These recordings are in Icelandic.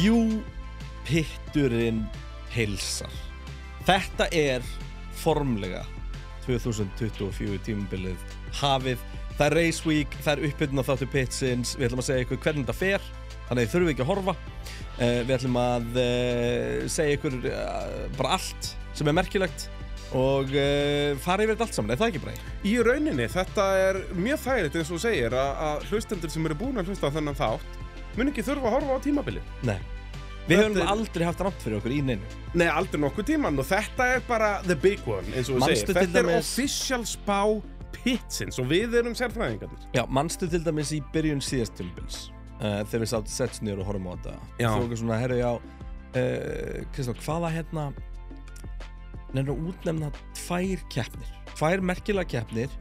Jú, pitturinn heilsar. Þetta er formlega 2024 tímabilið hafið. Það er race week, það er upphittin af þáttu pitsins, við ætlum að segja ykkur hvernig þetta fer, þannig þið þurfum ekki að horfa. Uh, við ætlum að uh, segja ykkur uh, bara allt sem er merkilegt og uh, fara yfir þetta allt saman, er það ekki bara? Í rauninni, þetta er mjög þægilegt eins og þú segir að, að hlustendur sem eru búin að hlusta á þennan þátt mun ekki þurfa að horfa á tímabili. Nei. Við Þetta höfum er- aldrei haft rámt fyrir okkur í neinu. Nei, aldrei nokkuð tíman og þetta er bara the big one eins og þú Manstu segir. til Þetta er dæmis- official spá pitsins og við erum sérfræðingarnir. Já, mannstu til dæmis í byrjun síðast tímbils uh, þegar við sátt sett nýður og horfum á þetta Já. þú okkur svona, herru, já uh, Kristján, hvaða hérna nefnir að útnefna tvær keppnir, tvær merkilega keppnir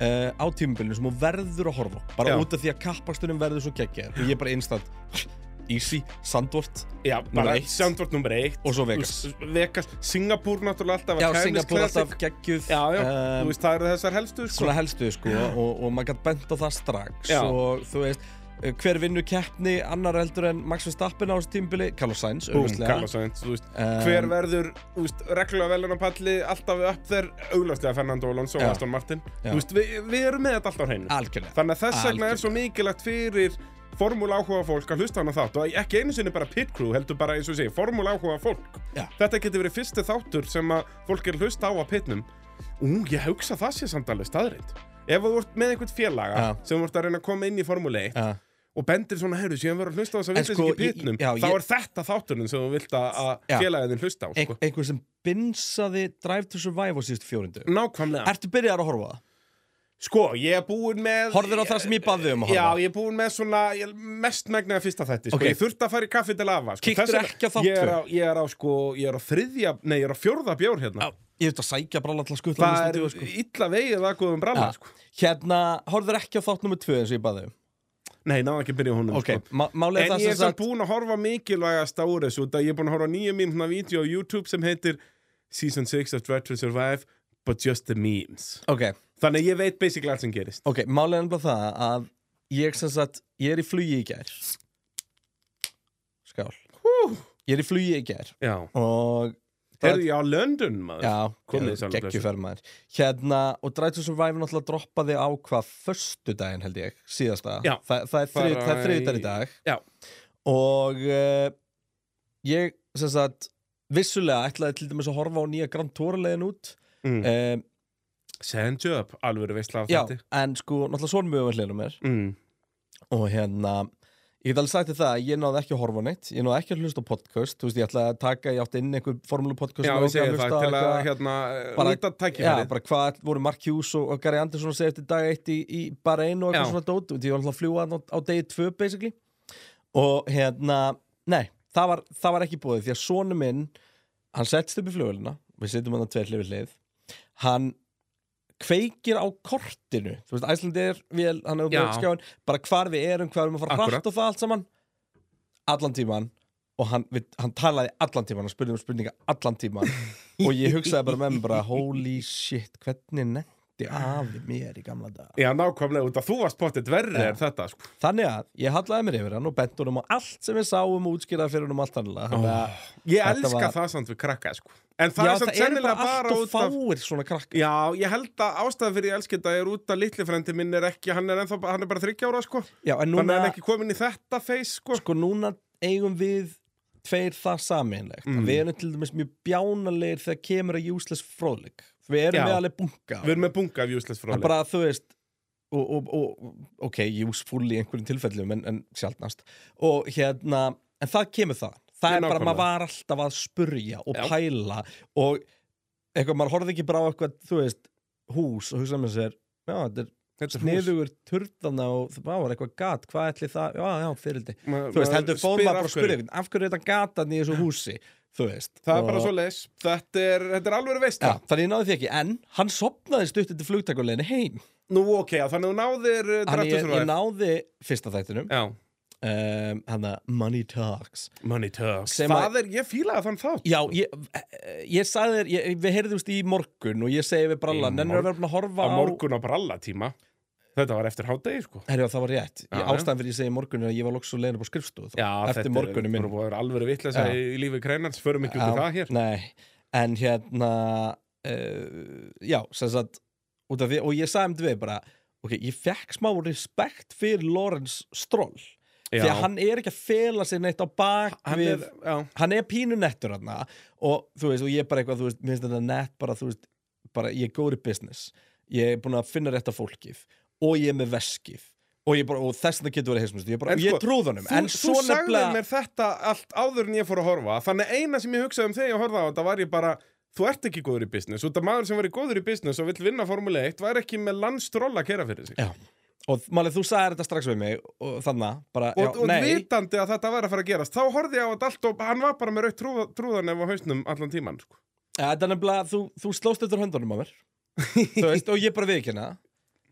uh, á tímbilinu sem þú verður að horfa á, bara Já. út af því að kappaksturinn verður svo geggjaður og ég bara instant easy, sandvort Já, bara Númer eitt. Sandvort nummer eitt. og svo Vegas S- Vegas. Singapúr náttúrulega alltaf Já, að Chinese Singapur Classic. alltaf geggjuð Já, já, um, þú veist það eru þessar helstu sko. svona helstu sko og, og maður gætt bent á það strax Já. og þú veist eh, hver vinnur keppni annar heldur en Max Verstappen á þessu tímbili Carlos Sainz Búm, augljóslega. Carlos Sainz, þú veist, Um, hver verður, þú veist, reglulega velunarpalli, alltaf upp þeir, auglastlega Fernando Alonso og Já. Aston Martin, Já. þú veist, við, við erum með þetta alltaf á hreinu. algjörlega Þannig að þess vegna er svo mikilvægt fyrir formúla áhuga fólk að hlusta hann að þátt og ekki einu sinni bara pit crew, heldur bara eins og sé, formúla áhuga fólk. Já. Þetta getur verið fyrsti þáttur sem að fólk er að hlusta á að pitnum. Ú, ég hugsa það sé samt alveg staðrind. Ef þú ert með einhvern félaga Já. sem þú ert að reyna að koma inn í formúli 1 ja. og bendir svona, heyrðu, síðan verður að hlusta á þess að En vilt sko, ekki í ég- pitnum, já, þá ég- er þetta þátturinn sem þú vilt að- Já. að félagin þinn hlusta á, Ein, sko. einhver sem binsaði Drive to Survive á síðustu fjórindu Nákvæmlega. Ertu byrjar að horfa á það? Sko, ég er búinn með... Horfðir á það sem ég bað þig um að Já, horfa á? ég er búinn með svona ég- mest megnaða fyrsta þætti, sko. Ok. Ég þurfti að fara í kaffi til afa, sko. Kíktir Þess vegna- ekki á þátt Ég er tvö? á, ég er á, sko, ég er á þriðja, nei, ég er á fjórða bjór hérna. Ég veit að sækja bralla alltaf skutla það er sko. illa vegið að góðum bralla, sko. Hérna, horfður ekki á þátt nummer 2 eins og ég baði Nei, náða ekki að byrja húnum, Ok, sko. má- málið er En það ég sem er samt sagt búinn að horfa mikilvægast á þessu út að ég er búinn að horfa nýja mín hana vídeo á YouTube sem heitir Season 6 of Dread to Survive But Just the Memes Ok, Þannig að ég veit basically allt sem gerist ok, málið er nefnilega það að ég sem sagt, ég er í flugi í gær Skál Hú, Ég er í flugi í gær Já, og herðu ég á London maður Já, komið þið sjálfum geggjuferð maður Hérna, og Drive to Survive náttúrulega droppaði á hvað Föstudaginn held ég, síðasta Já. Þa, Það er þrið- Bara það er þriðudagur í í- dag Já. Og uh, ég, sem sagt Vissulega ætlaði til dæmis að horfa á nýja Grand Tour leiðin út mm. um, Send you up, alveg veistla á Já, þetta en sko, náttúrulega svona mjög var hliðinu mér mm. Og hérna, ég get alveg sagt þér það að Ég náði ekki að horfa á neitt, ég náði ekki að hlusta á podcast Þú veist, ég ætlaði að taka, ég átti inn einhver formúlu podcast sem mig Já, við langaði segjum að það hlusta á til að eitthvað. hérna, Bara- nýta Já, tækifærið bara hvað voru Mark Hughes og, og Gary Anderson að segja eftir dag eitt í, í bara einu og Já. eitthvað svona dót því ég var alltaf að fljúa á, á degi tvö basically og hérna, nei, það var, það var ekki búið því að sonu minn, hann settst upp í flugulina við sittum hann að tveir hlifir hlið hann kveikir á kortinu, þú veist, Æslandi er vel, hann er um Já. skjáin, bara hvar við erum hvað við erum að fara Akkúrat. hratt og það allt saman allan tíman og hann, við, hann talaði allan tíman, hann spurði um spurninga allan tíman og ég hugsaði bara með mér bara holy shit, hvernig nefndi afi mér í gamla dag Já, nákvæmlega út að þú varst pottet verri Já. er þetta sko. þannig að ég hallaði mér yfir hann og bent honum á allt sem við sáum og útskýraði fyrir honum allt annarlega þannig að Ég Þetta elska var- það samt við krakka sko. En það já, er samt það eru sennilega bara bara allt og út af fáir svona krakk Já, ég held að ástæðan fyrir ég elski þetta er út að litli frendi minn er ekki, hann er ennþá, hann er bara 30 ára sko, já, en þannig núna, að hann er ekki komin í þetta feis sko. sko, núna eigum við tveir það saminlegt Mm. við erum til dæmis mjög bjánalegir þegar kemur að useless fróðleik við erum Já. með alveg bunga Við erum með bunga af useless Það fróðleik. bara, þú veist og, og, og, ok, useful í einhverjum tilfellum en, en sjaldnast og hérna, en það kemur það það Já, er bara, nákvæmlega. maður var alltaf að spurja og Já. pæla og eitthvað, maður horfði ekki bara á eitthvað, þú veist hús og hugsa með sér já, þetta er Þetta er hús. niðugur turðana og það var eitthvað gat, hvað ætli það já, já, fyrirldi, Ma- þú veist, maður heldur spyr fór maður af bara að hverju. spyrja eitthvað, af hverju er þetta gatan í þessu húsi þú veist, Það er bara og- svo leis. Þetta er, þetta er alveg veist já, þannig ég náði því ekki, en hann sopnaði stutt eftir flugtakuleginni heim Nú ok, já, þannig að þú náðir uh, Þannig Draftus ég, ég Rúið. náði fyrsta þættinum Já. um, hann að Money Talks Money talks. Sem Það er, ég fílaði þann þátt. Já, ég, eh, ég sagði þér, ég, við heyrðumst í morgun og ég segi við brallan, Í nennir að morg- vera búin að horfa Á á, morgun á bralla tíma. Þetta var eftir hádegi sko Herjá, það var rétt. Já, Ég, já. ástæðan fyrir ég segi morgun er að ég var loks og leiðin upp á skrifstofu. þá. eftir morgunum minn. Það er alveg vitlega Já. í lífi kreinans, förum ekki út í Já, það hér Nei, en hérna, uh, já, sem sagt, út af því, og ég sagði um því bara, ok, ég fekk smá respekt fyrir Lawrence Stroll, því Já. að hann er ekki að fela sig neitt á bak Hann við, er, já, hann er pínu nettur hann og þú veist, og ég er bara eitthvað, þú veist, minnst þetta nett bara, þú veist, bara ég er góður í business ég er búin að finna rétt af fólkið og ég er með veskið og, ég bara, og þess vegna getur verið heismust ég, bara, En ég sko, trúð honum, Þú, en þú svo sagði nefnilega mér þetta allt áður en ég fór að horfa Þannig eina sem ég hugsaði um þegar ég horfaði á þetta var ég bara Þú ert ekki góður í business Út af maður sem var góður í business og vill vinna Formule 1 Var ekki með landstróla að kera fyrir sig já, og málið, þú sagði þetta strax við mig og þannig, bara, Og, já, og nei vitandi að þetta var að fara að gerast Þá horfði ég á þetta allt og hann var bara með raut trú, trúðan Ef á hausnum allan tíman sko. ja, þetta er nefnilega, þú, þú slóst þetta höndunum á mér þú veist, og ég bara viðkynna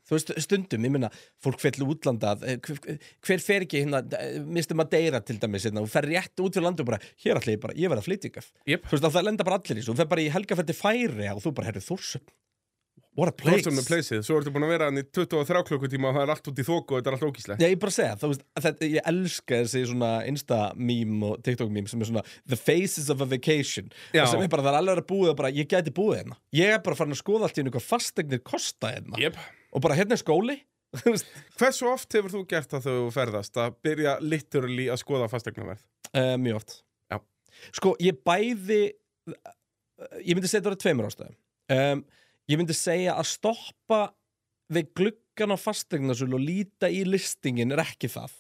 þú veist, stundum, ég minna, fólk fer til útlandað eh, hver, hver fer ekki hérna eh, mistum að deyra til dæmis hérna og fer rétt út fyrir landu og bara, hér allir ég bara, ég verð að flytja ykkar þú Jep. veist, að það lenda bara allir í svo, fer bara í helgaferði færi og þú bara, herru, þórsum what a place Place. Placeið, svo ertu búin að vera hann í 23 klukkutíma og það er allt út í þóku og þetta er allt ógíslegt Já, ég er bara að segja, þú veist, að þetta, ég elska þessi svona Insta-meme og TikTok-meme sem er svona The faces of a vacation Já. og sem er bara, það er alveg að búið og bara, ég gæti búið hérna Ég er bara farin að skoða allt í einu hvað fastegnir kosta hérna yep. og bara, hérna er skóli Þú veist, Hversu oft hefur þú gert það þegar þú ferðast að byrja literally að skoða fastegnaverð? Uh, mjög oft Já. Sko, ég bæði eh, Ég myndi segja þetta verið tveimur ástæðum um, Ég myndi segja að stoppa við gluggan á fastegnasölu og líta í listingin er ekki það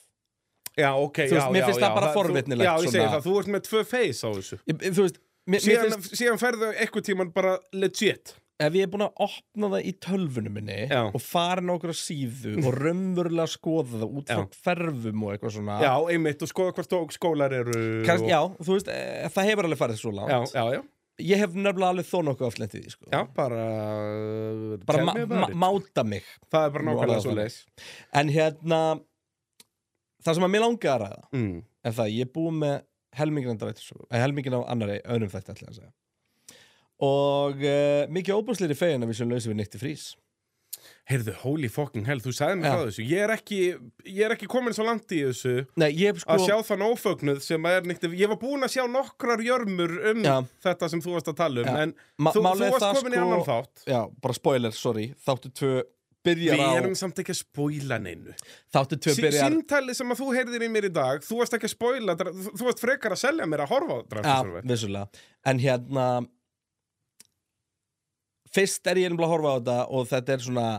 Já, ok, Þú veist, já, mér já, finnst já, það bara þú- forvitnilegt, Já, ég segi svona. það, þú ert með tvö face á þessu ég, Þú veist, mér, mér Síðan, finnst síðan ferðu eitthvað tíman bara legit ef ég er búin að opna það í tölfunum minni Já. og fara nokkur á síðu og raunverulega skoða það út Já. frá hverfum og eitthvað svona Já, einmitt, og skoða hvort tók skólar eru Kansk, og... já þú veist, eh, það hefur alveg farið svo já, langt já, já, Ég hef nefnilega alveg þó nokkuð oft lent í því sko. já, bara uh, Bara tell ma me ma about it. máta mig Það er bara nákvæmlega Nú, svo alveg leis En hérna Það sem að mér langaði að ræða mm. er það að ég er búið með helmingin, af drættisögu- eh, helmingin á annari öðrum þetta ætla ég að segja Og uh, mikið óbúslir í fegin að við sem lausum við nýtti frís Heyrðu, holy fucking hell, þú sagði mig Já. það þessu Ég er ekki, ég er ekki komin svo langt í þessu Nei, ég sko að sjá þann ófögnuð sem er nýtt ég var búinn að sjá nokkrar jörmur um Já. þetta sem þú varst að tala um Já. en ma- þú, málið þú er varst það, sko- komin í annan þátt Já, bara spoiler, sorry Þáttu tvö Við byrjar á erum samt ekki að spoila neinu Þáttu tvö Sí- byrjar Símtalið sem að þú heyrðir í mér í dag Þú varst ekki að spoila, dra- þú þú varst frekar að selja mér að horfa á Já, drafnum vissulega En hérna Fyrst er ég nefnilega að horfa á þetta og þetta er svona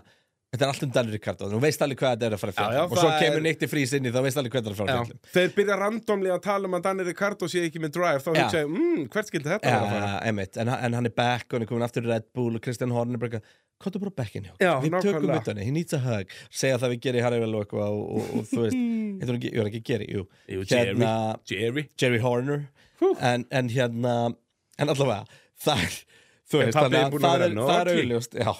Þetta er allt um Daniel Ricardo, þú veist alveg hvað þetta er að fara að Já, fjalla já, og það svo er- kemur Nikti Frís inn í þá veist alveg hvað þetta er að fara að fjalla um. Þeir byrja randomlega að tala um að Danny Ricardo sé ekki með drive þá Já. hugsa ég, mmm, hvert skildi þetta vera að fara Já, einmitt, en, en hann er back og hann er komin aftur í Red Bull og Kristján Horn er bara eitthvað Kottu bara backin hjá, okkur, Já, við tökum nákvæmlega. utan henni, he needs a hug segja það við gerir Harry vel og eitthvað og, og, og þú veist, heitur hann ekki, ég var ekki Geri, jú Jú, Jerry. hérna, Jerry Jerry Horner Hú. en, en hérna, en allavega það er, þú En veist, pabbi þannig er að búinn að það vera er, það er naughty. augljóst Já,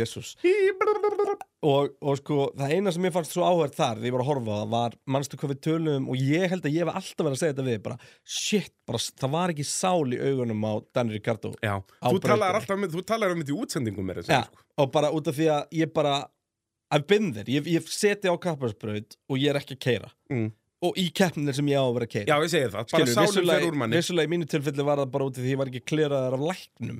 jésús og, og sko, það eina sem ég fannst svo áhverð þar því ég var að horfa á það var, manstu hvað við töluðum og ég held að ég hef alltaf verið að segja þetta við bara, shit, bara, það var ekki sál í augunum á Danny Ricardo Já, Á þú talar brautinni. alltaf með, þú talar um þetta í útsendingum meira að Já, segja, sko. og bara út af því að ég bara I've been there, ég, ég seti á kapparsbraut og ég er ekki að keira Mm. og í keppnir sem ég á að vera að keira Já, ég segi það, bara sálum fer úr manni vissulega í mínu tilfelli var það bara út af því ég var ekki kleraðar af læknum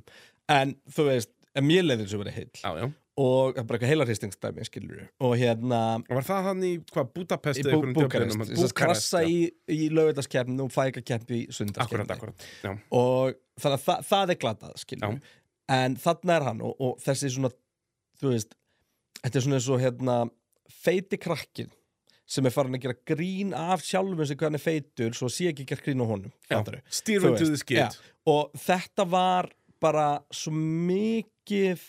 en þú veist, en mér leiði eins og verið heill Já, já. og það er bara eitthvað heilarhistingsdæmi skilur og hérna Var það hann í hvað, Budapest í eða bú, einhverjum Búkarest, djöflinum? þess að krassa í, í lögutarskeppnum og fæka keppi í Akkurat, sundarskeppnum akkurat, já og þannig að það, það er glatað skiljum, en þarna er hann og, og þessi svona, þú veist þetta er svona eins og hérna feiti krakkin sem er farin að gera grín af sjálfum sem hann er feitur svo sé ekki gert grín á honum fattarðu? Steer Þú into veist, the skid já. og þetta var bara svo mikið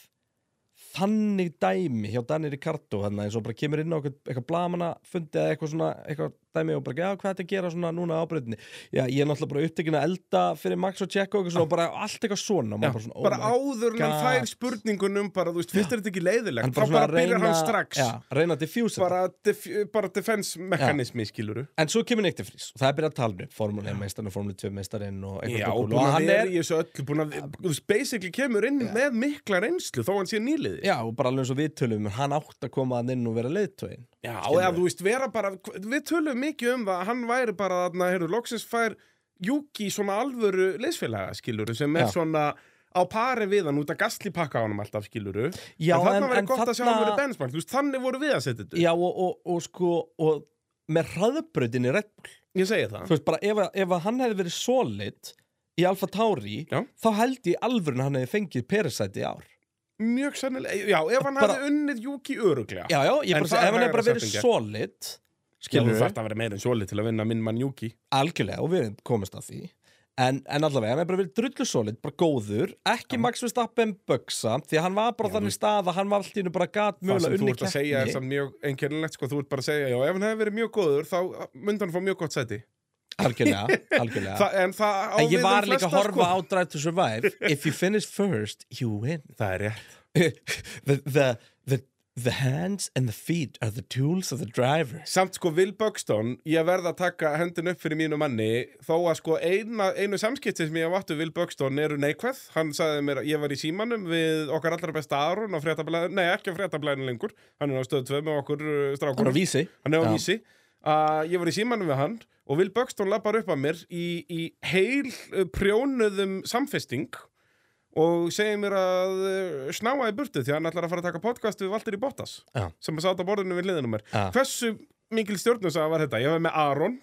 þannig dæmi hjá Danny Ricardo hérna, eins og bara kemur inn á eitthvað, eitthvað blamana fundið eða eitthvað svona eitthvað dæmi og bara, já, hvað er þetta að gera svona núna á breytinni já, ég er náttúrulega bara upptekinn að elda fyrir Max og Tjekko og, eitthvað svona, og bara allt eitthvað svona, og Já, maður bara svona, oh bara my áður en hann God. fær spurningunum bara, þú veist, fyrst er þetta ekki leiðilegt Hann þá bara, svona byrjar hann strax já, reyna að diffjúsa þetta. bara, def, bara defense mekanismi skiluru En svo kemur Nick de Vries og það er byrjað að tala um upp Formule 1 meistarinn og Formule 2 meistarinn og Já, eitthvað bull. búin og að hann vera er, í þessu öllu búin að, þú veist, basically kemur inn með mikla reynslu þó hann sé nýliði já, og bara alveg eins og við tölum en hann átt að koma hann inn og vera leiðtögin Já, eða þú veist, vera bara við tölum mikið um það, að hann væri bara þarna, heyrðu, loksins fær Juki svona alvöru leysfélaga, skiluru sem er Já. svona á pari við hann út að gasli pakka á hann alltaf, skiluru Já, en þarna en- en verið gott að sjá hann þarna- verið benchmark, þú veist, þannig voru við að setja þetta upp. Já, og, og, og sko og með hraðbrautin í Red Bull ég segi það þú veist bara, ef, að- ef að hann hefði verið solid í Alfa Tauri Já. þá held ég alvöru að hann hefði fengið Peresæti í ár Mjög sennilega, eh, já, ef hann Bara- hefði unnið Juki öruglega Já, já, ég En bara, það segi, er ef hann hefði bara hægara verið sagt en gert. solid Skilur skilur þú þarft að vera meira en sjóli til að vinna minn mann Juki algjörlega og við komumst að því en, en allavega, hann er bara verið drullu solid bara góður, ekki Max Verstappen bögsa, því að hann var bara Já, þannig stað að hann var allt í hennu bara gat Það sem mjögulega þú unni ert að segja er samt mjög einkennilegt sko, þú ert bara að segja, já, ef hann hefði verið mjög góður þá myndi hann fá mjög gott seti algjörlega, algjörlega Þa, En það á en við ég um var líka að flesta, horfa á Drive to Survive if you finish first, you win Það er rétt the, the, the, the hands and the feet are the tools of the driver Samt sko Will Buxton, ég verð að taka hendin upp fyrir mínu manni þó að sko eina, einu samskipti sem ég hef átt við Will Buxton eru neikvæð hann sagði mér, ég var í símanum við okkar allra besta Aron á fréttablaðinu nei, ekki á fréttablaðinu lengur, hann er á stöð 2 með okkur uh, hann strákur er á vísi hann er á Já. vísi að ég var í símanum við hann og Will Buxton lappar upp að mér í, í heil uh, prjónuðum samfesting og segir mér að uh, snáa í burtu því að hann ætlar að fara að taka podcast við Valtteri Bottas Já. sem að sáta borðinu við hliðinum mér Já. hversu mikil stjórnusaga var þetta? Ég var með Aron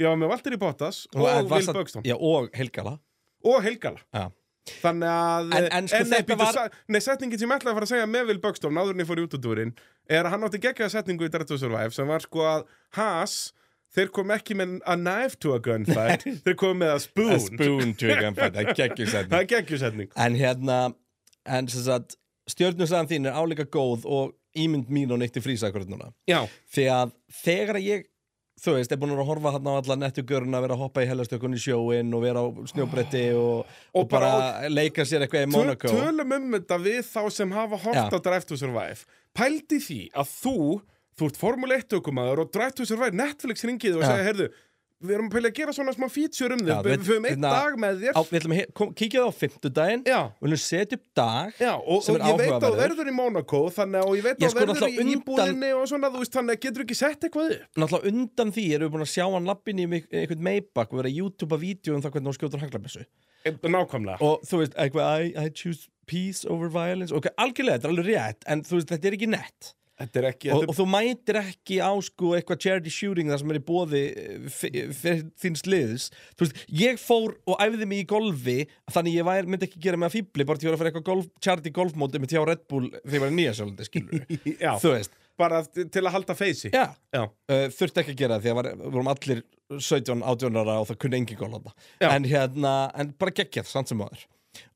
ég var með Valtteri Bottas og, en var Will samt- Buxton já, og Helgala og Helgala Já. Þannig að, eh, En- en sko nei, þetta býtu, var- sa- nei, setningin sem ég ætlaði að fara að segja með Will Buxton áður en ég fór í útudúrin er að hann átti geggjaða setningu í Drive to Survive sem var sko að Haas, þeir kom ekki með a knife to a gunfight þeir kom með a spoon, A spoon to a gunfight, það geggjur sætni það er geggjuð setning En hérna, en sem sagt, stjörnusagan þín er álíka góð og ímynd mín og neitt í frísakurinn núna. Já, Því að þegar að ég, þú veist, er búin að vera að horfa hann á alla nettugörun að vera að hoppa í hellastökun í sjóin og vera á snjóbretti og, og, Ah. Og bara bara- leika sér eitthvað í Töl, Monaco. tölum um þetta við þá sem hafa hort Já. á Drive to Survive pældi því að þú þú ert Formule 1 aukumæður og Drive to Survive Netflix ringið og Já. segja, heyrðu við erum að pælja að gera svona smá feature um þig Já, við við- við höfum einn hérna, dag með þér Á, við ætlum að he- kom- kíkja það á fimmtudaginn, Já. við ætlum að setja upp dag Já, og, sem og er ég veit að þú áhugaverður. verður í Monaco þannig að og ég Ég veit að þú sko verður í náttúrulega undan- íbúðinni og svona, þú veist, þannig að getur ekki sett eitthvað upp Náttúrulega undan því erum við búin að sjá hann lappin í mik- einhvern meibak og vera að youtubea vídeo um það hvernig hún skjótur hanglabessu. E- Nákvæmlega og þú veist, eitthvað, I, I choose peace over violence, ok, algjörlega, þetta er alveg rétt en þú veist, þetta er ekki nett Þetta er ekki, og, þetta og þú mætir ekki á sko eitthvað charity shooting þar sem er í eh, bóði fyrir þín sliðis þú veist, ég fór og æfði mig í golfi þannig ég væri, myndi ekki gera mig að fíbli bara til að vera að fara eitthvað golf, charity golfmóti með tjá Red Bull þegar ég var í nýja sjálfandi, skilur er, já, þú veist, bara t- til að halda feysi já já, uh, þurfti ekki að gera það því að var, við vorum allir 17, 18 ára og það kunni engin gól þarna. Já. en hérna, en bara geggjað samt sem maður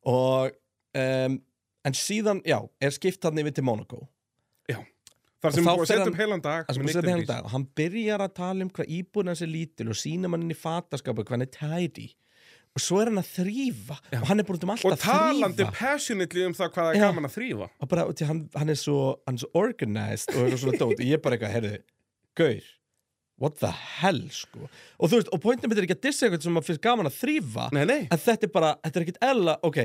og um, en síðan, já, er skipt hann yfir til Monaco þar Og þá sem er búið að fer setja hann- upp heilan dag Það sem bara með Nick setja de hann Vries. dag og hann byrjar að tala um hvað íbúin hans er lítil og sína mann inn í fataskapu hvað hann er tæri og svo er hann að þrýfa og hann er búin um allt og að talandi þrýfa passionately um það hvað það Já. er gaman að þrýfa og bara, og því, hann, hann, er svo, hann er svo organized og eitthvað svona dót og ég bara eitthvað, herðu, gaur what the hell, sko og þú veist, og pointum þetta er ekki að dissa eitthvað sem maður finnst gaman að þrýfa Nei, nei, en þetta er bara, þetta er ekkit eðla ok,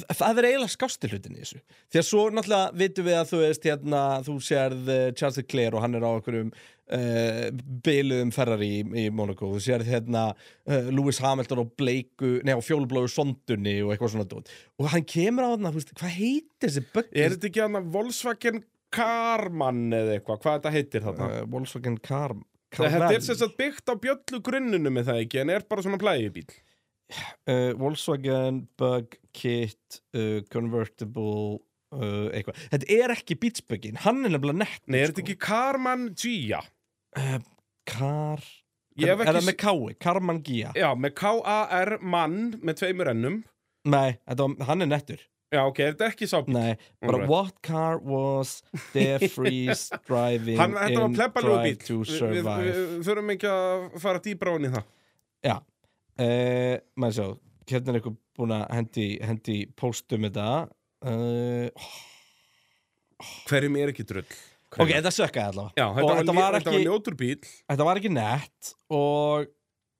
þa- það er eiginlega skásti hlutin í þessu, því að svo náttúrulega vitum við að þú veist, hérna, þú sérð eh, Charles Leclerc og hann er á einhverjum uh, byluðum Ferrari í, í Monaco, þú sérð hérna uh, Lewis Hamilton á bleiku, nei á fjólublóðu sondunni og eitthvað svona dót og hann kemur á þarna, þú veist, hvað heitir þessi buggy? er þetta ekki hann að Volkswagen Karman eða eitthvað, hvað þetta heitir þarna uh, Volkswagen Car Þetta er sem Caravelle sagt byggt á bjöllu grunnunum með það ekki, en er bara svona plægjubíl uh, Volkswagen Bug Kit uh, Convertible uh, eitthvað Þetta er ekki Beatsbuggin, hann er nefnilega sko. nett Nei, er þetta ekki Karman Gia? Kar... Ég Er hef ekki Eh. það með Kái? Karman Gia? Já, með K-A-R mann með tveimur ennum Nei, þetta, var- hann er nettur Já, ok, er þetta ekki sábúl? Nei, bara Alright. what car was DeFreeze driving Hann, þetta var in plebbalegur Drive bíl to Við- Við Survive? vi, þurfum ekki að fara dýbra onni í það Já uh, Mæður sjá, hérna er eitthvað búin að hendi, hendi póstum þetta uh, Hverjum er ekki drull? Ok, þetta sökkaði allavega Já, þetta, og var, þetta þetta, var þetta ekki- var ljótur bíl Þetta var ekki nett og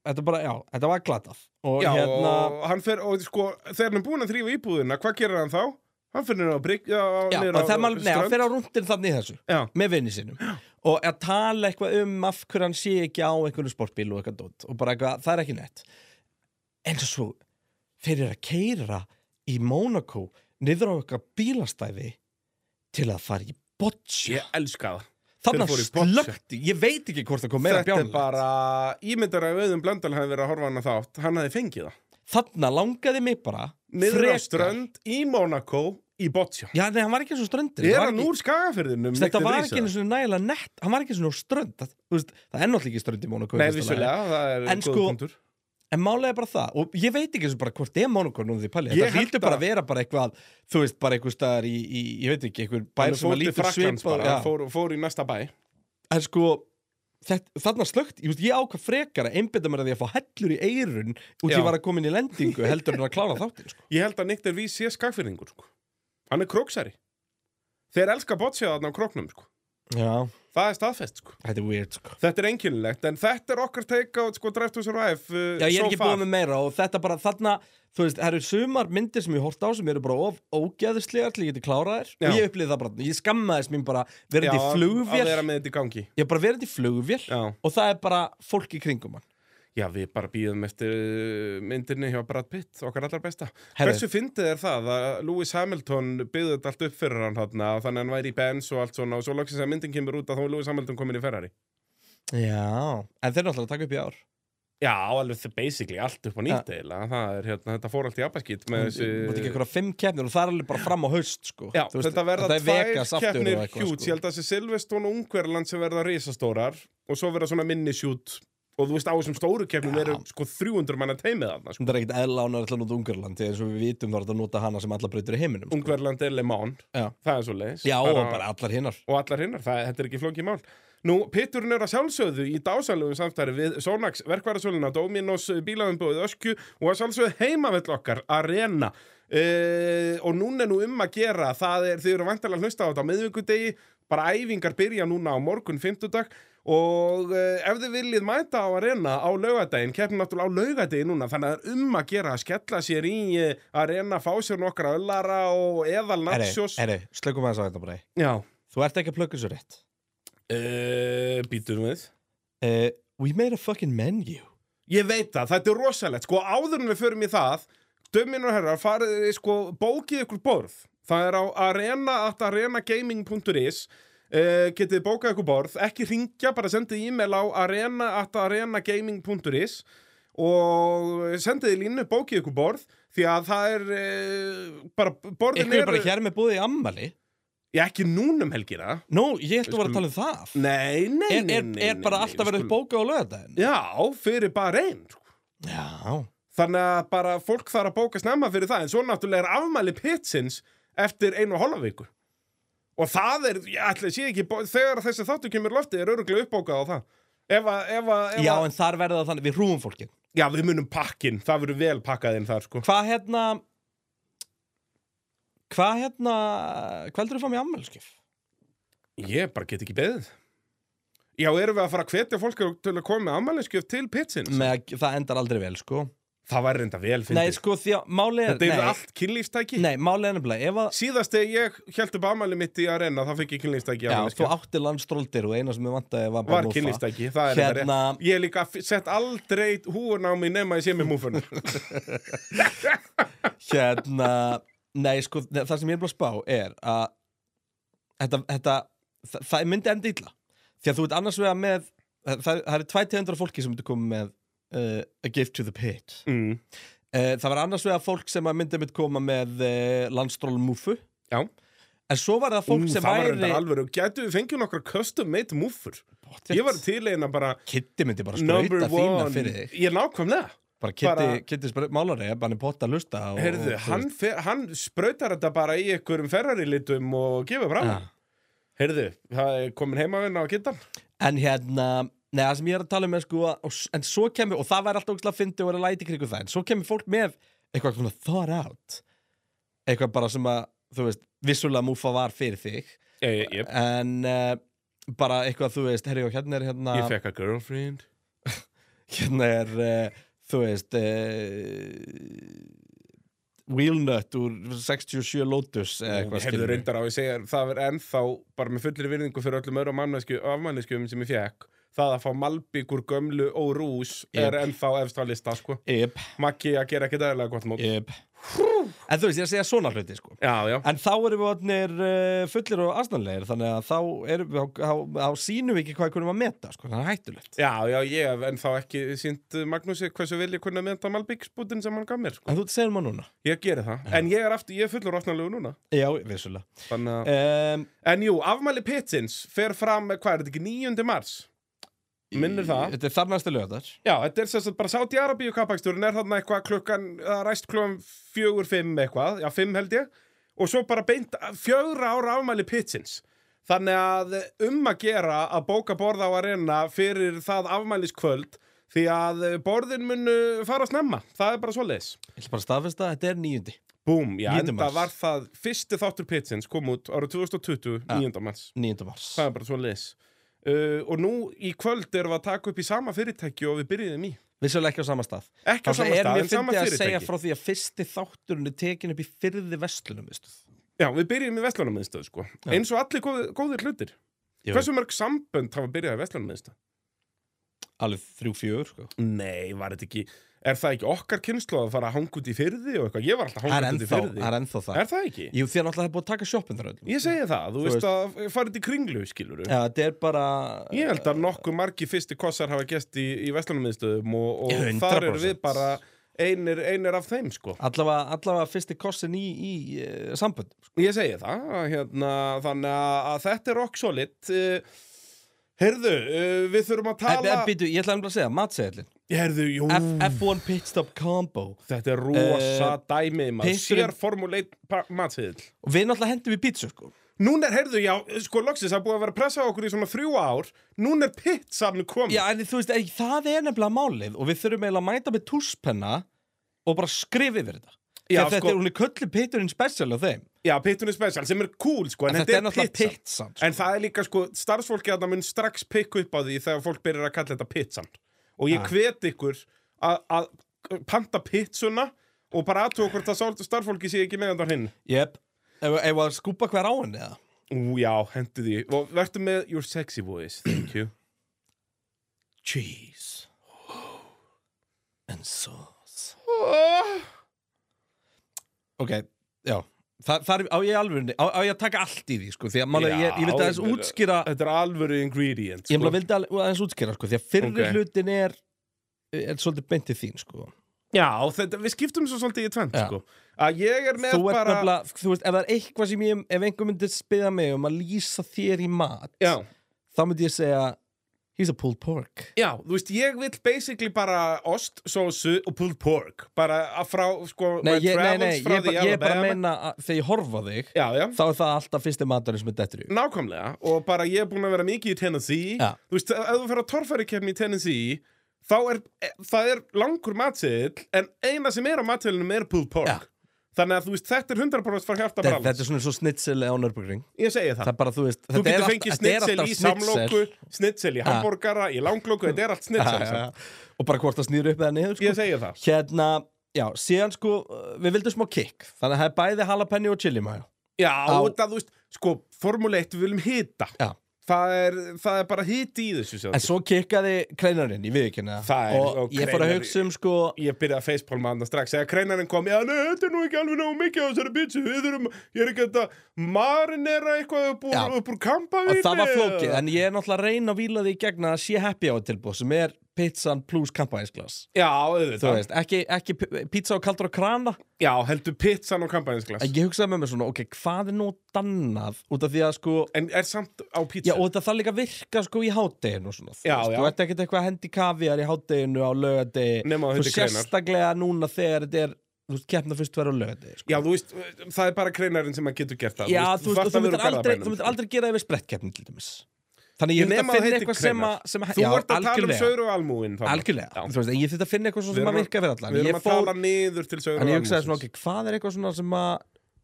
þetta bara, já, þetta var glatað og Já, hérna og hann fer, og sko, þegar hann er búinn að þrýfa íbúðina, hvað gerir hann þá? Hann fyrir niður á brygg, já, Já, niður og það maður, nei, hann strönd. fer á rúndin þannig í þessu Já, með vinni sinum og að tala eitthvað um af hverju hann sé ekki á einhverju sportbíl og eitthvað dót og bara eitthvað, það er ekki nett en svo fyrir að keira í Monaco niður á eitthvað bílastæði til að fara í boccia ég elska það. þarna þeir fóru í boccia. slökti, ég veit ekki hvort það kom meira Þetta er bjánlega bara, ímyndar að auðum blöndal hefði verið að horfa á hann að þátt, hann hefði fengið það. þarna langaði mig bara Niður á frekar- strönd, í Monaco, í Boccia. já, nei, hann var ekki eins og ströndir Er hann úr skagafyrðinum? þetta var ekki eins og nægilega nett hann var ekki eins og strönd það, þú veist, það er náttúrulega ekki strönd í Monaco í Nei, fyrsta lagi. vissulega, það er En góð sko, punktur. En málega bara það, og ég veit ekki eins og bara hvort er Monaco núna því palið, þetta Ég held hlýtur að- bara að vera bara eitthvað, þú veist, bara einhver staðar í, í ég veit ekki, einhver bær Hann sem fór að til lítur Frakklands svipað, bara, já, hann fór, fór í næsta bæ. en sko, þetta, þarna slögt, ég, veist, ég ákvað frekar að einbytta mér að því að fá hellur í eirun út Já. ég var að koma inn í lendingu heldur en að klára þáttinn, sko. Ég held að Nick Dervís sé skagfyrðingur, sko. Hann er króksari. Þeir elska Boccia þarna á króknum, sko. Já, Það er staðfest, sko. þetta er weird, sko. Þetta er einkennilegt, en þetta er okkar take á sko, Drive to Survive uh, Já, ég er so ekki far. búin með meira og þetta bara þarna Þú veist, það eru sumar myndir sem ég hórt á sem eru bara of ógeðislegar til ég geti klárað þær og Já. ég upplýði það bara, ég skammaðist mín bara Já, verið í flugvél, að vera með þetta í gangi ég bara verið í flugvél Já, og það er bara fólk í kringum hann já við bara býðum eftir uh, myndinni hjá Brad Pitt, okkar allar besta Herri. Hversu fyndið er það að Lewis Hamilton byggði þetta allt upp fyrir hann þarna og þannig að hann væri í Benz og allt svona og svo loksins að myndin kemur út að þá er Lewis Hamilton komin í Ferrari Já, en þeir eru alltaf að taka upp í ár Já, alveg það basically allt upp á nýtt eiginlega það er hérna, þetta fór allt í abaskýt með Þú veit ekki þessi einhverja fimm keppnir og það er alveg bara fram á haust sko. Já, Þú veist, þetta verða þetta er Vegas tvær aftur og keppnir eitthvað, sko. hjút, ég held að þessi Silveston og Ungverland sem verða risastórar og svo verða svona minni sjút og þú veist á þessum stóru keppnum Já. eru sko 300 manna teimið þarna sko. Það er ekkit eðla án að ætla að nota Ungarlandi eins og við vitum þá er þetta að nota hana sem allar breytur í heiminum sko. Ungverland er Le Mans, Já. það er svo leiðis Já, og bara allar hinnar og allar hinnar, það, þetta er ekki flókið mál Nú, Pitturinn er að sjálfsögðu í dásalögum samtæri við Sonax, verkvarasöluna, Dominos, bílaðumbúið Öskju og að sjálfsögðu heimavell okkar, Arena. Uh, og núna er nú um að gera, það er, þið eru vantarlega hlusta á þetta á miðvikudegi, bara æfingar byrja núna á morgun, fimmtudag og uh, ef þið viljið mæta á Arena á laugadaginn, keppnum náttúrulega á laugadaginn núna, þannig að það er um að gera að skella sér í uh, Arena, fá sér nokkra öllara og eðal Herri, nachos. herri, slökum aðeins á þetta bara Já. Þú ert ekki að plugga svo rétt Uh, býtum við uh, We made a fucking menu Ég veit það, þetta er rosalegt Sko áður en við förum í það Dömin og herrar, farið, þið, sko, bókið ykkur borð Það er á arena.arenagaming.is uh, Getið bókað ykkur borð Ekki ringja, bara sendið e-mail á arena.arenagaming.is Og sendið í línu bókið ykkur borð Því að það er uh, bara, borðin Ykkur er eru bara hér með búið í ammali Ég ekki núnum helgina Nú, ég ætla að vera að skulum- tala um það Nei, nei, nei, Er, er, nei, er nei, bara nei, alltaf við verið skulum- bóka á lögadaginn? Já, fyrir bara sko. einn Já, Þannig að bara fólk þarf að bóka snemma fyrir það en svo náttúrulega er afmæli pitsins eftir einu og hálfa viku og það er, ég ætla að sé ekki bó- þegar þessi þáttu kemur í loftið er öruglega uppbókað á það ef að, ef að, ef Já, að en þar verða þannig, við hrúum fólki já, við munum pakkin, það verður vel pakkað inn þar sko Hvað hérna Hvað hérna Hvað heldur þú að fá mér ammælskif? Ég bara get ekki beðið Já, erum við að fara að hvetja fólk til að koma með afmæliskjöf til pitsins? Með, það endar aldrei vel, sko Það væri reynda vel, Nei, fyndið sko, því að málið er Þetta eru Nei, allt kynlífstæki nei málið er nefnilega Ef að, Síðast þegar ég held upp afmæli mitt í arena þá fekk ég kynlífstæki í já, afmælisgjöf. þú átti landstróldir og eina sem ég vantaði var bara var múffa. kynlistæki, það er Hérna- hérna... ég hef líka f- sett aldrei húun á mig nema ég sé með múfuna Hérna, nei, sko, ne- það sem ég er bara að spá er að Þetta, þetta það, það myndi enda illa Því að þú ert annars vega með Það, það eru 200 fólki sem myndi koma með uh, A gift to the pit mm. Eh, Það var annars vegar fólk sem að myndi mitt koma með eh, landstról múfu Já. En svo var það fólk Ú, sem Mm, það var væri þetta alveg, gætu við fengið nokkra custom made múfur Pottet. ég var til eina bara Kiddi myndi bara number sprauta þína one, fyrir þig ég nákvæmlega bara Kitty, Bara- Kitty spra- málari ef hann er pott að lusta og, Herðu, og, hann, fer, hann sprautar þetta bara í einhverjum ferrarilitum og gefur fram. Ja. Herðu, það er komin heimavinn á kittan. En hérna, neða, sem ég er að tala um er sko að- og, s- En svo kemur, og það væri alltaf ógstlega fyndi og er að læti kringu það En svo kemur fólk með eitthvað svona thought out Eitthvað bara sem að, þú veist, vissulega múfa var fyrir þig Ég, ég, En uh, bara eitthvað, þú veist, herri og hérna er hérna ég fekk að girlfriend. Hérna er, uh, þú veist, uh, Wheelnut úr 67 Lotus eða eitthvað Herðu, skilurðu. reyndar á ég segja, það er ennþá bara með fullri virðingu fyrir öllum öðrum mannesku, afmanneskjum sem ég fekk. Það að fá malbyggur, gömlu og rús er Jep. ennþá efst á lista, sko. Yep, Maggi að gera ekki dæðilega gott mót. yep. En þú veist, ég er að segja svona hluti sko Já, já. En þá erum við orðnir uh, fullir og aðstæðanlegir þannig að þá, erum við, þá, þá, þá sýnum við ekki hvað kunum að meta, sko, það er hættulegt. Já, já, ég hef ennþá ekki sínt uh, Magnúsi hversu vel ég kunna mynda malbyggsbútin sem hann gaf mér, sko. En þú segir maður núna? Ég geri það. En ég er aftur, ég er fullur ofnalegu núna. Já, vissulega. Þannig að... Um, En jú, afmæli Pittins fer fram, hvað er þetta ekki, 9. mars? Minnir það? Þetta er þar næstu lögðar. Já, þetta er sem sagt bara sátt í Arabíu kappaksturinn er þarna eitthvað klukkan, það ræst klukkan fjögur, fimm eitthvað, já, fimm held ég og svo bara beint fjögra ára afmæli Pittins. Þannig að um að gera að bóka borð á arena fyrir það afmæliskvöld því að borðin munu fara snemma, það er bara svoleiðis. Ég ætla bara að staðfesta, að þetta er nýjundi. Búm, já, 9. enda mars. var það fyrsti þáttur Pittins kom út ára 2020, Ja. 9. mars. Nýjundu mars. Það er bara svona leis. Uh, og nú í kvöld erum við að taka upp í sama fyrirtæki og við byrjuðum í. Vissulega ekki á sama stað. Ekki á sama er stað, mér en sama fyndi að segja fyrirtæki. frá því að fyrsti þátturinn er tekin upp í fyrði vestlunum, veistu. Já, við byrjuðum í Vestlunarmiðstöð, sko. Já. Eins og allir góð, góðir hlutir. Jú. Hversu mörg sambönd hafa byrjað í Vestlunarmiðstöð? Alveg þrjú, fjögur, sko. Nei, var þetta ekki... Er það ekki okkar kynslu að fara að hanga út í fyrði og eitthvað? Ég var alltaf að Það er hanga út í ennþá, fyrði. það er ennþá það. Er það ekki? Jú, því að náttúrulega það er búið að taka sjoppin þar öllum. Ég segi það, þú, Þú veist að fara þetta í kringlu, skilur Já, þetta er bara... Ég held að nokkuð margi fyrsti kossar hafa gest í, í Vestlunarmiðstöðum og, og 100%. þar eru við bara einir, einir af þeim, sko. Allavega, allavega fyrsti kossin í, í uh, sambönd Ég segi það, að hérna, þannig að, að þetta er rock solid uh, Heyrðu, uh, við þurfum að Tala... tala Býtu, ég ætla nefnilega að segja, matseðlin Heyrðu, jú F- F1 Pitstop Combo Þetta er Eh, rosa uh, dæmi, maður pitturinn- sér formuleit matsiðil Og við náttúrulega hendum í pítsu, sko Núna er, heyrðu, já, sko loksins það er búið að vera að pressa á okkur í svona þrjú ár Núna er pitt saman komið Já, en þú veist, ei, það er nefnilega málið Og við þurfum eiginlega að mæta með túspenna Og bara skrifa yfir þetta Þegar Já, Þetta sko- er hún er köllu pitturinn special á þeim já pittunni special sem er cool, sko, en, Þetta er náttúrulega pitsan pitsan sko. En það er líka, sko, starfsfólki að það mun strax pikka upp á því þegar fólk byrjar að kalla þetta pitsan Og ég Ah. hvet ykkur að- að panta pitsuna og bara aðtúa hvort að sál- starfsfólki sé ekki meðan það hinn Jep, ef ef að skúpa hver á henni eða Ú, já, hendu því Og verður með your sexy voice, thank you Cheese And sauce Ah. Ok, já Þa, þar, á ég alveg, á, á ég að taka allt í því sko, því að málega, ég, ég vildi Já, aðeins ég meina- útskýra Þetta er alvöru ingredient ég sko. vildi alveg aðeins útskýra sko, því að fyrri Ok. hlutin er er svolítið beint til þín sko. Já, þetta, við skiptum svo svolítið í tvend Já. sko. Að ég er með þú ert bara nefnilega, þú veist, ef það er eitthvað sem ég ef einhver myndi spyrja mig um að lýsa þér í mat já, þá myndi ég segja he's a pulled pork já, þú veist, ég vil basically bara ost, sósu og pulled pork Bara að frá, sko nei, my ég, nei, travels nei, ég, frá ég, the bara- ég bara Alabama. meina að, þegar ég horfa á þig Já, já þá er það alltaf fyrsti maturinn sem er dettur í hug. Nákvæmlega, og bara ég er búin að vera mikið í Tennessee Já. Þú veist, ef þú fer á torfærikefni í Tennessee Þá er, e- það er langur matseðil En eina sem er á matseðilnum er pulled pork Já. Þannig að þú veist, þetta er 100% frá hjarta Þetta þetta brall er svona svo snitsel á nörbjörgring Ég segi Það það, er bara, þú veist, þú þetta er getur allt- fengið þetta er snitsel alltaf í samlóku Snitsel í hambúrgara, í langlóku, þetta er allt Já, snitsel já, ja, já. og bara hvort það snýður upp eða niður sko. Ég segi það hérna, já, síðan sko uh, við vildum smá kick, þannig að það er bæði jalapeno og chili mayo Já, þetta, þú veist, sko, formuleitt við viljum hita Já. það er, það er bara hiti í þessu sjá. en svo kickaði kreinarinn, ég við ekki hérna Það er- og og ég fór að Kreinar- hugsa um sko ég byrjaði að facepalma hann strax eða kreinarinn kom, já, nei, þetta er nú ekki alveg nógu mikið á þessari bitsu, við þurfum, ég er ekki að marinera eitthvað upp úr, Já. upp úr kampavíni og það var flókið, en ég er náttúrulega að reyna að víla því í gegn að sé happy hour tilbúð sem er pizzan pluss kampaðinsglas Já, Þú auðvitað veist, ekki, ekki p- pizza og kaldur og krana Já, heldur pizzan og kampanjinsglas En ég hugsaði með mér svona, ok, hvað er nú dannað út af því að sko En er samt á pizza Já, og þetta þarf líka að virka sko í hádeginu og svona, þú Já, veist, já. þú ert ekkert eitthvað að hendi kaviar í hádeginu á lögadegi Nema á Þú hundi kreinar sérstaklega núna þegar þetta er, þú veist, keppna fyrst verið á lögadegi sko. Já, þú veist, það er bara kreinarinn sem að getur gert það Já, þú veist, og þú varla myndir verður á aldrei, þú Garðabænum. myndir aldrei gera það við sprettkeppni til dæmis Þannig ég Ég þurft nema að að finna heiti eitthvað sem kreinar. að sem að- Þú já, ert að tala um algjörlega. saur og almúin Algjörlega, Já. þú veist, en ég þurft að finna eitthvað svona Við sem erum að að- virka fyrir alla Við erum Ég að fór- tala um niður til saur og En ég hugsaði svona, almúin ok, hvað er eitthvað svona sem að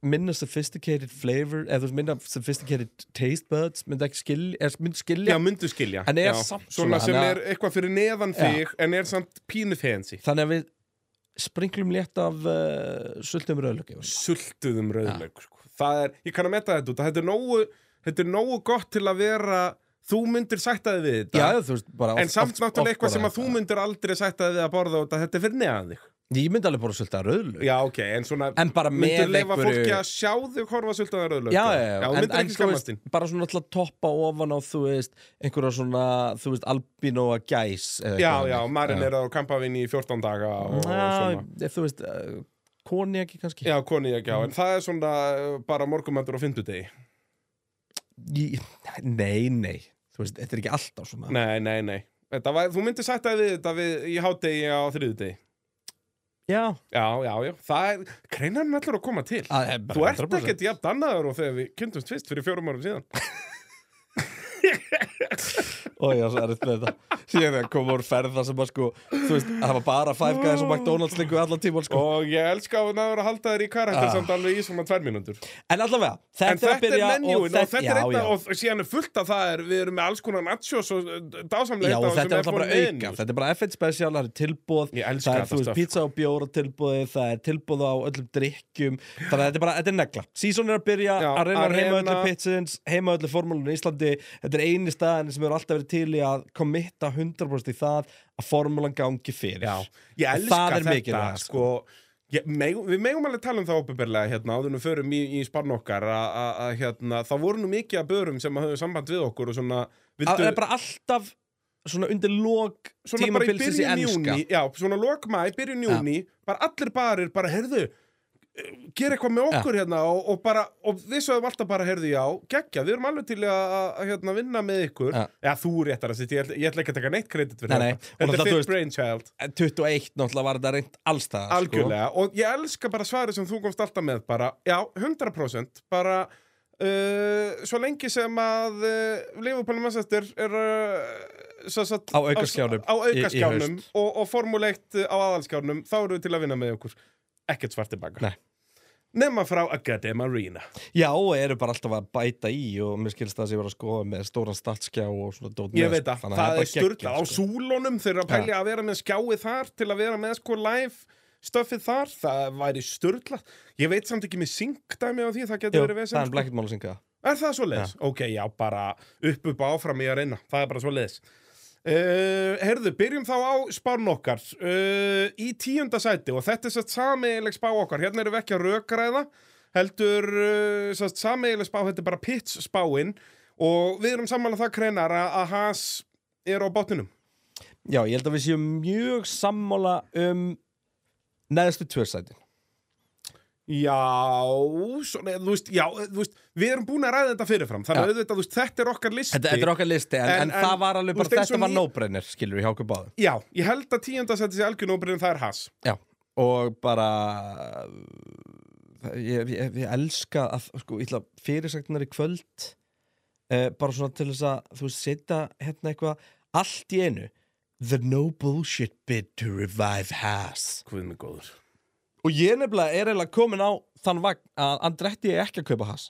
minna sophisticated flavor eða þú veist, minna sophisticated taste buds myndi ekki skilja, eða myndi Já, skilja myndu skilja En er Já. samt svona, Svona sem þannig er eitthvað fyrir neðan Já. þig En er samt pínu fancy þannig að við springlum létt af uh, sultum rauðlöki Sultuðum rauðlaug sko. Það er, ég kann að metta þetta út að Þetta er nógu, þetta er nógu gott til að vera Þú myndir sættaði við þetta Já, þú veist, bara En samt náttúrulega eitthvað sem að þú mynd myndir aldrei sætta þig að borða út að þetta er fyrir neðan þig Ég myndi alveg bara sulta rauðlöki Já, ok, en svona En bara með myndir leifa einhverju- fólki að sjá þig horfa sultaðan rauðlaug Já, já, já, sko. já en, þú myndir en ekki þú veist, skammast þín bara svona alltaf toppa ofan á, þú veist, einhverja svona, þú veist, albinoa gæs eða Já, eitthvað já, þannig. marinn er á kampavín í 14 daga og Já, svona ég- þú veist, uh, koni ekki kannski Já, koni ekki á, en það er svona uh, bara morgumandur á fimmtudegi Ég, nei, nei Þú veist, þetta er ekki alltaf svona Nei, nei, nei Þetta var, þú myndir sætta þig við þetta við, í hádegi á þriðudegi Já, Já, já, já, það er, kreinarinn ætlar að koma til að, eh, bara Þú ert 100%. ekkert jafn annaður og þegar við kynntumst fyrst fyrir fjórum árum síðan Ó, ég var svo erfitt með þetta Síðan þegar kom úr ferð þar sem að sko Þú veist, það var bara Five Guys og McDonalds lengur allan tíma sko. Og ég elska að náður að halda þér í karakter Ah. samt alveg í svona tvær mínútur En allavega, þetta, En þetta að er byrja menjúin og þetta er já, einna já. og síðan er fullt af það er, við erum með alls konar nachos og uh, dásamlega Já, og þetta er alltaf bara auka, auka þetta er bara F1 special, það er tilbúð Ég elska það er, þetta sko. þú veist, stöf. pizza og bjóra tilbúði það er tilbúð á öllum drikkjum þannig að þetta er bara, þetta er negla, season er að byrja Já, að reyna að heima arena. öllu pitsins, heima öllu formúlun í Íslandi, þetta er eini staðan sem eru alltaf verið til í að kommitta 100% í það að formúlan gangi fyrir Já, ég Og elska það er þetta mikilvægt, sko. Ég, meg, við megum alveg tala um það opinberlega hérna, áður en við förum í, í spann okkar að- að að, hérna, það voru nú mikið af börum sem höfðu samband við okkur og svona, það vildu, er bara alltaf svona undir lók svona bara í tímabilsins í byrjun ennska júni já, svona lokmæ, byrjun júni bara allir barir, bara herðu gera eitthvað með okkur hérna og, og bara, og við sögum alltaf bara herðu já geggja, við erum alveg til að, að, að hérna, vinna með ykkur, Já. já þú réttar að sitt ég, ætla- ég ætla ekki að taka neitt kredit fyrir Nei, nei. þetta Og náttúrulega, þetta er þú þitt veist, brainchild, 21 náttúrulega var þetta reynd allstaðar sko. algjörlega og ég elska bara svarið sem þú komst alltaf með bara, já, 100% bara Uh, svo lengi sem að uh, Liverpool og Manchester er uh, svo, svo, Á aukaskjánum á í- í aukaskjánum haust. og, og formuleikt á aðalskjánum þá eru við til að vinna með okkur ekkert svartir baka Nei. nema frá Academ Arena Já, og eru bara alltaf að bæta í og mér skilst það að ég var að skoða með stóran statskjá og svona dót ég neðst. veit að Þannig það bara er sturla á geggjað, sko. súlunum þeir eru að pælja að vera með skjáið þar til að vera með sko live stöfið þar það væri sturla ég veit samt ekki með syngdæmi á því það Jú, getur verið sko. Það er vesend bara ekkert mál að synga það. Er það svo leiðis? Ok, já, bara upp upp áfram í að reyna. Það er bara svo leiðis. Uh, herðu, byrjum þá á spán okkar uh, í tíunda sæti og þetta er satt sameigileg spá okkar hérna erum við ekki að rökræða heldur uh, satt sameigileg spá þetta er bara pits spáin og við erum sammála það kreinar að, að Haas er á botninum Já, ég held að við séum mjög sammála um neðstu tversætin. Já, svona, þú veist, já, þú veist við erum búin að ræða þetta fyrirfram þannig Já. að auðvitað, þú veist, þetta er okkar listi Þetta, þetta er okkar listi, en, En- en, en, það var alveg þú bara, veist, eins og þetta var ný- nóbreynir, skilur við hjá okkur báðum. Já, ég held að tíunda sæti sér algjörn óbyrðin það er Haas Já, og bara, uh, ég, ég, ég elska að, sko, ég ætla að fyrirsagnar í kvöld, uh, bara svona til þess að, þú veist, setja hérna eitthvað, allt í einu, the no bullshit bid to revive Haas. Hvað með góður Og ég nefnilega er eiginlega komin á þann vagn að Andretti er ekki að kaupa Haas.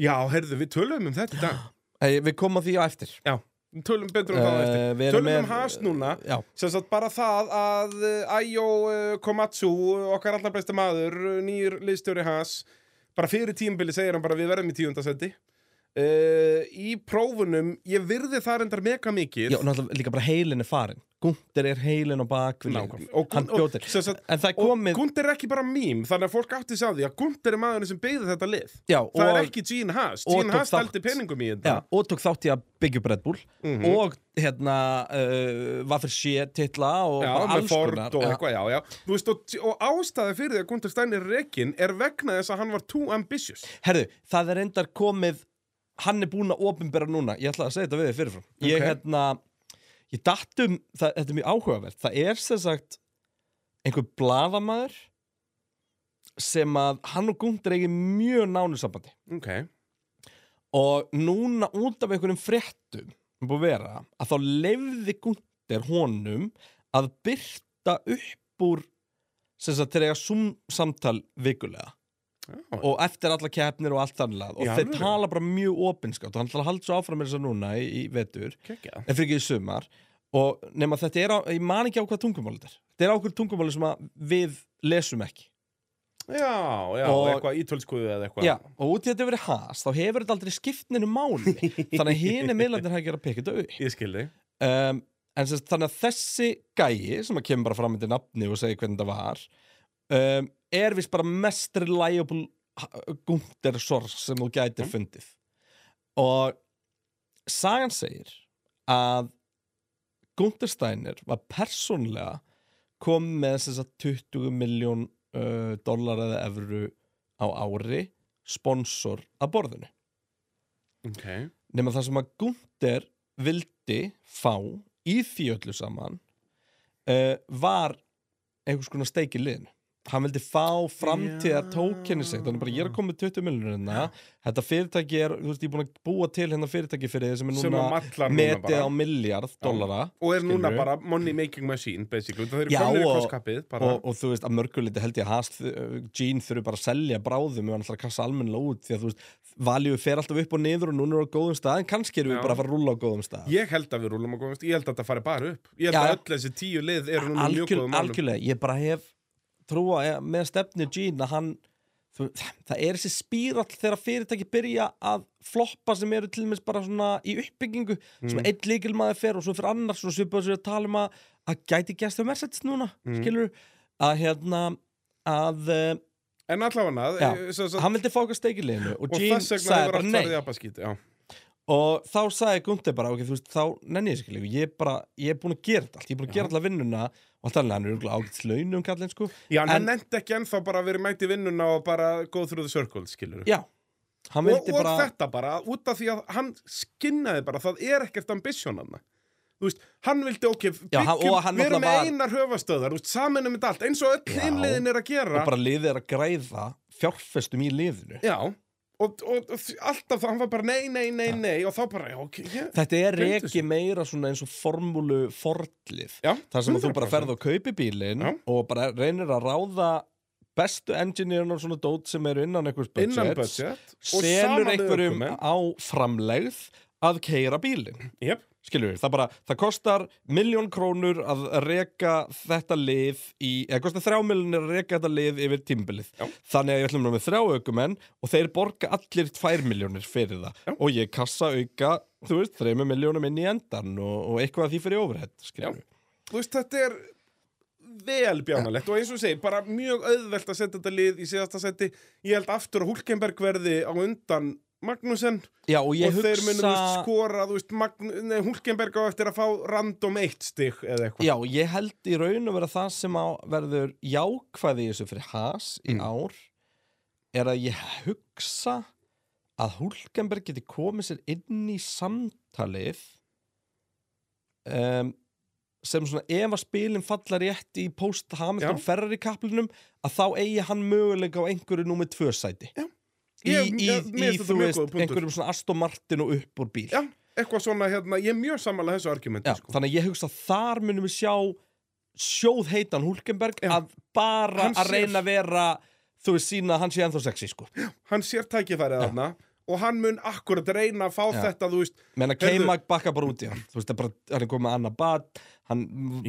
Já, heyrðu, við tölum um þetta í dag Eh, Við komum að því á eftir. Já, við tölum betur um það á eftir Eh, við erum Tölum með- um Haas núna Já, sem sagt bara það að eh, Ayo eh, Komatsu, okkar allar besta maður eh, nýr liðstjóri Haas bara fyrir tímbili segir hann bara við verðum í tíundasendi uh, í prófunum ég virði það endar mega já mikið náttúrulega líka bara heilin er farin. Gunther er heilin á bakvið Nákvæmlega. Og Gun- hann og- bjóð til sem sagt- en það er Og komið Gunther er ekki bara mím, þannig að fólk átti sig á því að Gunther er maðurinn sem beigði þetta lið. já, Það og- er ekki Gene Haas. og Gene tók Haas þátt. daldi peningum í Já, þetta. og tók þátt í að byggja upp Red Bull Mhm. og hérna uh, var fyrir sé titla og Já, bara með alls Ford konar og Já, eitthvað, já, já. Þú veist, og, og ástæði fyrir því að Gunther Steiner rekin er vegna þess að hann var too ambitious. Herðu, það er endar komið hann er búinn að opinbera núna ég ætla að segja þetta við þið fyrirfram ég Ok. hérna, ég datt um það, þetta er mjög áhugavert, það er sem sagt einhver bladamaður sem að hann og Gunther eigi mjög nánu sambandi Ok. og núna út af einhverjum fréttum sem búið að vera, að þá lefði Gunther honum að byrta upp úr sem sagt þegar eiga sum samtal vikulega Já, og eftir alla keppnir og allt þannlega og Í þeir alvöru? tala bara mjög opinskátt og hann ætlar að halda svo áfram með þess að núna í, í vetur kekja. en fyrir ekki í sumar og nema þetta er á, ég man ekki á hvað tungumáli þetta er þetta er á hverju tungumáli sem að við lesum ekki Já, já, Og- eitthvað ítölskuðu eða eitthvað. Já, og út í að þetta hefur verið has þá hefur þetta aldrei skiptninu máli þannig að hini miðlandir hafa ekki verið að pekja þetta upp Ég skildi. um, en sérst, þannig að þessi gæi sem að kemur bara fram með nafni og segir hvernig það var um, er vist bara mest reliable Gunther Sors sem þú gætir Mm. fundið og sagan segir að Gunther Steiner var persónlega kom með þess að 20 miljón uh, dólar eða evru á ári sponsor að borðinu Ok. nema það sem að Gunther vildi fá í því öllu saman uh, var einhvers konar steik í liðinu hann vildi fá framtíðar Já. tókenni sig þannig bara ég er að koma með 20 miljonur hérna þetta fyrirtæki er, þú veist, ég er búin að búa til hérna fyrirtæki fyrir þið sem er Sem að núna matlar núna metið bara. á miljard dollara Og er núna Skilurðu? bara money making machine, basically. Það eru Já, komnir í og- krosskappið, bara. og, og þú veist, að mörguliti held ég að hast Gene þurfi bara að selja bráðum ef hann ætlar að kassa almennilega út því að þú veist, valjú fer alltaf upp og niður og núna er á góðum stað en kannski erum Já. við bara að fara að rúla á góðum stað Ég held að við rúlum að komast, ég held að þetta fari bara upp Ég held Já, að já. öll þessi tíu lið eru núna í mjög Algjör, góðum málum algjörlega, ég bara hef trúa eh, með stefni Gene að hann þú, það er þessi spírall þegar fyrirtæki byrja að floppa sem eru til dæmis bara svona í uppbyggingu Mm. sem einn líkilmaður fer og svo fyrir annars og svipað sér að tala um að, að gæti gæst þau Mercedes núna, Mm. skilur að hérna að uh, En allavega, Já. eh, sem sagt, hann vildi fókast leiðinu og, og og Gene þess vegna sagði hefur bara allt farið í nei abaskít Já, og þá sagði Gunther bara, ok, þú veist, þá nenni ég skilur, ég er bara, ég er búin að gera þetta allt ég er búin að Já. gera alla vinnuna og þannig hann er örugglega ágætis launum kallinn sko já en En- hann nefndi ekki ennþá bara að vera mætt í vinnuna og bara go through the circle, skilur Já, hann Og, vildi og bara þetta bara, út af því að hann skinnaði bara, það er ekkert ambition hann Þú veist, hann vildi ok, Já, hann- og hann við erum náttúrulega með var- einar höfastöðar, þú veist, saminum þetta allt eins og öll Já. innliðin er að gera og bara liðið er að græða fjárfestum í liðinu Já, og, og, og alltaf þá, hann var bara nei, nei, nei, nei og þá bara, já, ok, já Þetta er Gleymdu reki meira svona eins og formúlu forlið Já, þar sem að þú bara 100%. ferð og kaupi bílinn Já. og bara reynir að ráða bestu engineerin og svona dót sem eru innan einhvers innan budgets budget og selur saman við einhverjum ökumenn. á framlegð að keira bílinn Jep. skilur við, það bara, það kostar miljón krónur að reka þetta lið í, eða kostar þrjá miljonir að reka þetta lið yfir tímbilið Já. þannig að ég ætlum nú með þrjá aukumenn og þeir borga allir tvær miljónir fyrir það Já. og ég kassa auka, þú veist, þreymur miljónum inn í endan og, og eitthvað af því fyrir overhead skilur við, Þú veist, þetta er vel bjánalegt og eins og ég segi, bara mjög auðvelt að setja þetta lið í síðasta seti ég held aftur að Hulkenberg verði á undan Magnussen já og ég og þeir munum þú hugsa veist, skora þú veist, Magn... nei, Hulkenberg á eftir að fá random eitt stig eða eitthvað já, ég held í raun að vera það sem á, verður jákvæði í þessu fyrir has í Mm. ár er að ég hugsa að Hulkenberg geti komið sér inn í samtalið um, sem svona ef að spilin falla rétt í post-Hamilton Já. ferrari kaplinum að þá eigi hann möguleika á einhverju númið tvö sæti Já. í, Ég- í, ég- mér í, finnst þetta þú mjög veist góður punktur. einhverjum svona Aston Martin og upp úr bíl Já, eitthvað svona, hérna, ég er mjög sammála þessu Já, argumenti sko. þannig að ég hugsa að þar munum við sjá sjóð heitan Hulkenberg Já. að bara Hann að sér- reyna að vera þú veist sína að hann sé ennþá sexy sko hann sér tækifærið Já. þarna og hann mun akkurat reyna að fá Já. þetta þú veist, menn að Heyrðu- K-Mag bakka bara út í hann þú veist, það er bara, hann er komið með annað bad hann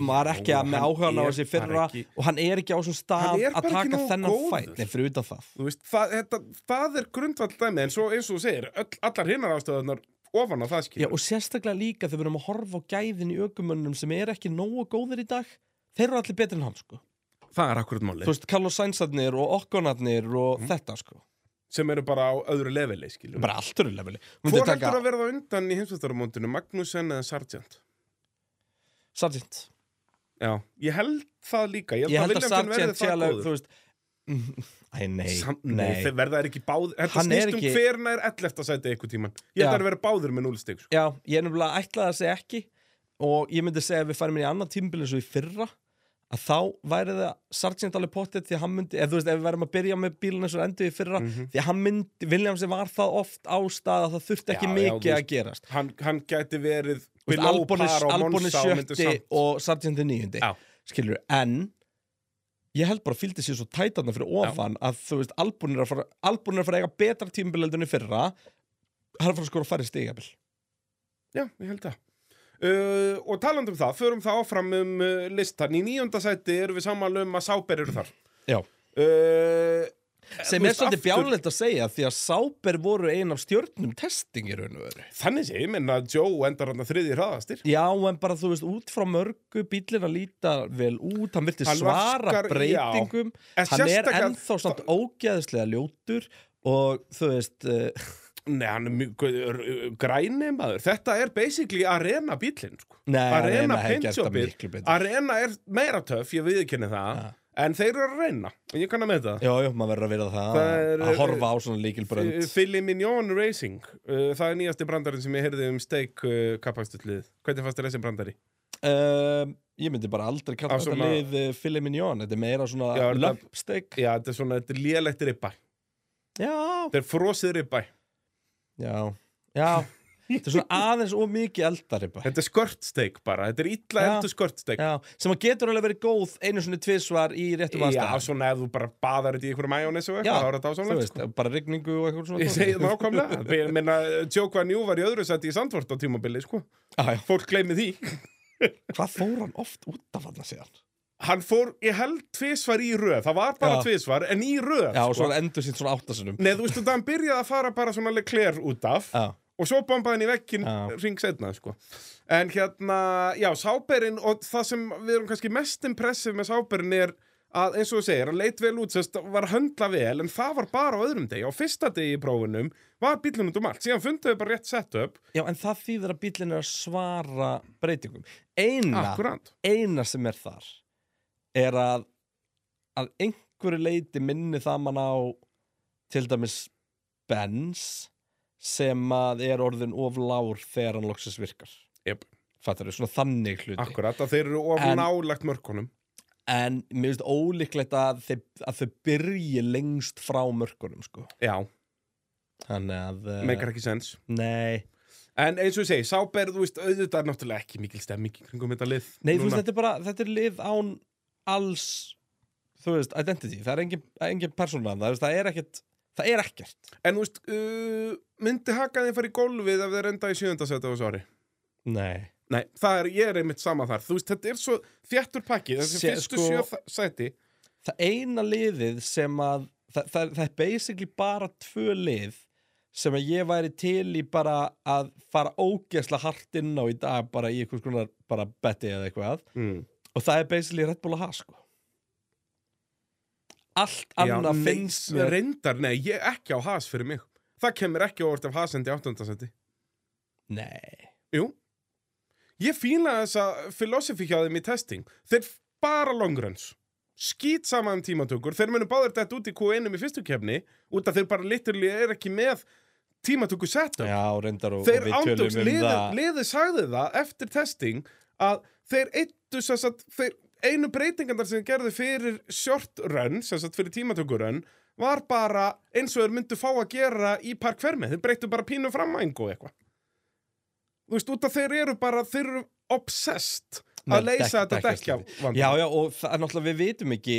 var ekki að með hann áhugan á er þessi bara fyrra ekki- og hann er ekki á þessum Hann stað er að bara ekki taka nógu þennan góður. fæt nei, fyrir utan það Þú veist, það, þetta, það er grundvall dæmi en svo eins og þú segir, öll, allar hinnar ástöðunar ofan á það Já, skilur og sérstaklega líka þegar við erum að horfa á gæðin í ökumönnum sem er ekki nógu góðir í dag þeir eru allir betri en hann sko það er akkurat máli þú veist, Carlos Sainzarnir og Okkonarnir og Mhm. þetta sko, sem eru bara á öðru leveli skilur bara allt eru leveli Hvor Myndi taka heldur að verða á undan í heimsvöldarumóndinu, Magnussen eða Sargent? Sargent Já, ég held það líka Ég ég held, held að Williamson verði Sargent sé það alveg, góður. þú veist mm, Æ, nei, Samt, nei, nei þeir verða er ekki báð Þetta Hann er snýst um ekki- hver nær 11. sæti eitthvað tíman Ég Já. ætla að vera báður með 0 stig sko. Já, ég er nefnilega ætlaði að segja ekki og ég myndi segja að við færum inn í annan tímbil eins og í fyrra að þá væri það Sargent alveg pottet því að hann myndi, ef þú veist, ef við værum að byrja með bílun eins og endur í Mm. fyrra, Mhm. því að hann myndi Williamsi var það oft á stað að það þurfti ekki Já, já, mikið þú að veist, gerast hann, hann gæti verið Þú veist, below Albon par er- á Albon er Monza og myndi sjötti samt- og Sargent er níundi Já. skilur, en ég held bara að fylgdi sér svo tætarna fyrir ofan að þú veist, Albon er að fara Albon er að fara að eiga betra tímbil heldur en í fyrra hann er að fara að skora færri stigabil Já, ég held það uh, Og taland um það, förum það áfram um uh, listan Í níunda sæti erum við saman um að Sáber eru þar Já. uh, sem þú er veist, svolítið aftur- bjánlegt að segja því að Sáber voru ein af stjörnum testing í raun og veru Þannig sé, ég menna að Joe endar hann að þriði hraðastir já en bara þú veist út frá mörgu bílina líta vel út hann vilti Hann svara vaskar- breytingum En hann er sérstaklega- ennþá samt ógeðslega ljótur og þú veist uh, Nei, hann er mjög gr- græni maður Þetta er basically arena bílinn sko. nei, Arena Arena hefði gert það Pinchopið. miklu betur Arena er meira töff, ég viðkynni það Ja. En þeir eru að reyna, en ég kann að með það já, já, maður verður að vera það, Það er- eh, að horfa á svona líkilbrönd Philly Mignon Racing uh, Það er nýjasti brandarinn sem ég heyrði um steik uh, kappakstöldlið Hvernig fannst þér þessi brandari? um, ég myndi bara aldrei kalla Á þetta svona- lið uh, filet mignon, þetta er meira Já, svona er þetta- löpsteik Já, þetta er svona, þetta er lélegt ribbæ já, Þetta er frosið ribbæ Já, já Þetta er svona aðeins og mikið eldari bara Þetta er skörtsteik bara, þetta er illa Já. eldur skörtsteik Já, sem að getur alveg verið góð einu svona tvisvar í réttum Já, aðstæðum svona ef þú bara baðar þetta í einhverju majónis og Já, eitthvað, þá er þetta Þú ásánlegt veist, sko. bara rigningu og eitthvað svona Ég segi það nákvæmlega, ég meina Jókva Njú var í öðru seti í Sandvort á tímabili sko. Já, já. Fólk gleymi því Hvað fór hann oft út af hann síðan? Hann fór, ég held tvisvar í röð Það var bara Já. tvisvar, en í röð Já, og sko. svo hann endur sínt svona áttasunum Nei, þú veist, það hann byrjaði að fara bara svona lekler út af Já, og svo bombaði hann í vekkin Já. ring setna sko. en hérna, já, sáberinn og það sem við erum kannski mest impressiv með sáberinn er að eins og þú segir, hann leit vel út sérst, var að höndla vel, en það var bara á öðrum degi á fyrsta degi í prófunum var bílunum út um allt, síðan funduðu bara rétt setup já en það þýðir að bíllinn er að svara breytingum Eina, akkurant eina sem er þar er að að einhverju leiti minni það mann á til dæmis Benz sem að er orðin of lár þegar hann loksins virkar Jep. fattar svona þannig hluti akkurat, að þeir eru of En- nálagt mörkunum en mér finnst ólíklegt að þau, að þau byrji lengst frá mörkunum sko já, þannig að eh, meikar ekki sens nei, en eins og þú segir, sáber, þú veist, auðvitað er náttúrulega ekki mikil stemming í kringum þetta lið nei þú núna. veist þetta er bara þetta er lið án alls þú veist, identity, það er engin, engin persónlega, það, er- það er ekkert það er ekkert, En þú veist, uh, myndi hakaði fara í gólfið ef þeir enda í sjöndasæti á þessu ári? nei Nei, það er, ég er einmitt sama þar. Þú veist, þetta er svo þjættur pakki, þessi Sé- fyrstu sko- sjö þa- sæti. það eina liðið sem að það, það, það er basically bara tvö lið sem að ég væri til í bara að fara ógeðslega hart inn á í dag bara í einhvers konar bara betti eða eitthvað Mm. og það er basically Red Bull og Haas sko allt annað finnst mér Reyndar, nei, ég ekki á has fyrir mig. Það kemur ekki á orð ef has endi í áttundasæti. nei, Jú. Ég fíla þessa filosofi hjá þeim í testing. Þeir f- bara longruns. Skýt sama um tímatökur. Þeir munu báður þetta út í Q1 í fyrstu kefni út að þeir bara liturlega er ekki með tímatöku setup. já reyndar og, þeir og við ándjóks, tölum um liðið það liði sagði það eftir testing að þeir eittu sem sagt, þeir, einu breytingandar sem þeir gerðu fyrir short run, sem sagt fyrir tímatökurun var bara eins og þeir myndu fá að gera í parkvermi, þeir breyttu bara pínu framængu og eitthvað þú veist, út að þeir eru bara þeir eru obsessed Með að leysa dekk- þetta dekja dekkjaskipti. já já og það er náttúrulega við vitum ekki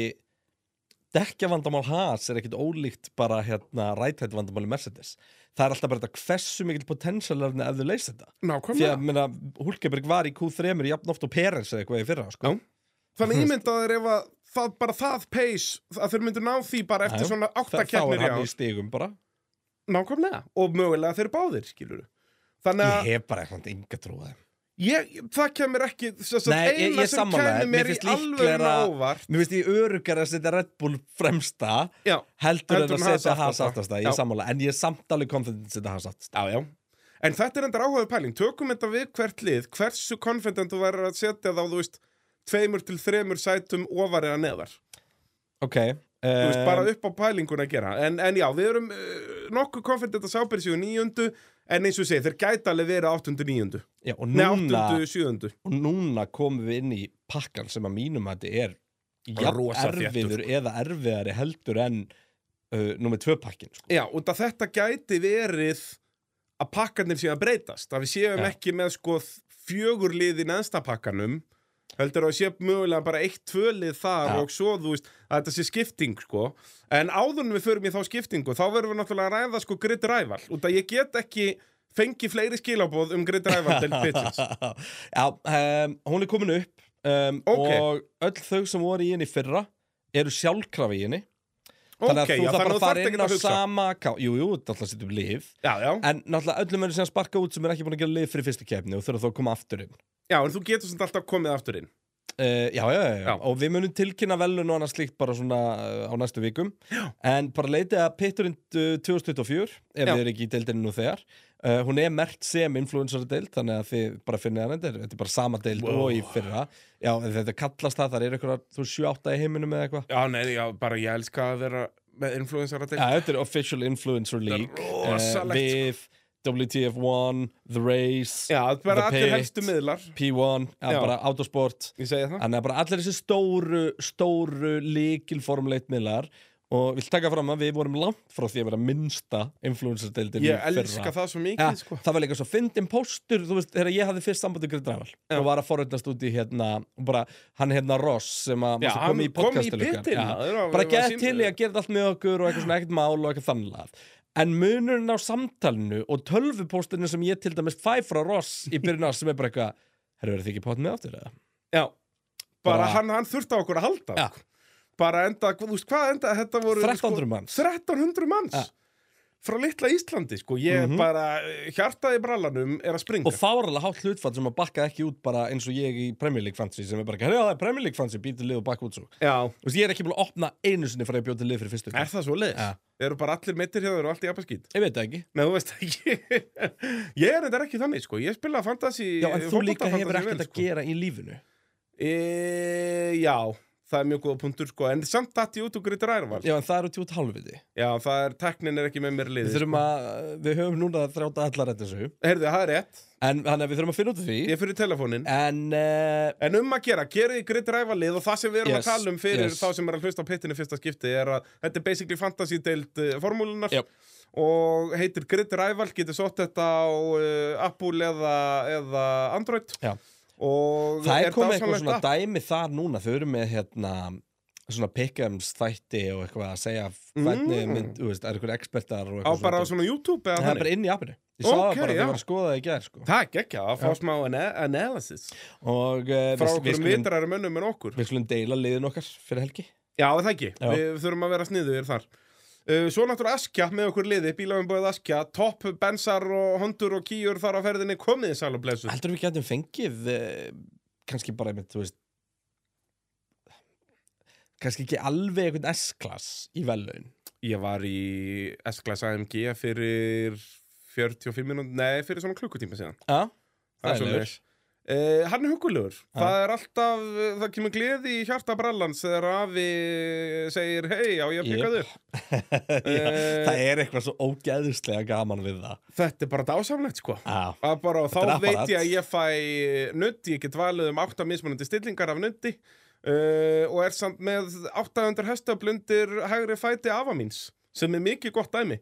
dekja vandamál Haas er ekkit ólíkt bara hérna ræthætt vandamáli Mercedes það er alltaf bara þetta hversu mikil potentialarni ef þau leysa þetta því nákvæmlega að minna, Hulkeberg var í Q3 jafn oft og Peres eða eitthvað í fyrra sko. Já. þannig ímyndaður ef að það bara það pace að þeir myndu ná því bara eftir Já, já. svona Þa, þá átta er keppnir í hann ár. í stigum bara Nákvæmlega, og mögulega þeir báðir, skilur Þannig Ég að hef bara eitthvað enga trúið ég, það kemur ekki þess að Nei, ég- eina ég sem sammála þér. Mér kemur mér í finnst alveg líklegra- óvart Mér finnst ég örugar að setja Red Bull fremsta Já, heldur en Heldur að en setja Haas Haas aftasta. aftasta, ég Já. er sammála en ég er samt alveg confident að setja Haas aftasta já, já En þetta er endar áhugaðu pæling, tökum þetta við hvert lið hversu confident þú verður að setja þá þú veist, tveimur til þremur sætum ofar eða neðar Ok Þú veist, bara Eh. upp á pælingun að gera en, en já, við erum uh, nokkuð confident að sábyrði séu níundu en eins og ég segi, þeir gæta alveg verið áttundu níundu eh, já, og, Nei, núna, áttundu sjöundu og núna komum við inn í pakkan sem að mínum að þetta er jafn Rosa þéttur, sko. erfiður eða erfiðari heldur en uh, nummer tvö pakkin sko. Já, og það þetta gæti verið að pakkarnir séu að breytast að við séum Já. ekki með sko fjögur lið í neðsta pakkanum heldur að sé mögulega bara eitt, tvö lið þar Já. og svo, þú veist, að þetta sé skipting sko, en áðunum við förum í þá skiptingu þá verðum við náttúrulega að ræða sko grid rival, út að ég get ekki fengi fleiri skilaboð um grid rival til pitches, já, um, hún er komin upp um, Ok. og öll þau sem voru í henni í fyrra eru sjálfkrafi í henni þannig ok, að þú já, þarf þannig bara að að þú fara þarft inn á ekki að hugsa sama ká- jú, jú, þetta alltaf setjum líf Já, já, en náttúrulega öllum verður sem sparka út sem er ekki búin að gera lið fyrir fyrstu kefni og þurfa þá að koma aftur inn já, en þú getur sem alltaf komið aftur inn Uh, já, já, já, já, Já. og við munum tilkynna velun og annars slíkt bara svona uh, á næstu vikum já. en bara leitið að pitturinn uh, 2024, ef Já. þið eru ekki í deildinu nú þegar uh, hún er mert sem influencer deild, þannig að þið bara finnið hann þetta er- þetta er bara sama deild Wow. og í fyrra já, en þetta kallast það, það er eitthvað þú 7-8 í heiminum eða eitthvað Já, nei, já, bara ég elska að vera með influensar að já, þetta er Official Influencer League Eh, Þetta er rosalegt, sko. við WTF1 The Race, Já, The bara allir Pit. helstu miðlar P1 já, Já. bara Autosport Ég segja það Þannig að bara allir þessi stóru, stóru líkilformleitt miðlar og vil taka fram að við vorum langt frá því að vera minnsta influencerdeildin Ég elska það svo mikið, Ja, sko það var líka svo fyndin póstur, þú veist, þegar ég hafði fyrst sambandi Greit Ræval og var að forutnast út í hérna, og bara, hann hérna Ross sem að Já, sem hann kom í podcastu líka pitinn, Já. maður, og bara var geð sýnd- til í að gera þetta allt með okkur og eitthvað svona ekkert mál og eitthvað þannlega en munurinn á samtalinu og tölvupóstinu sem ég til dæmis fæ frá Ross í byrjun ás sem er bara eitthvað herru, verður þið ekki pott með aftur eða? Já, bara Bara- hann, hann þurfti á okkur að halda Ja. sko. Bara enda, þú veist hvað enda Þetta voru sko, 1300 manns. 1300 manns Ja. Frá litla Íslandi, sko Ég Mhm. bara, hjartaði í brallanum er að springa og fáralega hátt hlutfall sem að bakka ekki út bara eins og ég í Premier League fantasy sem er bara, herjá það er Premier League fantasy, býtu lið og bakka út svo Já, Þú veist, ég er ekki búin að opna einu sinni fyrir að bjóta lið fyrir fyrstu er umferð. það svo leið? Ja. Eru bara allir meittir hérna og allt í apaskýt ég veit það ekki, Nei, þú veist ekki Ég er þetta ekki þannig, sko Ég spila fantasy já en þú fótbolta líka fantasy hefur vel, ekkert að sko. gera í lífinu E, já, það er mjög góða punktur sko En samt datt ég út og greitir ærval já en það eru tjótt hálfviti Já, það er, teknin er ekki með mér við liði þurfum að, við höfum núna að þrjáta allar þetta þessu, Herðu, það er rétt, en þannig að við þurfum að finna út úr því ég er fyrir telefonin en uh, En um að gera, gerði greitir ærvalið Og það sem við erum Yes, að tala um fyrir yes. þá sem er að hlusta á pittinu fyrsta skipti Er að þetta er basically fantasy deild uh, formúlunar Yep. Og heitir greitir ærval, getur sótt þetta á uh, Apple eða, eða Android Já. Og það er komið eitthvað dásamlegt svona app. dæmi þar núna, þau eru með hérna svona pickums þætti og eitthvað að segja hvernig Mm. mynd, þú veist, er eitthvað ekspertar og Á eitthvað bara dæmi. á svona YouTube eða Það er þannig bara inn í appinu Ég sá það Ok, bara, já. ég var að skoða það í gær sko. Það er gekkja, að Já. fá smá ana- analysis Og uh, frá við, við, okkur skulum, vitrari mönnum en okkur við skulum deila liðin okkar fyrir helgi Já, er það ekki, Já. við þurfum að vera sniðugir þar uh, Svo náttúrulega Askja með okkur liði, bílafinn Askja Topp, bensar og hondur og kýjur þar á ferðinni komið sæl og blessu Heldur við getum fengið uh, kannski bara einmitt, þú veist kannski ekki alveg einhvern S-klass í vellaun Ég var í S-Class AMG fyrir 45 minút, nei, fyrir svona klukkutíma síðan Já, Það er svoleiðis. Uh, hann er hugulegur, Já. það er alltaf, það kemur gleði í hjarta brallans þegar afi segir, hei, já, ég Jep. að byggja þau Já, Eh. Það er eitthvað svo ógeðislega gaman við það Þetta er bara dásamlegt, sko Já, Að bara, og Þetta er þá apparat. veit ég að ég fæ nutti, ég get valið um 8 mismunandi stillingar af nutti uh, og er samt með 800 hestöfl undir hægri fæti afa míns sem er mikið gott dæmi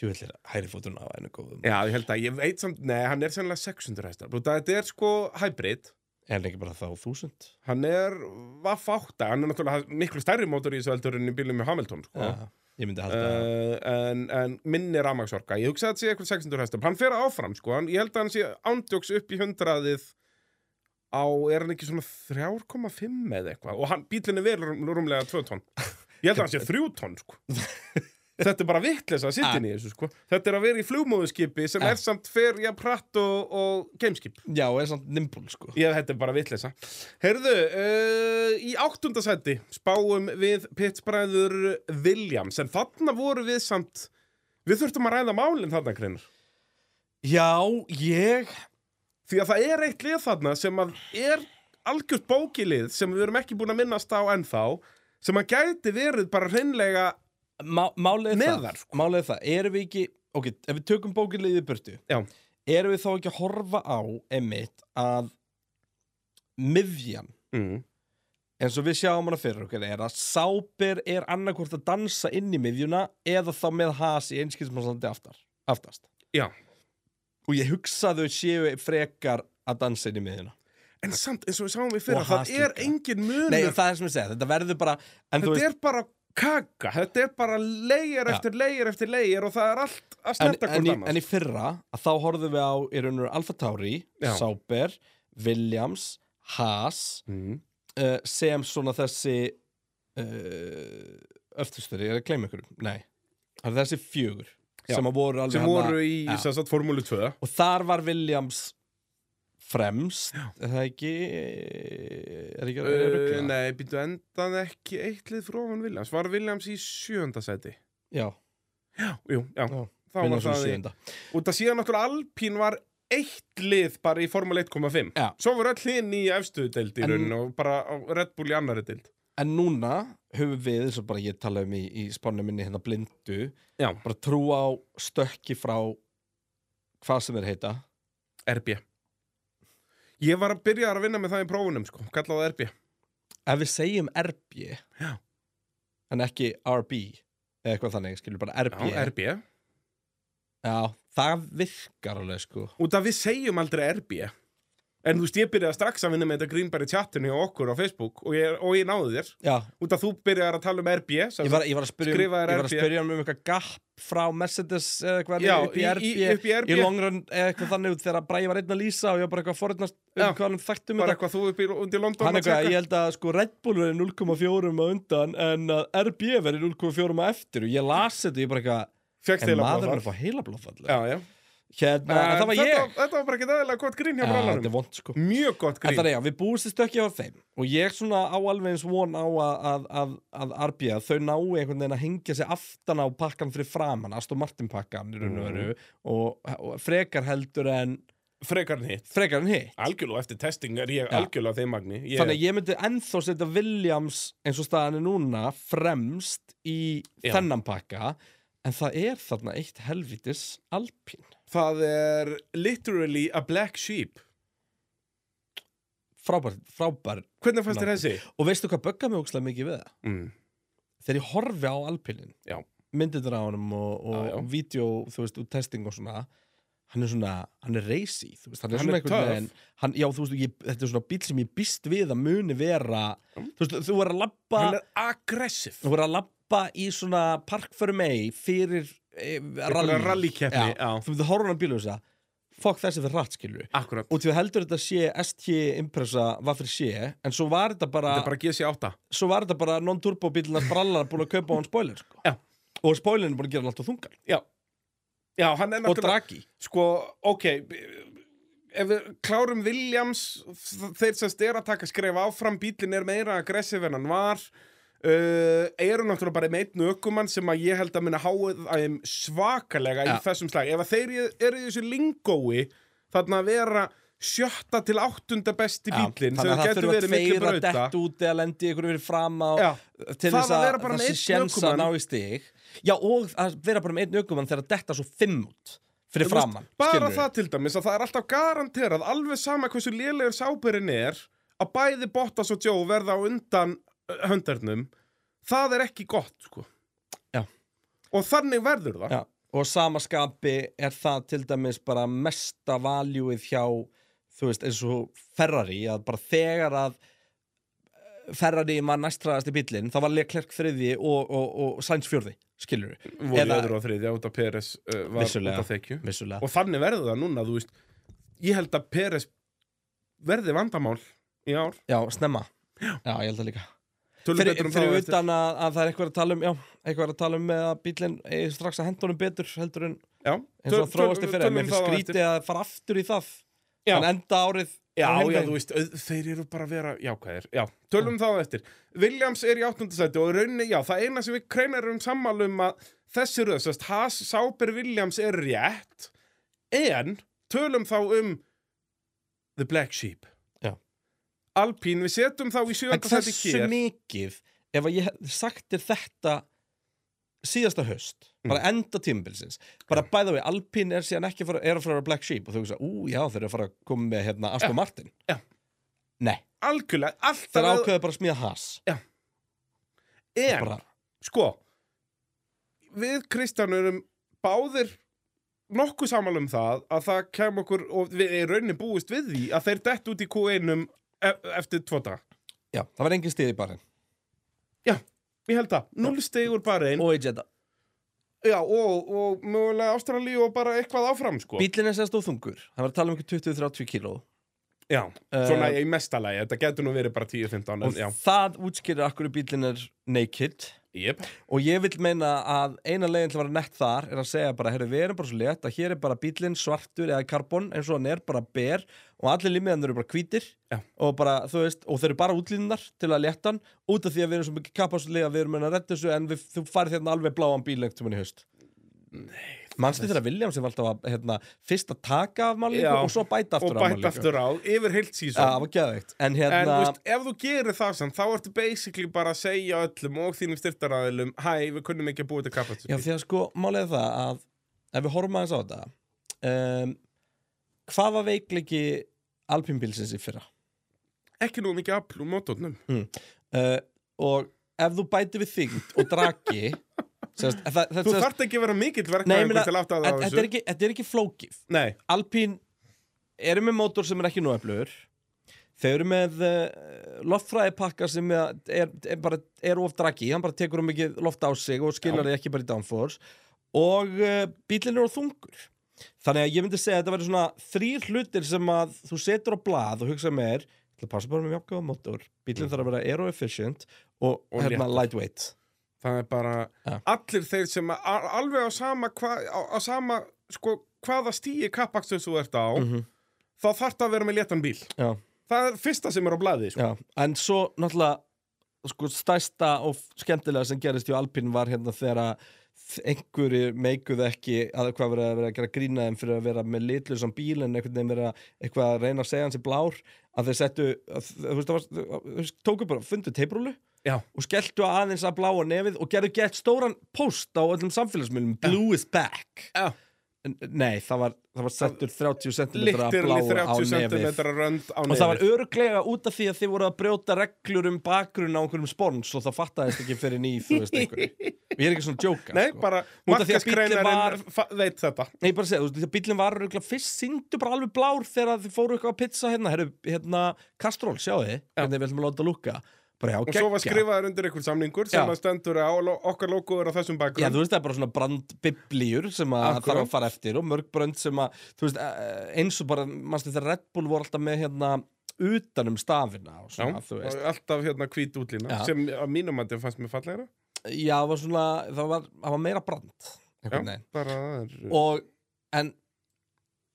þú villir hæri fótun á einu góðum Já, ég held að ég veit samt, nei, hann er sennilega 600 hestöfl og þetta er sko hybrid En ekki bara þá þúsund hann er vaff 8 hann er náttúrulega miklu stærri mótor í þessu heldur en í bílum með Hamilton sko. Já, Ég myndi halda að Uh, en, en minni ramagsorka ég hugsa að þetta sé eitthvað 600 hestum hann fer áfram sko, hann, ég held að hann sé ándjóks upp í hundraðið á, er hann ekki svona 3,5 eða eitthvað og hann, bílinni verður rúmlega 2 tonn ég held að hann sé 3 tonn sko þetta er bara vitleisa að sitja inn í þessu sko þetta er að vera í flugmóðuskipi sem Ja. er samt fer jafn pratt og, og gameskip Já, er samt nimbul sko ég þetta er bara vitleisa heyrðu, uh, í áttundasæti spáum við pittsbræður Williams, en þarna voru við samt, við þurftum að ræða málin þarna greinar, Já, ég því að það er eitt lið þarna sem að er algjört bókilið sem við erum ekki búin að minnast á ennþá, sem að gæti verið bara hreinlega, Má, málið er Neðar, það, málið er það, erum við ekki ok, ef við tökum bókinlega í burtu Já. erum við þá ekki að horfa á emitt að miðjan, mm, eins og við sjáum hana fyrir okkur er að sáber er annarkvort að dansa inn í miðjuna eða þá með has í einskilsmannsandi aftar, aftast já og ég hugsa að þau séu frekar að dansa inn í miðjuna en samt, eins og við sáum við fyrir, Og það Haas er líka. engin munur Nei, það er sem ég segja, þetta verður bara en þú þetta veist, er bara kaka, þetta er bara leir Ja. eftir leir eftir leir og það er allt að en, snerta en, hvort í, annars en í fyrra að þá horfðum við á í rauninu Alfa Tauri, Já. Sauber Williams, Haas mm. uh, sem svona þessi uh, öftustur, ég er að gleyma ykkur nei, það er þessi fjögur Já. sem að voru alveg sem þarna- voru í Já. sem sagt, formúlu 2 og þar var Williams fremst Já. er það ekki er ekki er uh, ruggla? Nei, býttu endan ekki eitt lið frá hann Williams Var Williams í sjöunda sæti? já, Jú, Já, já, þá var Williams var það í, sjöunda Og það síðan náttúrulega Alpín var eitt lið bara í formúlu 1,5 Já. Svo voru öll hinn í efstuðu deild í En- raun og bara á Red Bull í annari deild en núna höfum við, eins og bara ég tala um í, í spánum minni hérna blindu Já, bara trú á stökki frá hvað sem þeir heita RB Ég var að byrja að vinna með það í prófunum sko, kallaði það RB ef við segjum RB Já. en ekki RB eða eitthvað þannig, skilur bara RB Já, RB Já, það virkar alveg sko Út af við segjum aldrei RB En þú veist, ég byrjaði strax að vinna með þetta Greenberg í chatinu hjá okkur á Facebook og ég, og ég náði þér Já, Út af þú byrjaði að tala um RB sem ég var, ég var að spyrja um, Skrifaðir ég var að RB. spyrja um um eitthvað gap frá Mercedes eða eitthvað Já, upp í í- RB í- upp í RB. long run eða eitthvað þannig út þegar Bræði var einn að lýsa og ég var bara eitthvað að forutnast um Já. hvað hann þekktum bara þetta eitthvað þú upp í undir London Hann að eitthvað, tékka. ég held að sko Red Bull verið 0,4 á undan en að RB verið 0,4 á eftir og ég las þetta og ég bara eitthvað Fékkst en eiginlega bara maður er það. að fá heila blóðfall Já, já. Hérna, en það var þetta, ég þetta var bara ekki aðeinslega gott grín hjá Já, Þetta brallanum er vond sko Mjög En gott grín það er já, við búumst í stökki á þeim og ég svona á alveg eins von á að, að, að, að RB að þau nái einhvern veginn að hengja sig aftan á pakkan fyrir framan, Aston Martin pakkan í raun Mm. og veru og, og frekar heldur en Frekar hitt frekar en hitt Algjörlega eftir testing er ég Já. algjörlega þeim magni ég, Þannig að ég myndi ennþá setja Williams eins og staðan er núna fremst í Já. þennan pakka en það er þarna eitt helvitis alpín Það er literally a black sheep frábær, frábær Hvernig fannst þér Nokkuð. þessi? og veistu hvað böggar mig ógstlega mikið við það? Mm. þegar ég horfi á alpinin Já. myndirnar á honum og, og Já, já. vídeo, þú veist, úr testing og svona hann er svona, hann er reysi þú veist, hann er Hann svona er einhvern töff. veginn hann, já, þú veist, ég, þetta er svona bíl sem ég býst við að muni vera, þú veist, þú er að labba Hann er aggressiv þú er að labba í svona park fyrir mig fyrir e, rally, rallykeppni, já. þú veist, þú horfum að bílu þess að fokk þessi fyrir hratt, skilur Akkurat og því að heldur þetta sé ST Impressa, hvað fyrir sé en svo var þetta bara, Þetta er bara GC8 svo var þetta bara non-turbo bílinas brallar búin að kaupa á hann spoiler sko. Já. og spoilerin er búin að gera hann alltaf þungan Já Já, hann er og náttúrulega dragi Sko, ok Ef við klárum Williams Þeir sem styr að taka skref áfram Bílinn er meira aggressiv en hann var uh, Eru náttúrulega bara með einn ökumann Sem að ég held að minna háið þeim svakalega Já. í þessum slag Ef að þeir eru í þessu lingói Þarna að vera sjötta til áttunda besti bílinn þannig Sem að það getur þurfa verið miklu tveir að brauta detta út eða lendi ykkur fyrir fram á Já. til Það þess að að vera bara þessi með einn sjens að ná ökumann. í stig já og að vera bara með einn ökumann þegar að detta svo fimm út fyrir Þú veist, framann bara skilurðu. það til dæmis að það er alltaf garanterað alveg sama hversu lélegur sáberinn er að bæði Bottas og Joe verða á undan uh, höndarnum það er ekki gott sko. Já. og þannig verður það já. og sama skapi er það til dæmis bara mesta valjúið hjá þú veist eins og Ferrari að bara þegar að eh, Ferrari var næstraðast í bílinn þá var Leclerc þriði og, og, og Sainz fjörði skilur voru Eða... öðru og þriðja út af Peres uh, var Vissulega. út af þekju vissulega og þannig verður það núna þú veist, ég held að Peres verði vandamál í ár Já, snemma Já, ég held það líka Tölum fyrir, betur um það á fyrir eftir. utan að, að það er eitthvað að tala um já, eitthvað að tala um með að bílinn eigi strax að henda honum betur heldur en Já, eins og töl- að þróast í tölum- fyrir en tölum mér það finnst á skrítið eftir. að fara aftur í það Já. en enda árið Já, á hinn já, veginn. þú veist, auð- þeir eru bara að vera jákvæðir Já, tölum þá eftir Williams er í áttundasæti og í rauninni, já, það eina sem við kreinar um sammálum að þessi röð, sérst, Haas, Sáber Williams er rétt en tölum þá um The Black Sheep Já. Alpín, við setjum þá í en sjöndasæti hversu hér mikið ef að ég hef sagt þér þetta síðasta höst bara enda tímabilsins bara bæða við, Alpine er síðan ekki að fara, er að fara að vera Black Sheep og þú veist að, ú já, þeir eru að fara að koma með hérna Aston Martin já. nei, Algjörlega, þeir alltaf ákveðu bara að smíða Haas en, bara, sko við Kristján erum báðir nokkuð samal um það að það kem okkur og við erum raunin búist við því að þeir dett út í Q1 um e eftir tvo dag já, það var engin stíð í barinn já, ég held það, null stegur bara einn og í Jeddah já, og, og mögulega Ástralíu og bara eitthvað áfram sko Bíllinn er sérst óþungur, hann var að tala um ekki 20-30 kíló já, Eh, svona í mestalagi, þetta getur nú verið bara 10-15 og en já, það útskýrir akkur bíllinn er naked jöp og ég vil meina að eina leiðin til að vera nett þar er að segja bara, herru, við erum bara svo létt að hér er bara bíllinn svartur eða karbon eins og hann er bara ber og allir limiðan eru bara hvítir Já. og bara, þú veist, og þeir eru bara útlínnar til að létta hann út af því að við erum svo mikið kapaslega við erum enn að redda þessu en við, þú farið þérna alveg bláan bíl lengt um hann í haust Manstu þegar William sem var alltaf að hérna, fyrst að taka af Já. málíku og svo bæta og aftur af bætt málíku aftur á, yfir heilt Já, síðan það var geðveikt En En þú hérna, veist, ef þú gerir það samt, þá ertu basically bara að segja öllum og þínum styrtaræðilum Hæ, við kunnum ekki að búið til kapacity já því að sko, málið er það að Ef við horfum aðeins á þetta um, Hvað var veikleiki Alpinbílsins í fyrra? ekki nú mikið afl úr mótónum Uh, og ef þú bætir við þyngd og dragi sérst, það, það, Þú þarft ekki að vera mikill Nei, ég verknæðingur meina, til aftur að þetta það þetta er, ekki- þetta er ekki flókif Nei, Alpín eru með mótor sem er ekki nóeflugur þau eru með uh, loftfræðipakka sem er, er, er, bara, er of draggi hann bara tekur um mikið loft á sig og skilar því ekki bara í downforce og uh, bílinn er of þungur þannig að ég myndi segja að þetta verður svona þrýr hlutir sem að þú setur á blað og hugsa með er það passa bara með mjög mótor bílinn þarf að vera aero-efficient og, Mm. Og hérna, léttur. lightweight það er bara Já. Allir þeir sem að- a- alveg á sama, hva, á, á sama sko, hvaða stíi kapakstur þú ert á Mhm. þá þarft að vera með léttan bíl Já. Það er fyrsta sem er á blaði sko. Já, en svo náttúrulega sko, stærsta og skemmtilega sem gerist hjá Alpín var hérna þegar að einhverju meikuð ekki að hvað verið að vera að gera grína þeim fyrir að vera með litlusam bíl en einhvern veginn vera eitthvað að reyna að segja hans í blár að þeir settu, að, þú veist, það var, þú veist, tóku bara, fundu teiprúlu Já. og skelltu aðeins að bláa nefið og gerðu gett stóran post á öllum samfélagsmiðlum Blue is back Já. En- Nei, það var, það var settur 30 cm að Littir bláa á 30 cm nefið rönd á Og það var nefið örglega út af því að þið voru að brjóta reglur um bakgrunn á einhverjum spons og það fattaðist ekki fyrir ný, þú veist, einhverju. Og ég er ekki svona að djóka, Nei, sko. bara Út af því að bíllinn markaskreinarin var- fa- veit þetta Nei, ég bara segja, þú veist, því að bílinn var örglega fyrst syndu bara alveg blár þegar þið fóru eitthvað að pizza hérna, herru, hérna, Kastrol, sjáðu þið, hvernig við ætlum að láta lúka. Bara já, Og geggja. svo var skrifaður undir einhver samningur sem Já. að stendur á lo- okkar logoður á þessum Já, bakgrunn þú veist, það er bara svona brandbiblíur sem að Akkurat. þarf að fara eftir og mörg brönd sem að, þú veist, eh, eins og bara, mannstu þegar Red Bull voru alltaf með hérna utan um stafina og Já, svona, þú veist. og alltaf hérna hvít útlína Já. sem að mínum að fannst mér fallegra Já, það var svona, það var, það var meira brand, einhvern veginn. bara það er og en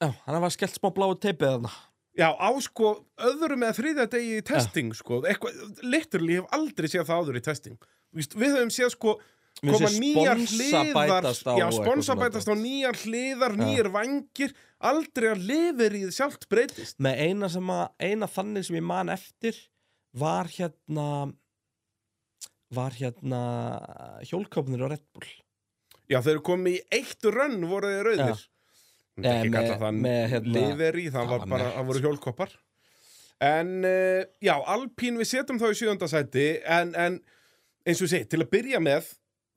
já, hann var skellt smá bláu teipið þarna Já, á sko öðrum eða þriðja degi í testing, sko, eitthvað, literally, ég hef aldrei séð það áður í testing. Vist, við höfum séð, sko, Við koma séum nýjar sponsa hliðar, bætast á já, og eitthvað sponsa svona bætast á nýjar hliðar, Já. nýjar vangir, aldrei að lifir í þið sjálft breytist. með eina, sem að, eina þannig sem ég man eftir var hérna var hérna hjólkopnir á Red Bull Já, þeir eru komið í eitt rönn voru þeir rauðir. Ég Eh, myndi ekki með- kalla þann með, hérna, lifir í, það það var var bara, nett. það voru hjólkoppar. En, uh, já, Alpín við setjum þá í sjöndasæti, en, en eins og ég segi, til að byrja með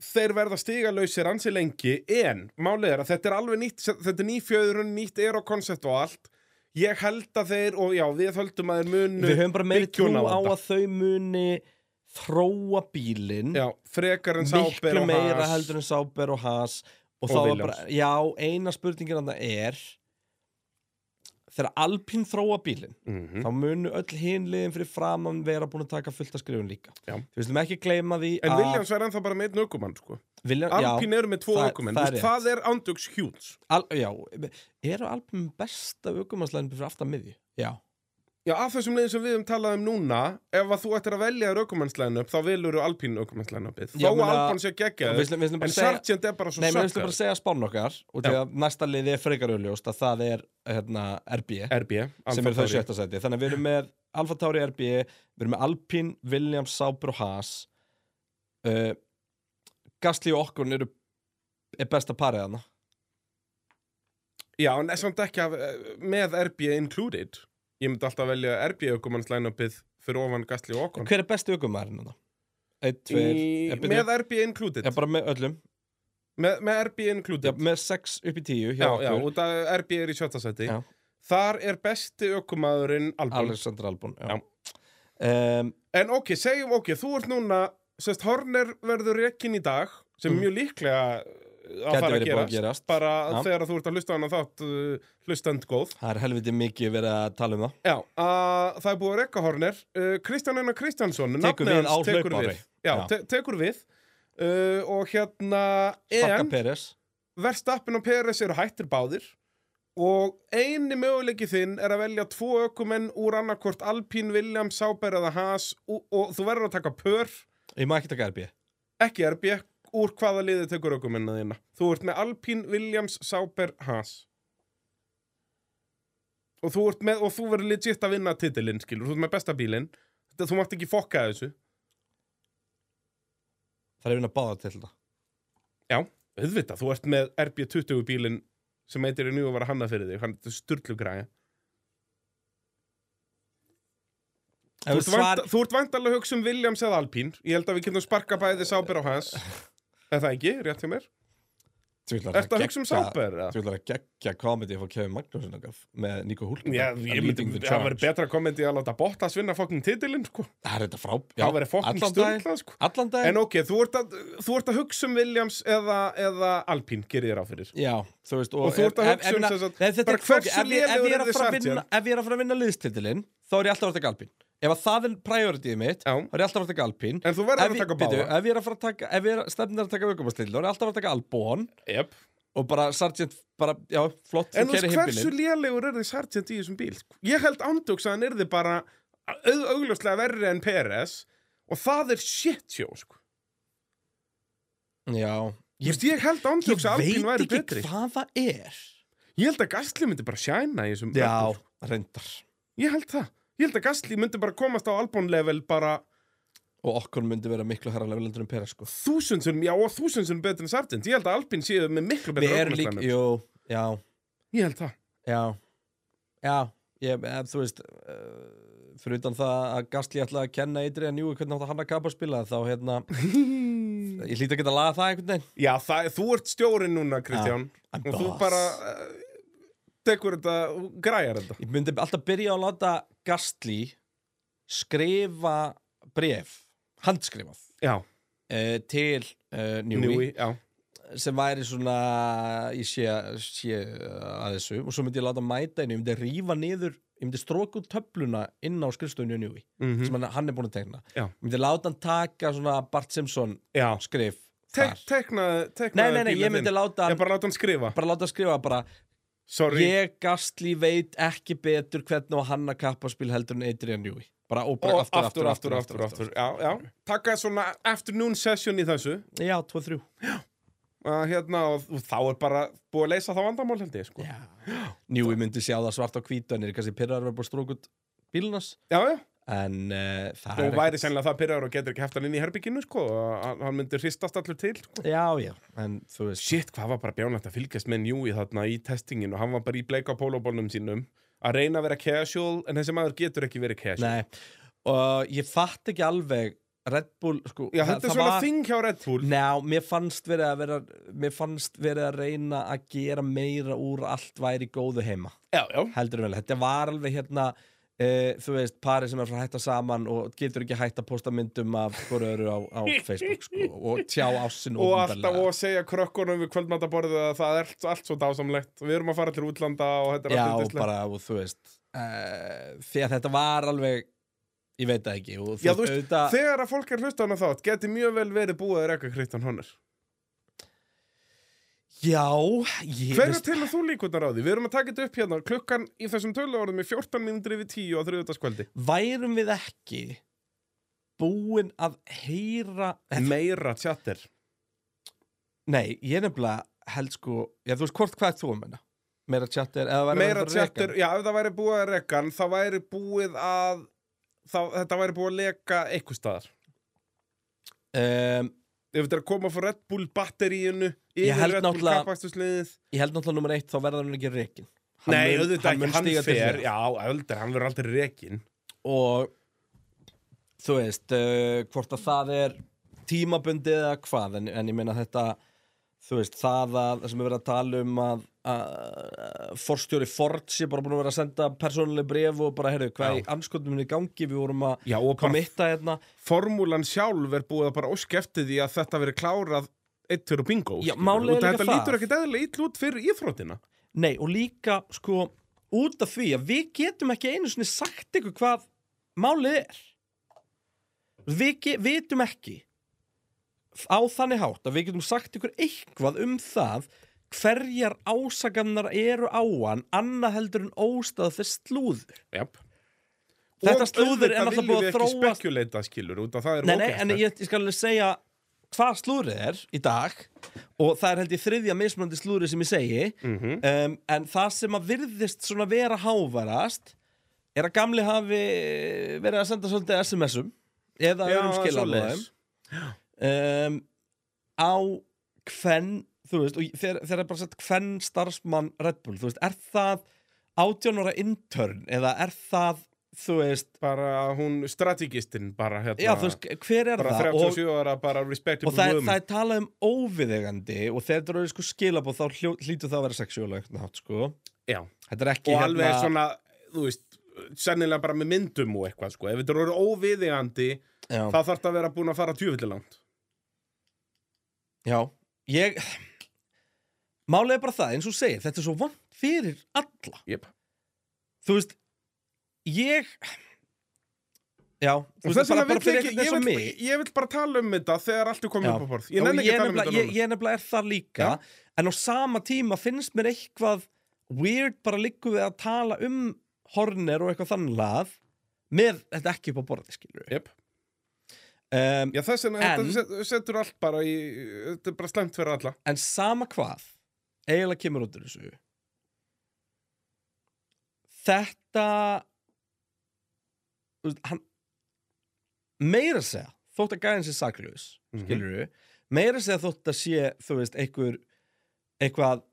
þeir verða stigalausir ansi lengi en málið er að þetta er alveg nýtt þetta er ný fjöðrun, nýtt er og koncept og allt ég held að þeir og já, við höldum að þeir munu við höfum bara meiri trú byggjun á á þetta. að þau muni þróa bílinn já, frekar en sáber miklu og meira has heldur en Sáber og Haas og, þá Og var Williams. bara, já, eina spurningin hann er þegar Alpín þróa bílinn Mhm. þá munu öll hinliðin fyrir framann vera búin að taka fullt að skrifun líka Já. þú veistum ekki gleyma því En að Williams var ennþá bara með einn ökumann sko. William, Alpín eru með tvo það- ökumenn það Það, er það, það er andugs hjúts já, al, já, eru Alpín besta aukumannslæðin fyrir aftan miðju já, Já, af þessum leiðin sem við um talaði um núna Ef að þú ættir að velja ökumannslæðinu upp Þá velur þú Alpín ökumannslæðinu uppið Þó Já, að meina- Alpán sé geggjaður við slum, við slum En bara segja Sargent er bara svo Nei, mér finnst sökkar bara að segja spán okkar og því Já. að næsta liði er frekar auðljóst að það er hérna, RB RB, sem Alfa er það Tauri. sjötta seti þannig að við erum með Alfa Tauri RB við erum með Alpine, Williams, Sauber og Haas uh, Gastli og Okkon eru er besta parið hana Já, en samt ekki af, eh, með RB included Ég myndi alltaf velja RB ökumannslæðinupið Fyrir ofan Gastli og Okon hver er besti aukumæðurinn hana? Eitt, tveir, Í, eh, byrju. Með RB included já bara með öllum með, með RB já, included með 6 upp í 10 hjá Já, já, okkur og það RB er í sjötta seti Já. Þar er besti ökumaðurinn Albon Alexander Albon já. Já. Um, En ok, segjum ok, þú ert núna Sest Horner verður rekkin í dag Sem Mm. er mjög líklega uh, að Gæti fara að verið búið að gerast gerast. Bara Já. þegar þú ert að hlusta á hana þátt uh, Hlustand góð það er helviti mikið verið að tala um það Já, að, það er búið að rekka Horner uh, Kristján Einar Kristjánsson Tekur nafnið við hans á hlaupári. við. Já, Já. Te tekur við uh, Og hérna Bakka En Peres Verstappen og Peres eru hættir báðir og eini möguleiki þinn er að velja tvo ökumenn úr annarkvort Alpín, Williams, Sauber eða Haas og, og þú verður að taka pör, ég má ekki taka RB ekki RB úr hvaða liði tekur ökumennina þína þú ert með Alpín, Williams, Sauber, Haas og þú, ert með, og þú verður legit að vinna titilinn, skilur, þú ert með besta bílinn Þetta- þú mátt ekki fokka þessu það er vinna báða til þetta auðvitað, þú ert með RB20 bílinn sem eitir í nú að vera hanna fyrir þig hann er styrlu græja Ef við Þú ert, svar... svar- þú ert vandalega að hugsa um Williams eða Alpín Ég held að við getum sparka bæði Sáber og Hans Er það ekki, rétt hjá mér? Tvílar, Ertu að hugsa um Sáber? Þú ætlar að geggja komedi að fá Kevin Magnússon að gaf með Nico Hulkenberg Já, að ég leading myndi, the það charge. verður betra komandi að láta Bottas vinna fokkin titilinn, sko Það er þetta frá já, Það verður fokkin allan daginn- stundlað, sko Allan dag En ok, þú ert, að, þú ert að hugsa um Williams eða, eða Alpín, gerir þér á fyrir Já, þú veist Og þú ert að hugsa um minna- sem sagt, Nei, þetta bara er flókið. hversu Ef ég- ef lélegur ég er að yrði fara að Sargent? vinna- Ef ég er að fara að vinna liðstitilinn þá er ég alltaf að taka Alpín Ef að það er priorityð mitt Já. þá er ég alltaf að taka Alpín En þú verður Ef að ég- taka bíddu, báða ef ég er að fara að taka ef ég er stefnir að taka aukumastill þá er ég alltaf að taka Albon yep. og bara Sargent bara, já, flott, þú En þú keri veist, hversu himbilinn lélegur er þið Sargent í þessum bíl? sko? Ég held andjóks að hann er þið bara au- augljóslega verri en PRS og það er shit sjó, sko Já, Ég, Vist, ég held ég ándjóks að Alpín væri veit betri ekki hvað það er Ég held að Gastli myndi bara sjæna í þessum Já, vettur. reyndar Ég held það Ég held að Gastli myndi bara komast á Albon level bara og okkur myndi vera miklu herra level heldur en Peres sko. þúsundsunum, já og þúsundsunum betur en Sargent Ég held að Albin séu með miklu við betur erum líka, jú, já Ég held það já, já ég, eh, þú veist uh, fyrir utan það að Gastli ætla að kenna eitri en jú, hvernig átt að hann að kapa spila þá hérna, ég hlýta ekki að laga það einhvern veginn Já, það, þú ert stjórinn núna, Kristján I'm Og þú boss. bara eh, tekur þetta, og græjar þetta ég myndi alltaf byrja á að láta Gastli skrifa bref, handskrifað Já, uh, til uh, Njúi Njúi, já sem væri svona ég sé, sé uh, að þessu og svo myndi ég láta mæta henni, ég myndi rífa niður ég myndi stróka út töfluna inn á skrifstofunni og njúi, Mhm. sem hann, hann er búin að tekna Já. ég myndi láta hann taka svona Bart Simpson Já, skrif Tek, þar teknaði tekna nei, nei, nei, ég myndi láta hann Ég bara láta hann skrifa bara láta hann skrifa bara Sorry, ég gastli veit ekki betur hvernig á hann að kappaspil heldur en Adrian Njúi bara, og bara og aftur, aftur, aftur, aftur, Já, já, taka svona afternoon session í þessu já, sko. 2-3 að hérna, og, og þá er bara búið að leysa þá vandamál held ég, sko. Já, Njúi myndi sjá það svart á hvítu en er kannski pyrraður að vera búin að stróka út bílunas já, en uh, það þú er væri sennilega það pyrraður og getur ekki haft hann inn í herbygginu, sko, og hann- hann myndi hristast allur til, sko. Já, já, en þú veist Shit, hvað var bara bjánlegt að fylgjast með njúi þarna í testinginu, hann var bara í bleika pólóbólnum sínum, að reyna að vera casual, en þessi maður getur ekki verið casual. Nei, og ég fatt ekki alveg Red Bull, sko Já, það- þetta er það svona var- þing hjá Red Bull. Ná, mér fannst verið að vera Mér fannst verið að reyna að gera meira úr allt væri í góðu heima Já, já. Heldur en vel, þetta var alveg hérna eh, þú veist, pari sem er frá að hætta saman og getur ekki hætt að posta myndum af hvort öru á, á Facebook sko, og tjá ásinn og alltaf og segja krökkunum við kvöldmataborðið að það er allt, allt svo dásamlegt við erum að fara til útlanda og þetta er Já, allt og yndislegt. bara, og þú veist uh, því að þetta var alveg ég veit það ekki og, Já, þú veist, auðvitað- þegar að fólk er hlustan á þátt geti mjög vel verið búið að reka Kristján Honner Já, ég Hverju telur þú líkurnar á því? Við erum að taka þetta upp hérna klukkan í þessum tölu orðum í 14 minnundri við 10 á þriðutaskvöldi værum við ekki búin að heyra Meira tjatter Nei, ég nefnilega held sko Já, þú veist hvort hvað ert þú að menna Meira tjattir eða væri Meira verið að reka tjatter, já ef það væri búið að reka hann, þá væri búið að þá, þetta væri búið að leka eitthvað staðar hann? um, Ef þetta er að koma frá Red Bull batteríinu Ég yfir held Red Bull náttúrulega- kappakstursliðið Ég held náttúrulega nummer eitt þá verður hann ekki rekin Hann Nei, mun- auðvitað mun ekki, hann stíga til hliðar. fer, já, auðvitað, hann verður aldrei rekin Og þú veist uh, hvort að það er tímabundið eða hvað en, en ég meina þetta þú veist það að það sem er verið að tala um að, að, að forstjóri Ford sé bara búin að vera að senda persónuleg bref og bara heyrðu hvað Já. í anskotum í gangi við vorum að Já, og bara komitta hérna formúlan sjálf er búið að bara óska eftir því að þetta verið klárað eitt fyrir bingo Já, skilur. málið er Og líka Þetta það. lítur ekkit eðlilega ítl út fyrir íþróttina Nei, og líka sko út af því að við getum ekki einu svona sagt ykkur hvað málið er. Við ge- vitum ekki á þannig hátt að við getum sagt ykkur eitthvað um það hverjar ásakannar eru á hann annað heldur en óstað þess slúður. Jáp Þetta slúður er náttúrulega búið að Auðvitað viljum við ekki þróast- spekuleita skilur út að það er Nei, nei, en ég, ég skal alveg segja hvað slúðrið er í dag og það er held ég þriðja mismunandi slúðrið sem ég segi Mhm. um, en það sem að virðist svona vera hávarast er að gamli hafi verið að senda svolítið SMS-um eða Já, öðrum skilabóðum svoleiðis. um, á hvern þú veist, og þegar, þegar er bara sett hvern starfsmann Red Bull, þú veist, er það 18 ára intern eða er það, þú veist Bara hún strategistinn bara hérna já, þú veist, hver er Bara það Og- 37 ára bara respectable og það er, woman. það er talað um óviðegandi og þegar þetta eru sko skilabóð þá hljó- hlýtur það að vera sexuálegt nátt sko Já. þetta er ekki hérna- og alveg svona, þú veist sennilega bara með myndum og eitthvað sko. ef þetta eru óviðigandi já, þá þarf þetta að vera búin að fara tjúfillir langt já, ég málið er bara það eins og þú segir, þetta er svo vond fyrir alla yep. þú veist, ég já, þú og veist, þess bara, vegna bara vill fyrir eitthvað ég ekki eins ég og vill, mig ég vill bara tala um þetta þegar allt er komið Já. upp á borð Já, ég ég, nenni ekki að tala um nefnilega, þetta ég, núna ég nefnilega er það líka en á sama tíma finnst mér eitthvað weird bara liggum við að tala um hornir og eitthvað þannig lað með þetta ekki upp á borði skilur við Jep. um, Já, þess vegna En- þetta set- setur allt bara í, þetta er bara slæmt fyrir alla en sama hvað eiginlega kemur út úr þessu þetta þú veist, hann meira að segja þótt að gæðin sé sakljus Mhm. skilur við, meira að segja þótt að sé þú veist, einhver eitthvað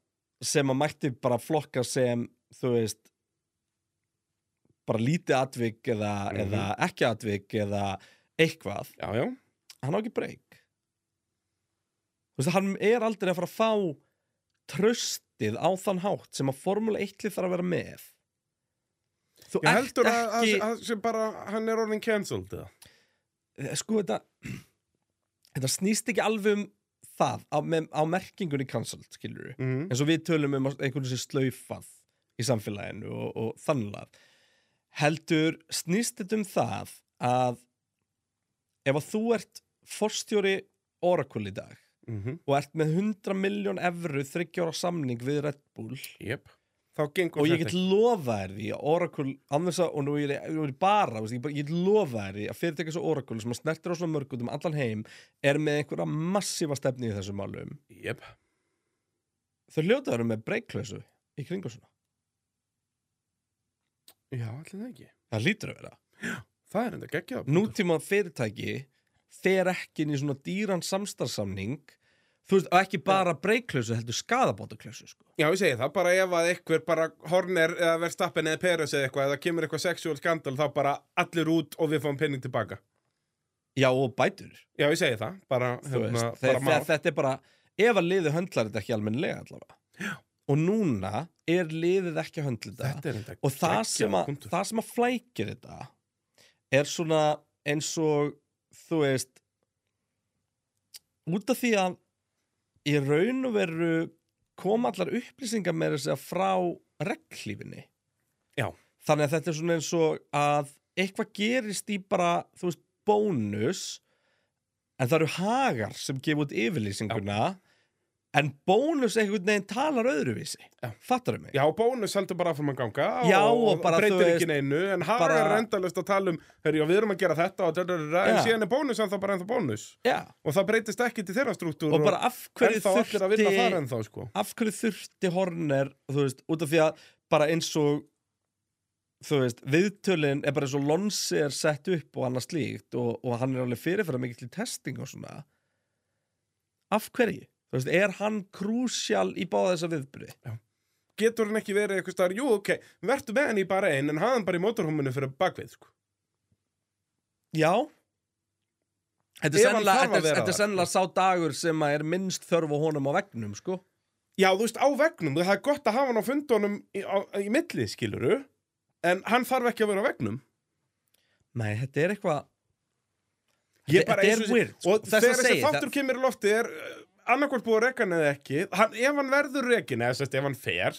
sem að mætti bara flokka sem, þú veist bara lítið atvik eða, Mhm. eða ekki atvik eða eitthvað Já, já, hann á ekki breyk þú veist, hann er aldrei að fara að fá tröstið á þann hátt sem að Formule 1 lið þarf að vera með þú ég ert heldur að, ekki að, að sem bara, hann er orðin cancelled eða. sko þetta þetta snýst ekki alveg um það á, með, á merkingunni cancelled skilur við, Mhm. eins og við tölum um að einhvern sem slaufað í samfélaginu og, og þannlega heldur snýst þetta um það að ef að þú ert forstjóri Oracle í dag Mhm. og ert með 100 miljón evru þryggjóra samning við Red Bull Jep. Þá gengur og ég þetta get lofa þér því að Oracle annars að, og nú er ég, nú er ég bara, veist, ég, bara ég get lofa þér því að fyrirtækja svo Oracle sem að snertir á svona mörg út um allan heim er með einhverja massífa stefni í þessum málum ekki Jep. þau hljóta eru með breykklausu í kringum svona Já, allir það ekki það lítur að vera Það er enda geggjað nútíma fyrirtæki fer ekki inn í svona dýran samstarfsamning þú veist, og ekki bara breykklausu heldur skadabótaklausu sko. Já, ég segi það, bara ef að einhver bara Horner eða Verstappen eða Peres eða eitthvað eða kemur eitthvað sexual skandal þá bara allir út og við fáum penning tilbaka já og bætur Já, ég segi það, bara, Þú hérna, veist, bara þeir, mál þeir, þetta er bara ef að liði höndlar þetta ekki almennilega allavega og núna er liðið ekki að höndla þetta Þetta er enda og það geggjaður sem, að, punktur. það sem að flækir þetta er svona eins og þú veist út af því að í raun og veru koma allar upplýsingar með þess að segja frá reglífinni Já. þannig að þetta er svona eins og að eitthvað gerist í bara þú veist bónus en það eru hagar sem gefa út yfirlýsinguna en bónus einhvern veginn talar öðruvísi Já. fattar mig Já, bónus heldur bara áfram að ganga Já, og, og bara, þú breytir veist, ekki neinu en hagar bara- er endalist að tala um herri, já, við erum að gera þetta og þetta en Já. síðan er bónus en það bara ennþá bónus Já. og það breytist ekki til þeirra struktúr og bara af hverju ennþá allir að vinna þar þurfti ennþá sko. af hverju þurfti Horner þú veist, út af því að bara eins og þú veist, viðtölin er bara eins og Lonsi er sett upp og annað slíkt og, og hann er alveg fyrirferða mikill í testing og svona af hverju? Þú veist, er hann krúsjál í báða þessa viðbyrði? getur hann ekki verið eitthvað staðar, jú ok, vertu með hann í bara einn en hafa hann bara í mótorhóminu fyrir bakvið sko. Já Þetta er Ef hann sennilega- þarf að þetta er- vera þetta er þar, sko. sennilega sá dagur sem að er minnst þörf á honum á vegnum, sko Já, þú veist, á vegnum, það er gott að hafa hann á fundunum í, á, í milli, skiluru en hann þarf ekki að vera á vegnum Nei, þetta er eitthvað Ég Þetta- bara þetta eins er og- weird, sko. Og Þess að þegar þessi segi, það- þáttur kemur í lofti er eh, annarkvort búið að reka hann eða ekki hann, Ef hann verður rekin, eða sérst, ef hann fer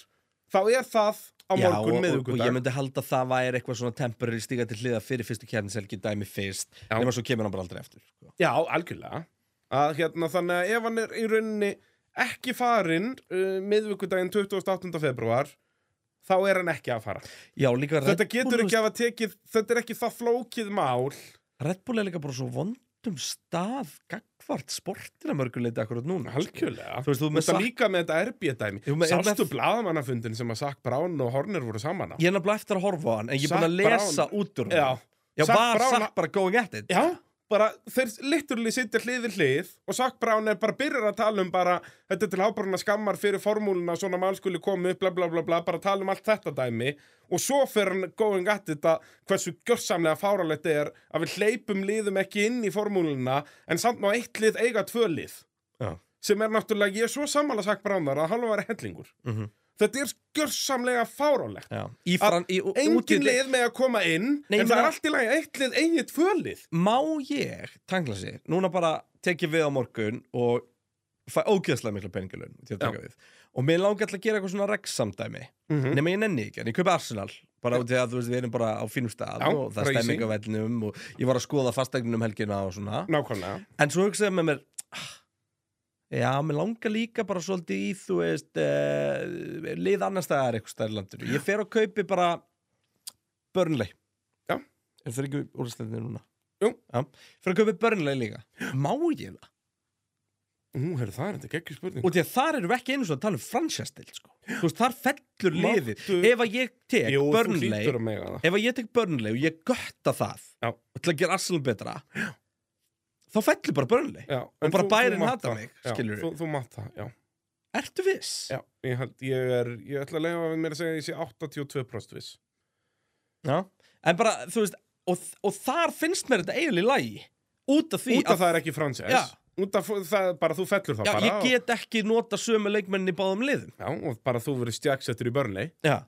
þá er það Já, á morgun og- Og, og ég miðugundag myndi halda að það væri eitthvað svona temporary stíga til hliða fyrir fyrstu kjarniselgi dæmi fyrst, Já. nema svo kemur hann bara aldrei eftir. sko. Já, algjörlega að, hérna, Þannig að ef hann er í rauninni ekki farinn uh, miðvikudaginn 28. februar þá er hann ekki að fara Já, líka Red Þetta Bull, getur ekki að tekið, þetta er ekki það flókið mál Red Bull er líka bara svo vondum stað gagvart sportina mörguleiti akkurat núna. sko. Algjörlega Þú veist, þú með Þetta Sak- líka með þetta erbjöðdæmi Jú, með- Sástu með- blaðamannafundin sem að Sack Brown og Horner voru saman á? Ég er nefnilega eftir að horfa á hann, en ég er búin Zac að lesa út úr Já, hann. Já, Zac var Brown- sagt bara going at it. Já, bara þeir literally sitja hlið við hlið og Sack Brown er bara byrjar að tala um bara þetta er til hábrunna skammar fyrir formúluna svona mál skuli koma upp, bla bla bla bla bara tala um allt þetta dæmi og svo fyrir hann going at þetta hversu gjörsamlega fáralegt er að við hleypum liðum ekki inn í formúluna en samt má eitt lið eiga tvö lið Já. sem er náttúrulega, ég er svo sammála Sack Brown þar að halva væri hellingur Mhm. Þetta er gjörsamlega fáralegt Já. Í fran, í, ú- Engin útlit- lið með að koma inn Nei, ég en það er meina- allt í lagi að eitt lið eigið tvö lið Má ég, tangla sér, núna bara tekið við á morgun og fæ ógeðslega mikla peningalun til að Já. taka við. Og mér langar alltaf að gera eitthvað svona regsamdæmi. mm -hmm. nema ég nenni ekki, en ég kaupi Arsenal bara Já. út í að þú veist, við erum bara á fínum stað Já, og það bara er easy. stemming á vellinum og ég var að skoða fasteignum um helgina og svona Nákvæmlega en svo hugsaði með mér "Ah, já, mér langar líka bara svolítið í þú veist eh, lið annar staðar eitthvað staðar í landinu ég fer og kaupi bara Burnley Já. er það ekki úrslæðinni núna? Jú. Já, fyrir að kaupi Burnley líka má ég það? Nú, heyrðu, það er þetta geggjur spurning og því að þar erum við ekki einu svona að tala um fransjastild sko. þú veist, þar fellur liðið Máttu- ef að ég tek Jú, þú Burnley hlýtur að mega það ef að ég tek Burnley og ég götta það Já. og til að gera Arsenal betra þá fellur bara Burnley já, og en bara þú- bærin þú mátt hatar það. mig, Já, skilurðu. Þú, þú mátt það, já, Ertu viss? já ég, held, ég, er, ég ætla að leifa við mér að segja að ég sé 82% viss Já. En bara, þú veist og, og þar finnst mér þetta eiginlega í lagi út af því Út af það er ekki fransæs Já. Út af það, bara þú fellur það já, bara ég get ekki nota sömu leikmennin í báðum liðum og, Já, og bara þú verður stjaksettur í börnlei já.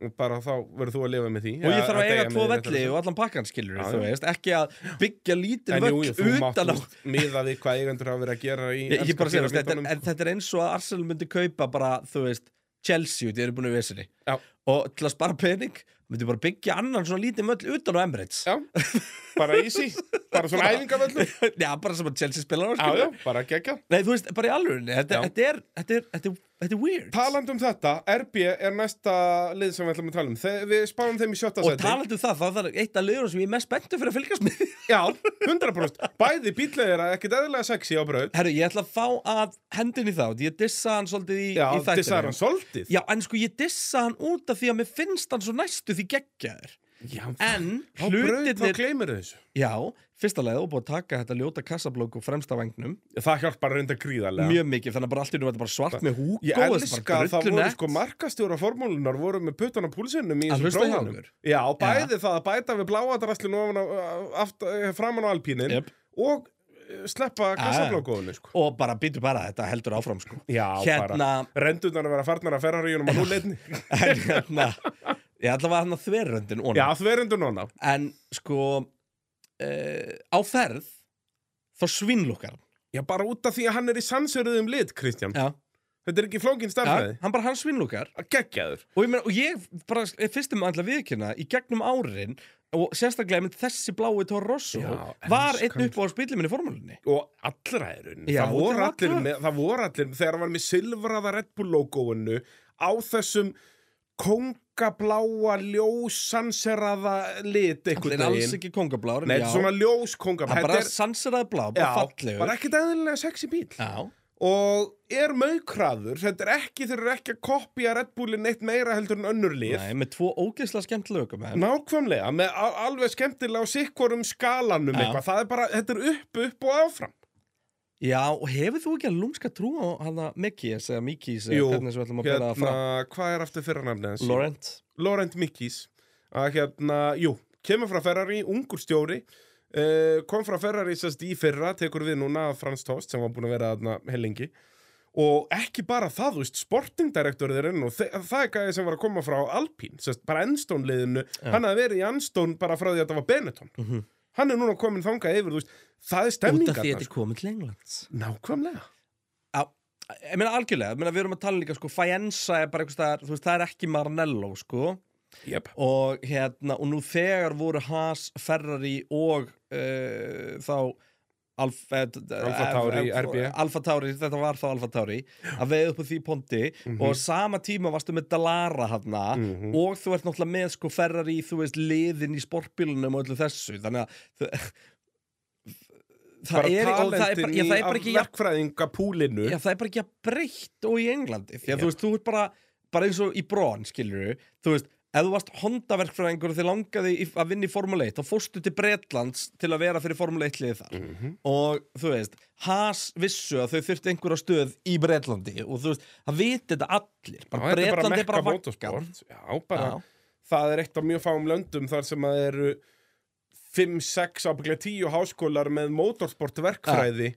og bara þá verður þú að lifa með því og ég þarf að eiga tvo með því, velli rétt og allan pakkan skilur Já, þú já. veist, ekki að byggja lítið En jú, jú, þú völl mátt utan á út miða við hvað eigendur hafa verið að gera í ég, ég enska bara segir, þetta, er- píramídunum. en þetta er eins og að Arsenal myndi kaupa bara, þú veist, Chelsea út í erum búinu vesinni Já. og til að spara pening myndi bara byggja annan svona lítið möll utan á Emirates Já, bara easy Bara svona æfingavöllu Já, bara sem að Chelsea spilar á Já, já, bara geggja Nei, þú veist, bara í alvörunni þetta, Já. þetta, er, þetta, er, þetta, er, þetta er weird Taland um þetta, RB er næsta lið sem við ætlum að tala um Þe Við spáum þeim í sjötta Og seti talandi um það, þá er það eitt af liðurum sem ég er mest spenntur fyrir að fylgjast með Já, 100% Bæði bíllegir að ekkert eðlilega sexy á braut Herru, ég ætla að fá að hendin í þá því Ég dissa hann svolítið í, Já, í þættinum. þess er hann soldið Já, en sko, ég dissa hann út af því að mér finnst hann svo næstu því geggjaður Já En á braut þá hlutinir gleymir þessu Já, fyrsta leið og búið að taka þetta ljóta kassablók og fremsta vangnum Það hjálpar að reynda gríðarlega mjög mikið, þannig að bara allt í nú þetta bara svart með húk Ég elska að það voru sko markastjóra formúlunar voru með puttan á púlsinum í Að þessum hlusta hjá prófunum okkur. Já, bæði það að bæta við bláadraslinu eh, framan á alpínin Jep. Ah. og eh, sleppa kassablókóðinu sko. og bara býtu bara, þetta heldur áfram sko. Já, hérna, bara Rendurnar að vera farnar að ferraríunum og nú leitni en, hérna ég ætla að var hann að þverröndin Já, oná. þverendur núna en sko uh, á ferð þá svinnlukkar hann. Já, bara út af því að hann er í sannsöruðum lit, Kristján já, Þetta er ekki flókin já, stafnaði hann bara hann svinnlukkar Geggjaður og ég, meina, og ég bara er fyrstum að viðkynna í gegnum árin og sérstaklega mynd þessi blái Torosso Já, sko- var elskan. einn upp á spilluminn í formúlunni og allra er unni Já, það og voru þetta allir var- með, það voru allir þegar hann var með silfraða Red Bull logoinu á þessum kongabláa ljósanseraða lit allir einhvern alls veginn ekki kongablár en Nei, já, þetta er svona ljós kongab hann bara þetta er, sanseraði blá, bara já, fallegur bara ekkert eðlilega sexy bíl já, og er mögkraður þetta er ekki, þeir eru ekki að kopja Red Bullin eitt meira heldur en önnur lið nei, með tvo ógeðslega skemmt lögum nákvæmlega, með al- alveg skemmtilega á sikkorum skalanum Já. eitthvað, það er bara, þetta er upp, upp og áfram já, og hefur þú ekki að lúmska trú á hana Mikis eða Mikis eða Jú, hvernig sem við ætlum að bera hérna, það fram hvað er aftur fyrir nafnið hans? Laurent, Laurent Mikkis að hérna, jú, kemur frá Ferrari ungur stjóri uh, kom frá Ferrari sérst í fyrra tekur við núna að Frans Tost sem var búin að vera hérna helengi og ekki bara það, þú veist, sportingdirektorðurinn og þe- það er gæði sem var að koma frá Alpín, sérst, bara Enstone liðinu hann hafði verið í Enstone bara frá því að þetta var Benetton Mhm. hann er núna komin þangað yfir, þú veist, út af það er því stemningarnar þetta er komið til Englands sko. nákvæmlega ég meina algjörlega, ég meina við erum að tala líka sko, Fajensa er bara einhvers staðar, þú veist, það er ekki Maranello sko, yep. og hérna, og nú þegar voru Haas, Ferrari og uh, þá eh, Alfa, Alpha Tauri, RB. Alfa Tauri, þetta var þá Alfa Tauri að veið upp á því pondi og á sama tíma varstu með Dallara hana Mhm. og þú ert náttúrulega með sko Ferrari, þú veist, liðin í sportbílunum og öllu þessu, þannig að þ- það bara er, og það er bara, talentin já, það er bara í ekki jafn verkfræðingapúlinu Já, það er bara ekki að breytt og í Englandi Því að Já. þú veist, þú ert bara, bara eins og í brón, skilur við Þú veist, ef þú varst Honda-verkfræðingur og þið langaði í, að vinna í Formule 1 þá fórstu til Bretlands til að vera fyrir Formule 1 liðið þar Mhm. og þú veist, Haas vissu að þau þurfti einhverja stöð í Bretlandi og þú veist, það viti þetta allir Já, bara þetta er bara Bretlandi er mekka bara sko. vakkan motorsport Já, bara, það er eitt af mjög fáum löndum þar sem að eru 5, 6, ábygglega 10 háskólar með motorsport verkfræði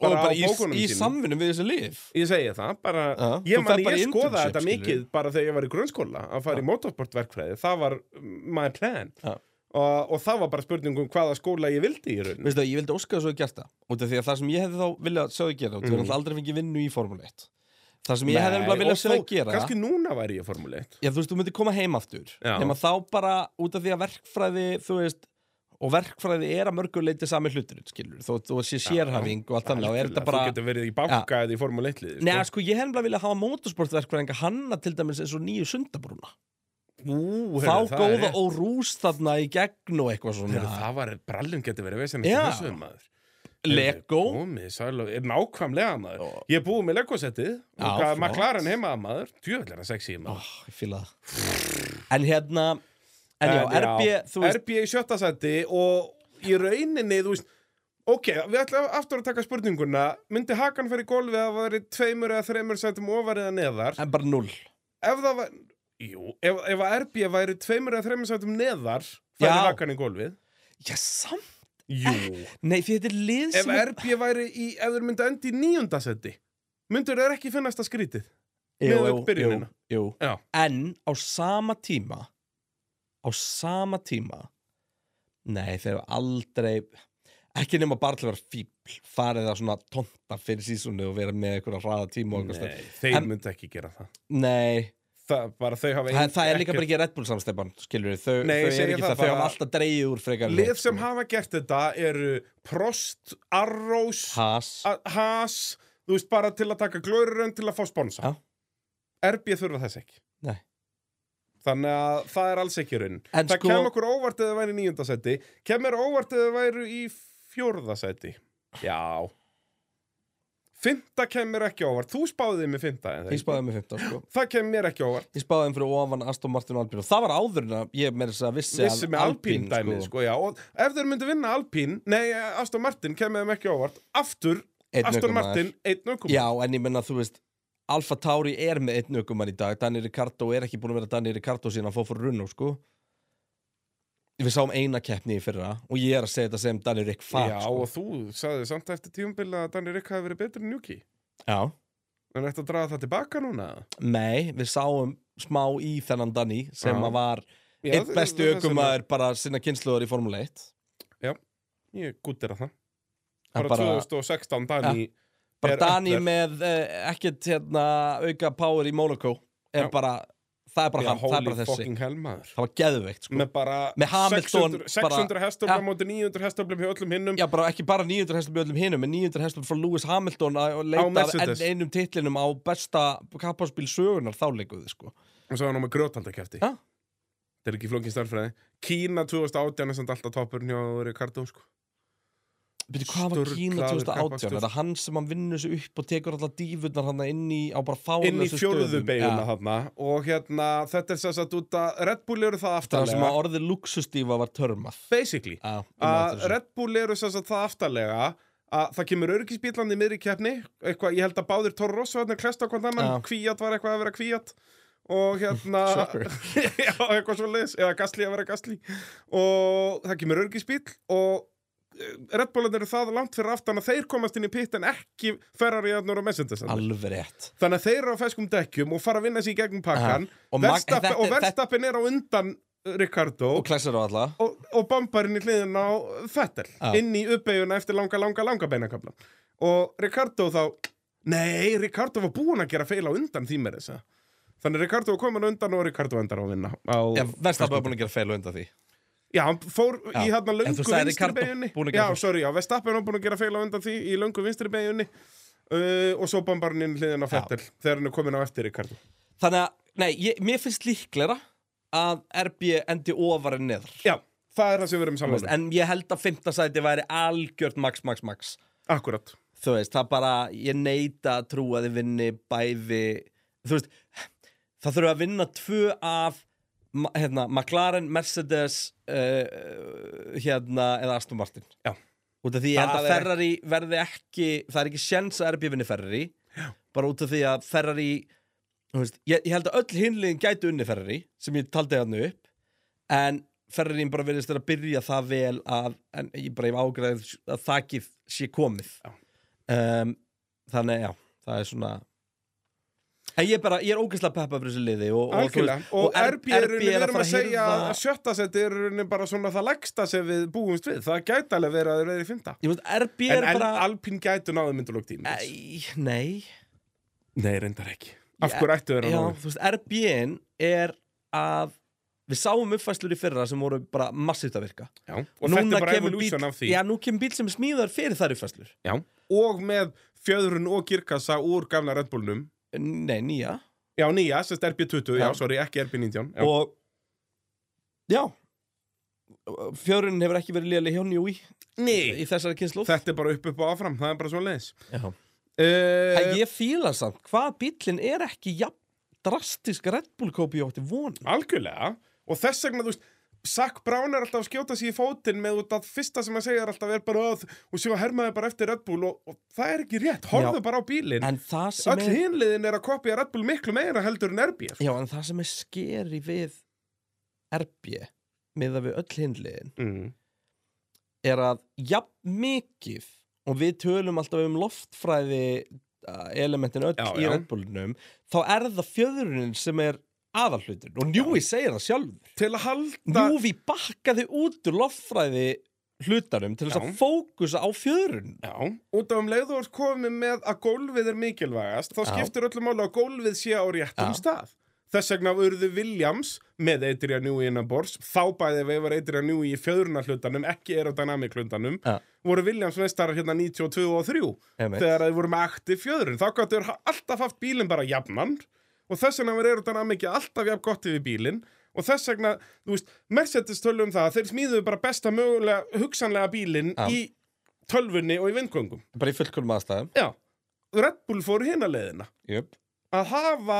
og bara á í, bókunum í sínum. samvinum við þessi lið Ég segi það, bara, Já, ég, þú man, ferð bara í ég skoða internship, þetta skilur mikið við. bara þegar ég var í grunnskóla að fara í motorsportverkfræði, það var mm, my plan Já. og, og það var bara spurning um hvaða skóla ég vildi í raun Veistu, að ég vildi óska þess að ég gert það út af því að það sem ég hefði þá viljað sjá þau gera og þú Mhm. hefði aldrei fengið vinnu í Formule 1 það sem ég hefði Nei, nefnilega og viljað sjá þau þó- gera Kannski núna væri ég Formule 1 Já, þú veist, þú myndir koma heim aftur Já. nema þá bara út af því að verkfræði þú veist, og verkfræði er að mörgur leiti sami hluturinn, skilur þó þú sé sérhæfing og allt þannig og er þetta bara Þú getur verið í banka eða í Formule 1 liði Nei, sko, ég hefði nefnilega viljað hafa motorsportverkfræðinga hanna til dæmis eins og nýju sundabrúna Ú, sko, þá heyrðu, það er góða rétt. og rús þarna í gegn og eitthvað svona Heyrðu, það var, brallum getur verið vesen Já. eftir þessu maður Lego Komið, sæl og, er nákvæmlega maður Ó. Ég er búið með Lego-settið Já, og hvað flott. maklarinn heima maður Djöðlega sexy Ó, maður ég fíla það En hérna En já, RB, þú veist RB í sjötta seti og í rauninni, þú veist Ok, við ætlum aftur að taka spurninguna Myndi hakan fyrir golfið að það væri tveimur eða þreimur setum ofar eða neðar En bara null Ef það var, jú, ef, ef að RB væri tveimur eða þreimur setum neðar Já. færi hakan í golfið Já, samt Jú Nei, því þetta er lið Ef sem er RB væri í, ef þeir myndu endi í níunda seti Myndur þeir ekki finnast að skrítið Jú, miðað við jú, byrjunina. jú, jú. Já. En á sama tíma Á sama tíma Nei, þeir eru aldrei Ekki nema bara til að vera fíbl Farið að svona tonta fyrir sísunni Og vera með einhverja hraða tíma og eitthvað Nei, þeir En- myndu ekki gera það stöð. Nei, Það, bara þau hafa það, ein- það er líka ekkert- bara ekki Red Bull samstefan Skilur þau, Nei, ég þau segi er ekki það það, þau bara- hafa alltaf dreigið úr frekar sko. Lið sem hafa gert þetta eru Prost, Arrows, Haas A- Haas Þú veist, bara til að taka glörurinn til að fá sponsa Já. RB þurfa þess ekki Nei. Þannig að það er alls ekki runn En Það sko- kem okkur óvart eða væri í níunda seti Kemur óvart eða væri í fjórða seti Já Fynda kemur ekki óvart Þú spáðið með fynda Ég spáði með 15 sko Það kemur mér ekki óvart Ég spáði þeim fyrir ofan Aston Martin og Alpine og það var áður en að ég meira þess að vissi, Vissi með Alpín dæmið sko. já Og ef þeir myndu vinna Alpín Nei, Aston Martin kemur þeim ekki óvart Aftur, Einn Aston ökumaður. Martin, einn ökum Já, en ég menna þú veist Alfa Tauri er með einn ökumann í dag Danny Ricardo er ekki búin að vera Danny Ricardo síðan að fá fyrir runn sko við sáum eina keppni í fyrra og ég er að segja þetta sem Danny Rick Já, far og þú sagði samt eftir tíumbil að Danny Rick hafi verið betur en Juki. Já, En eftir að draga það tilbaka núna? nei, við sáum smá í þennan Danny sem Já. að var Já, einn þ- besti þess vegna- ökumæður bara sinna kynsluður í Formule 1 Ég gútir að það. Hann Bara, bara, 2016 Danny bara er Dani öllu- með eh, ekkert hérna, auka power í Monaco er Já. bara, það er bara Já, hann, það er bara holy þessi fucking hell maður. það var geðveikt sko. Með bara Með Hamilton 600, 600 Já. hestöflum móti 900 hestöflum hjá öllum hinnum. Já, bara, ekki bara 900 hestum í öllum hinum en 900 hestum frá Lewis Hamilton að að leita að Mercedes. enn einum titlinum á besta kapparspíl sögunar þá leikuði sko. Og svo hann á með grjótaldakefti. Já. Þetta er ekki flókin starfræði. Kína 2018 er samt alltaf toppurinn hjá Ricardo, sko. Byrju, hvað var Kína Sturlaður 2018? kappakstur. Er það hann sem hann vinnur sig upp og tekur alla dífurnar hann inn í á bara inn í fáinlösu fjórðu beiguna Já. þarna og hérna þetta er sess að út að Red Bull eru það Það sem að aftarlega orðið luxustífa var törmað basically Já, ég man að eftir þessu. Red Bull eru sess að það aftarlega að það kemur örgisbílandi miðri keppni eitthvað, ég held að báðir Toro Rosso hérna klesta okkur annan, Já. kvíat var eitthvað að vera kvíat og hérna Shocker. já, eitthvað svo leis, eða gasli að vera gasli og það kemur örgisbíl og eh, Red Bullan eru það langt fyrir aftan að þeir komast inn í pitt en ekki Ferrari og Mercedes þarna. Alveg rétt Þannig að þeir eru á feskum dekkjum og fara að vinna sér í gegnum pakkan Og Mag- Verstappen, þetta- og verðstappin er á undan eh, Ricardo Og og, klæsir á alla og, bambarinn í hliðin á Fettel Já. inn í uppeiguna eftir langa, langa, langa beinakabla og Ricardo þá Nei, Ricardo var búinn að gera feila undan því með þessa Þannig að Ricardo var komin á undan og Ricardo endar á að vinna á, Já, Verstappen var búin að gera feil undan því Já, hann fór í Já. þarna En löngu þú sagði vinstri Ricardo beigunni búinn að Já, gera feil. sorry, já, Verstappen var búinn að gera feila undan því í löngu vinstri beigunni uh, og svo bambarinn inn hliðin á Já. Fettel þegar hann er komin á eftir Ricardo Þannig að, nei, ég, mér finnst líklega að RB endi ofar en neðar Já, það er það sem við erum um. Þú veist, saman En ég held að fimmtasæti væri algjört max, max, max Akkurat Þú veist, það bara, ég neita að trú að þið vinni bæði Þú veist, það þurfa að vinna tvö af ma- hérna, McLaren, Mercedes uh, hérna, eða Aston Martin Já. Út af því ég held Það að er Ferrari verði ekki það er ekki sjens að RB vinni Ferrari Já. bara út af því að Ferrari þú veist, ég, ég held að öll hinliðin gætu unni Ferrari sem ég taldi hann upp en Ferrariin bara verðist vera að byrja það vel að, en ég bara hef ágræðið að þakið sé komið Já. um, þannig já, það er svona en ég er bara, ég er ógeðslega peppa fyrir þessu liði og, og, þú Algjörlega, veist, og RB er rauninni, við erum að fara segja að hirða- sjötta seti er rauninni bara svona það lægsta sem við búumst við, það gæti alveg verið að þeir verið í fynda. ég veist, RB En er bara... bara Alpín um gætu náðu myndulók tíma. Æ, nei, Nei, reyndar ekki. Af Ég- hverju ættu þeir að um? já, náðu? þú veist, RB-in er að við sáum uppfæslur í fyrra sem voru bara massíft að virka Já, og þetta er bara evolution bíll, af því. já, nú kemur bíl sem er smíðar fyrir þær uppfæslur Já. Og með fjöðrun og kirkassa úr gamla Red Bullnum. nei, nýja Já, nýja, sérst RB20, Já. já, sorry, ekki RB19. Já. og já fjörunin hefur ekki verið léli hjá Njúi í Nei, þessari kynslu þetta er bara upp upp og áfram, það er bara svona leis. en Uh, ég fíla samt hvað bíllinn er ekki jafn drastisk Red Bull kópi ég átti von Algjörlega og þess vegna, þú veist Sack Brown er alltaf að skjóta sér í fótinn með út að fyrsta sem að segja er alltaf er bara öð og svo hermaði bara eftir Red Bull og, og það er ekki rétt, horfðu Já. bara á bílinn en það sem öll er hinliðin er að kopja Red Bull miklu meira heldur en RB sko. já, en það sem er skeri við RB með að við öll hinliðin mm. er að jafn mikið og við tölum alltaf um loftfræði uh, elementin öll Já, í já. Red Bullunum þá er það fjöðrunin sem er aðalhlutin og Njúi segir það sjálfur til að halda Júfi bakkaði út úr loffræði hlutanum til þess að Já. fókusa á fjöðrun Já, út af um leið og orð komið með að gólfið er mikilvægast þá Já. skiptir öllu máli að gólfið sé á réttum Já. stað Þess vegna urðu Williams með Adrian Newey innan bors þá bæði við var Adrian Newey í fjöðrunarhlutanum ekki aerodynamic hlutanum Já. voru Williams meistarar hérna 92 og 3 þegar þeir voru með aktiv fjöðrun þá gætu þeir ha- alltaf haft bílinn bara jafnan og þess vegna var aerodynamic alltaf jafn gott yfir bílinn og þess vegna, þú veist, Mercedes tölu um það að þeir smíðuðu bara besta mögulega hugsanlega bílinn Já. í tölvunni og í vindgöngum bara í fullkonum aðstæðum Já, Red Bull fór hina leiðina yep. að hafa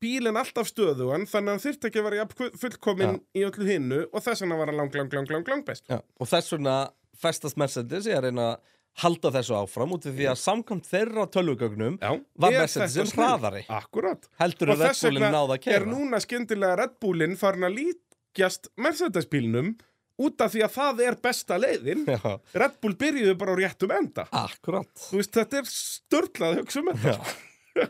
bílinn alltaf stöðugan þannig að hann þyrfti ekki að vera jafn fullkomin í öllu hinnu og þess vegna var hann lang, lang, lang, lang, lang best og þess vegna festast Mercedes ég er að reyna að halda þessu áfram út af því að samkvæmt þeirra tölvugögnum Já, Var er Mercedes um þetta sem snilld? hraðari? Akkurat heldur Og að Red þess Bullin vegna náða að er keira núna skyndilega Red Bullinn farin að lít leggjast Mercedes-bílnum út af því að það er besta leiðin Já, Red Bull byrjuðu bara á réttum enda akkurat þú veist, þetta er störlað að hugsa um þetta Já,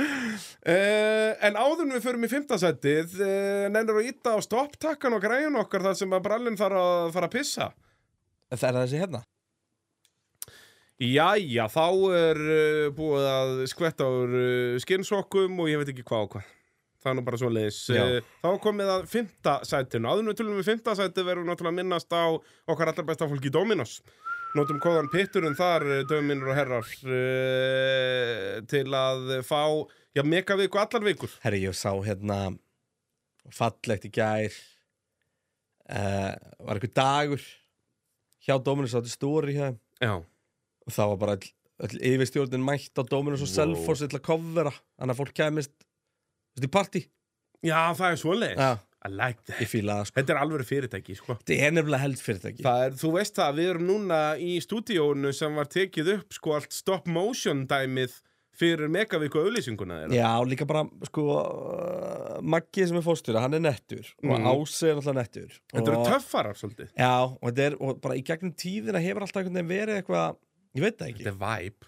Uh, en áður en við förum í fymtasættið uh, nennir að íta á stopptakkan og græjun okkar þar sem að brallinn þarf að fara að pissa það er þessi hérna Jæja, þá er uh, búið að skvetta úr uh, skinnsokkum og ég veit ekki hvað og hvað það er nú bara svo leiðis Já. þá er komið að fymtasættinu áður en við tölum um við fymtasætti verðum við náttúrulega að minnast á okkar allar besta fólki í Dominos Notum kóðan pitturinn þar, döminur og herrar, uh, til að fá, já, megaviku allar vikur. Herri, ég sá hérna fallegt í gær uh, var einhver dagur hjá Dominus áttu stóri hérna. hjá þeim Já. og það var bara öll, öll yfirstjórnin mætt á Dominus og Wow. Selfoss til að kofvera þannig að fólk kæmist þú veist, í partí Já, það er svoleiðis. Já. I like that. ég fíla það sko Þetta er alveg fyrirtæki, sko. þetta er nefnilega held fyrirtæki Það er, þú veist það, við erum núna í stúdíónu sem var tekið upp, sko, allt stop motion dæmið fyrir megavíku auðlýsinguna þeirra. já líka bara sko uh, Maggi sem er fórstjóra hann er nettur Mhm. og Ási er alltaf nettur Þetta eru Og- töffarar, svolítið. já og þetta er og bara í gegnum tíðina hefur alltaf einhvern veginn verið eitthvað ég veit það ekki Þetta er væp.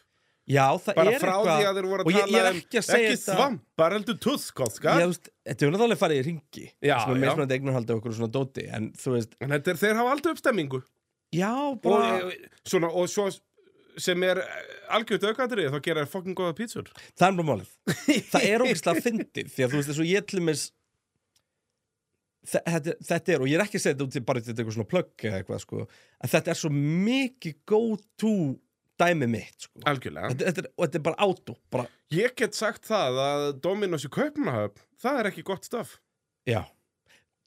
já það Bara er frá eitthvað því að þeir voru og að ég, tala ég er ekki að um, segja ekki svamp, bara heldur tuðskóðska. ég, þú veist, þetta er náttúrulega farið í ringi Já, sem er já. meðsmjöndi eignarhaldi okkur og svona dóti en þú veist En þetta er, þeir hafa aldrei uppstemmingu. já bara Og, svona, og svo sem er eh, algjört aukaðrið, þá gera þér fokkin góða pítsur. Það er bara málið Það er ógeðslega fyndið Því að þú veist þess að ég til mis þetta, þetta er, og ég er ekki að segja þetta út í bara til eitthvað svona plögg eða eitthvað sko að þetta er svo mikið go to dæmi mitt sko Algjörlega. þetta, þetta er, Og þetta er bara átó bara, Ég get sagt það að Dominos í Kaupmannahöfn, það er ekki gott stöf. Já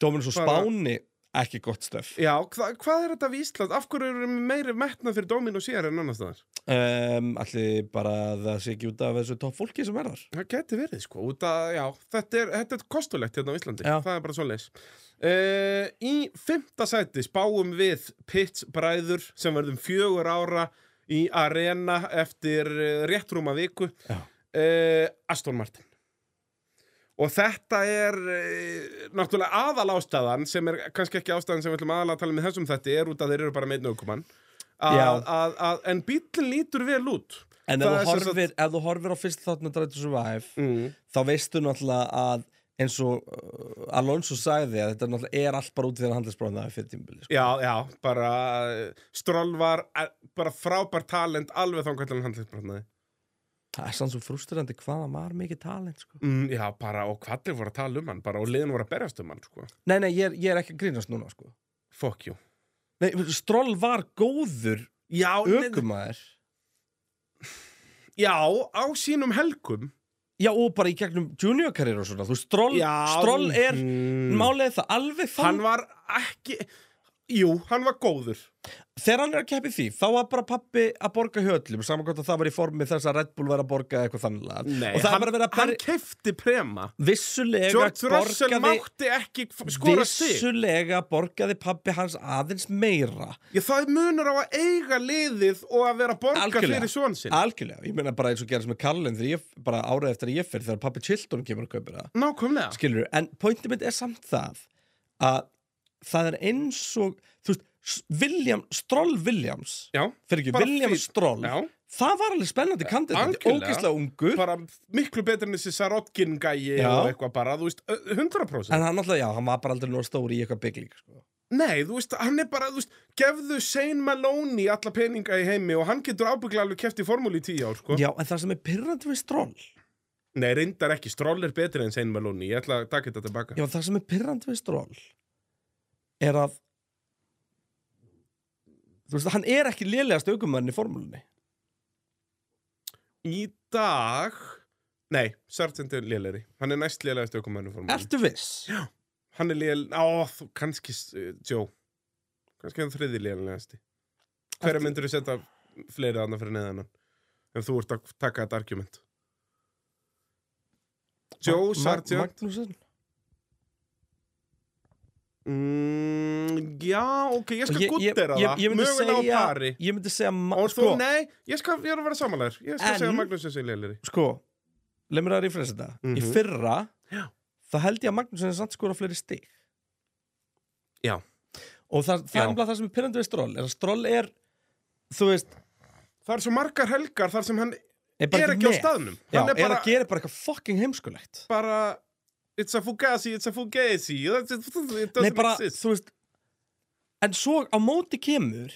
Dóminus og Bara- Spáni, ekki gott stöf Já, hva, hvað er þetta við Ísland? Af hverju eru meiri metnað fyrir Dominos hér en annars staðar? um, Allir bara að það sé ekki út af þessu topp fólki sem er þar Það geti verið, sko, út að, já, þetta er, þetta er kostulegt hérna á Íslandi, Já. það er bara svoleiðis. Uh, í fymta sæti spáum við Pitts bræður sem verðum fjögur ára í arena eftir eh, rétt rúma viku, Já. uh, Aston Martin. Og þetta er uh, náttúrulega aðal ástæðan sem er kannski ekki ástæðan sem við ætlum aðalega að tala með þessum þetta er út að þeir eru bara með naukumann. Já. En bíllinn lítur vel út. En ef Það er þú, sem sagt- horfir, ef þú horfir á fyrst þáttan að Drive to Survive Mm. þá veistu náttúrulega að eins og uh, Alonso sagði að þetta náttúrulega er allt bara út fyrir handlisbróðin það er fyrir tímbili sko. Já, já, bara eh, Stroll var eh, bara frábær talent alveg þangar til hann handlisbrotnaði það er sann svo frustrandi hvað hann var mikið talent sko. mm, Já, bara, og hvað allir voru að tala um hann bara, og liðin voru að berjast um hann, sko nei, nei, ég er, ég er ekki að grínast núna sko. Fuck you nei, Stroll var góður Já, Ökum. ökumæður já á sínum helgum já, og bara í gegnum juniorkarriður og svona þú, Stroll, já, Stroll er mm. mm, málið er það alveg þann Hann var ekki Jú, hann var góður þegar hann er að keppi því, þá var bara pappi að borga höllum, saman hvort að það var í formi þess að Red Bull var að borga eitthvað þannig lagað. og það hann, var bara að vera að hann berja- keifti prema vissulega George Russell borgaði- mátti ekki f- skora sig Vissulega borgaði pappi hans aðeins meira Já, það munar á að eiga liðið og að vera að borga Algjörlega. fyrir svon sinn Algjörlega, ég meina bara eins og gerðist með Karlin þegar ég, bara árið eftir að ég fyrir þegar pappi Chilton kemur að kaupir það Nákvæmlega Skilur, en pointi mitt er samt það að það er eins og þú veist, S- William, Stroll Williams Já, fyrir ekki, Bara William fín. Stroll já það var alveg spennandi kandidati, algjörlega. ógeðslega ungur bara miklu betur en þessi Sarotkin gæi Já. og eitthvað bara, þú veist, ö- 100% en hann alltaf, já, hann var bara aldrei nóg stóri í eitthvað bygglík sko. Nei, þú veist, hann er bara, þú veist, gefðu Shane Maloney alla peninga í heimi og hann getur ábygglega alveg keft í formúli í tíu ár, sko Já, en það sem er pyrrandi við Stroll Nei, reyndar ekki, Stroll er betur en Shane Maloney, ég ætla að taka þetta tilbaka Já, það sem er pyrrandi við Stroll er að þú veist, hann er ekki lélegast aukumann í formúlunni Í dag, nei, Sargent er lélæri, hann er næst lélægast aukumann í formúli Ertu viss? Já. Hann er lél, á, þú, kannski, uh, Joe, kannski hann þriði lélægasti Hverja Ertu- myndur þú setja fleiri annað fyrir neðan hann? En þú ert að taka þetta argument Joe Sargent Magnússon mm, Já, ok, ég Og skal guttera ég, það ég myndi Mögulega á segja, pari Ég myndi segja ma- Og þú, sko, nei, ég skal, ég er að vera samanlegar Ég skal En- segja Magnús sem segja lélæri sko, leið mér að rífresa þetta Mhm. Í fyrra Já. Það held ég að Magnússon er samt skora fleiri stig Já. og það, það Já. er umlað það sem er pyrrandi við stról er að stról er, þú veist Það er svo margar helgar þar sem hann er bara er ekki á staðnum Já, Hann er, er bara, að gera bara eitthvað fucking heimskulegt bara It's a fugazi, it's a fugazi It doesn't Nei, bara, exist þú veist En svo á móti kemur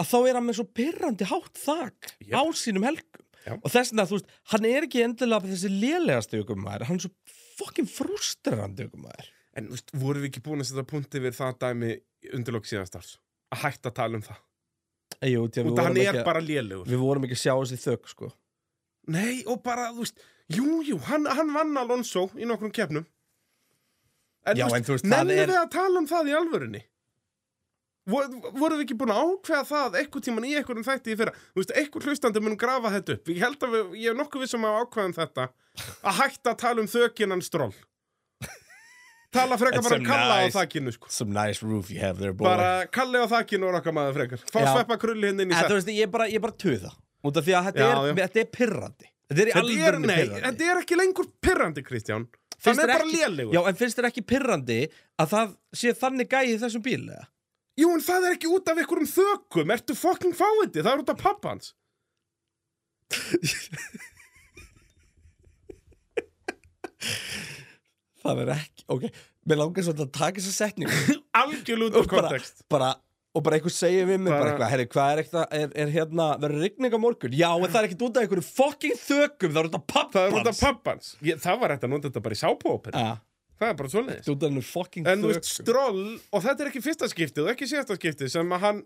að þá er hann með svo pyrrandi hátt þak Jep. á sínum helgum Já. og þess vegna, þú veist, hann er ekki endilega þessi lélegasti ykkur maður, hann er svo fucking frustrandi ykkur maður En þú veist, vorum við ekki búin að setja punkti við það dæmi undirlokk síðastars að hætta að tala um það Jú, tjá, við, Út að hann vorum er ekki, bara lélegur við vorum ekki að sjá þessi þök, sko Nei, og bara, þú veist, jú, jú, hann, hann vann Alonso í nokkrum keppnum En, Já, þú veist, en þú veist, það nennum er við að tala um það í alvörunni Vor, Vorum við ekki búin að ákveða það eitthvað tíman í eitthvað um þætti í fyrra Þú veist, eitthvað hlustandi mun grafa þetta upp Ég held að við, ég er nokkuð vissum að ákveðum þetta Að hætta að tala um þökinan stról Tala frekar It's bara a um kalla nice- á þakkinu, sko Some nice roof you have there, boy Bara kalli á þakkinu og okkar maður frekar Fá Já. sveppa krulli hinn En inn í þú sætt veist, ég er bara, ég er bara töða út af því að þetta, Já, er, já. þetta er pyrrandi Þetta er í Þetta er, alvörni nei, pyrrandi þetta er ekki lengur pirrandi, Kristján Finnst Hann er þér bara ekki- lélegur Já, en finnst þér ekki pyrrandi að það sé þannig gæi í þessum bíl, eða? Jú, en það er ekki út af einhverjum þökum, ertu fucking fáiði, það er út af pappans. Það er ekki, ok Mér langar svolítið að taka þessa setningu Algjörlega út af bara, kontekst. bara, Og bara eitthvað segja við mig bara, Bara- eitthvað, herri, hvað er eitthvað, er, er hérna verður rigning á morgun? Já, en það er ekkert út af einhverju fucking þökum, það er út af pappans Það er út af pappans. Ég, það var hægt að nota þetta bara í sápóoperi. Ja, Það er bara þetta svoleiðis. er út af einhverju fucking En þú veist, þökum Stroll, og þetta er ekki fyrsta skiptið og ekki síðasta skiptið sem að hann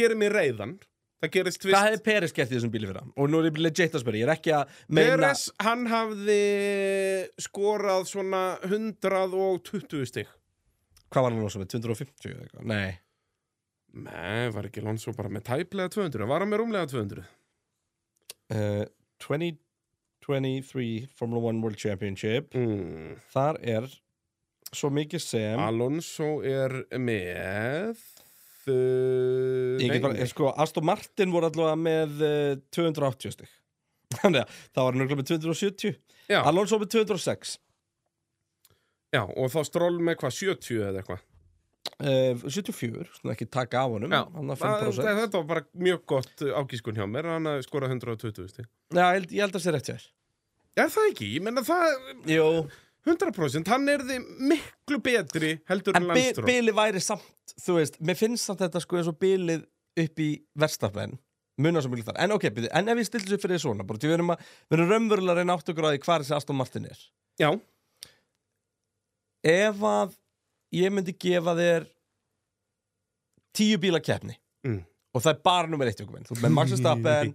gerir mér reyðan. Það gerist Hvað tvist. hefði Peres gert í þessum bíli fyrir hann? Og nú er ég legit að spyrja, ég er ekki að meina Peres, hann hafði skorað svona 120 stig. Hvað var hann nú sem er, 250 eða eitthvað? Nei Nei, var ekki Lonsó bara með tæplega 200, var hann með rúmlega 200? uh, 2023 Formula 1 World Championship Mm. Þar er svo mikið sem Alonso er með uh, Ég nei, get bara, nei. sko, Aston Martin voru allavega með uh, 280 stig Þannig að það var nörgulega með 270 Já. Alonso með 206 Já, og þá stról með hvað, 70 eða uh, eitthvað 74, svona ekki taka af honum hann að 5% Það- Þetta var bara mjög gott ágískun hjá mér hann hafði skorað 120 stig Já, ég held, ég held að sé rétt hjá þér Er það ekki? Ég menna það Jú, 100% hann er þið miklu betri heldur en en bi landstról bilið væri samt Þú veist, mér finnst samt þetta sko eins og bilið upp í verstafenn munar svo mikið þar, en ok, byrju, en ef ég stillis upp fyrir þér svona, bara því við erum að, við erum raunverulega að reyna átt okkur á því hvað þessi Aston Martin er Já, ef að ég myndi gefa þér tíu bíla keppni Mm. og það er bara nummer eitt okkur minn, þú ert með Max Verstappen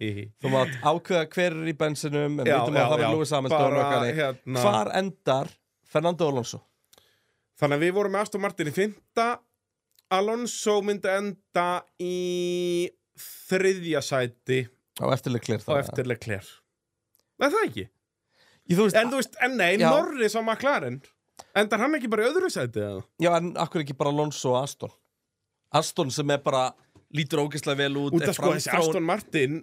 þú mátt ákveða hver er í bensinum en Já, veitum að já, það já. verður Lewis Hamilton bara, og okkar hérna. hérna, hvar endar Fernando Alonso Þannig að við vorum með Aston Martin í fymta Alonso myndi enda í þriðja sæti á eftirlega klir á það eftir Leclerc Nei, það ekki Ég, þú veist, En þú veist, en nei, Já. Norris á McLaren Endar hann ekki bara í öðru sæti eða? já en akkur ekki bara Alonso og Aston Aston sem er bara lítur ógeðslega vel út Út er af sko þessi framþróun- Aston Martin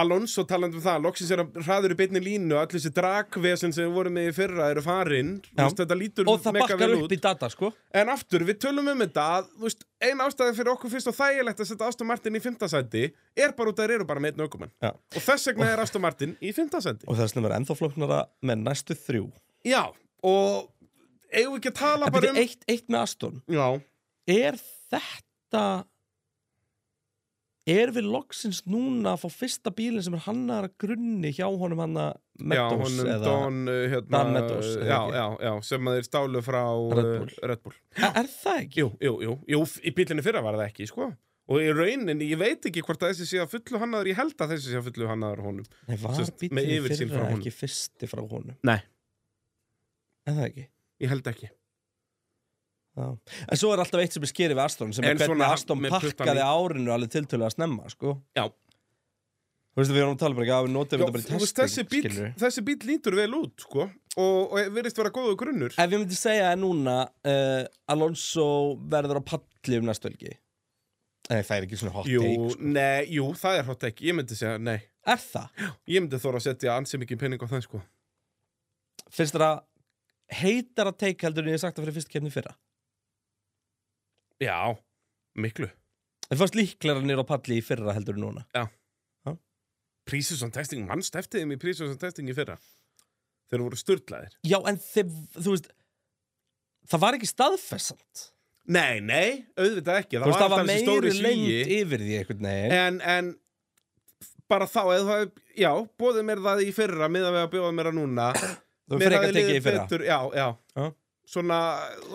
Alonso talandi um það, loksins er að hraður í beinni línu Allir þessi dragvesin sem við vorum með í fyrra eru farin Þú Já. veist, Þetta lítur og það mega bakkar vel upp út í data sko En aftur, við tölum um þetta að, þú veist, Ein ástæði fyrir okkur fyrst og þægilegt að setja Aston Martin í fymta sæti Er bara út að þeir eru bara með einn aukumann Já. Og þess vegna er Aston Martin í fymta sæti og það er snumur ennþá flóknara með næstu þrjú Já, og eigum við ekki að tala en bara byrju um eitt, eitt með Aston Já, er þetta er við loksins núna að fá fyrsta bílinn sem er hannar að grunni hjá honum hanna Meadows já, honum eða Don, uh, hérna, Dan Meadows, eða já, ekki? já, já, sem að þeir stálu frá Red uh, Bull. Red Bull. er, er það ekki? Jú, jú, jú, jú, f- í bílinni fyrra var það ekki, sko Og í raunin, ég veit ekki hvort að þessi sé að fullu hannaður, ég held að þessi sé að fullu hannaður honum Nei, var Sem sagt, með bílinn yfirsýn frá fyrra honum. ekki fyrsti frá honum? Nei. Er það ekki? Ég held ekki Já. En svo er alltaf eitt sem er skerið við Aston sem En er hvernig svona Aston með puttann pakkaði árinu alveg tiltölu að snemma, sko Já. Þú veistu, við erum að tala bara ekki að við notum Já, þetta bara í þú veist, testing, þessi, bíll, skilurðu. þessi bíl lítur vel út, sko Og, og virðist vera góðu grunnur Ef ég myndi segja að núna uh, Alonso verður á palli um næstu helgi Nei, það er ekki svona hot Jú, take sko. nei, jú, það er hot ekki, ég myndi segja, nei Er það? Ég myndi þóra að setja ansi mikið pening á það, sko Finnst þér að heitar að take heldur en ég hef sagt það fyrir fyrstu kefni fyrra? Já, miklu Það fannst líklega nýra á palli í fyrra heldur en núna Prísusson testing, mannst eftir þeim í Prísusson testing í fyrra Þeir voru sturlaðir Já, en þeim, þú veist Það var ekki staðfessant Nei, nei, auðvitað ekki Þú veist, það var alltaf þessi meiri stóri Eh, lengt sýgi. yfir því einhvern veginn en, en bara þá eða, það- Já, bóðið mér það í fyrra miðað við að bjóða mér að núna Þú Mér fyrir ekki hafði að tekið liðið í fyrra betur, Já, já Já. Svona,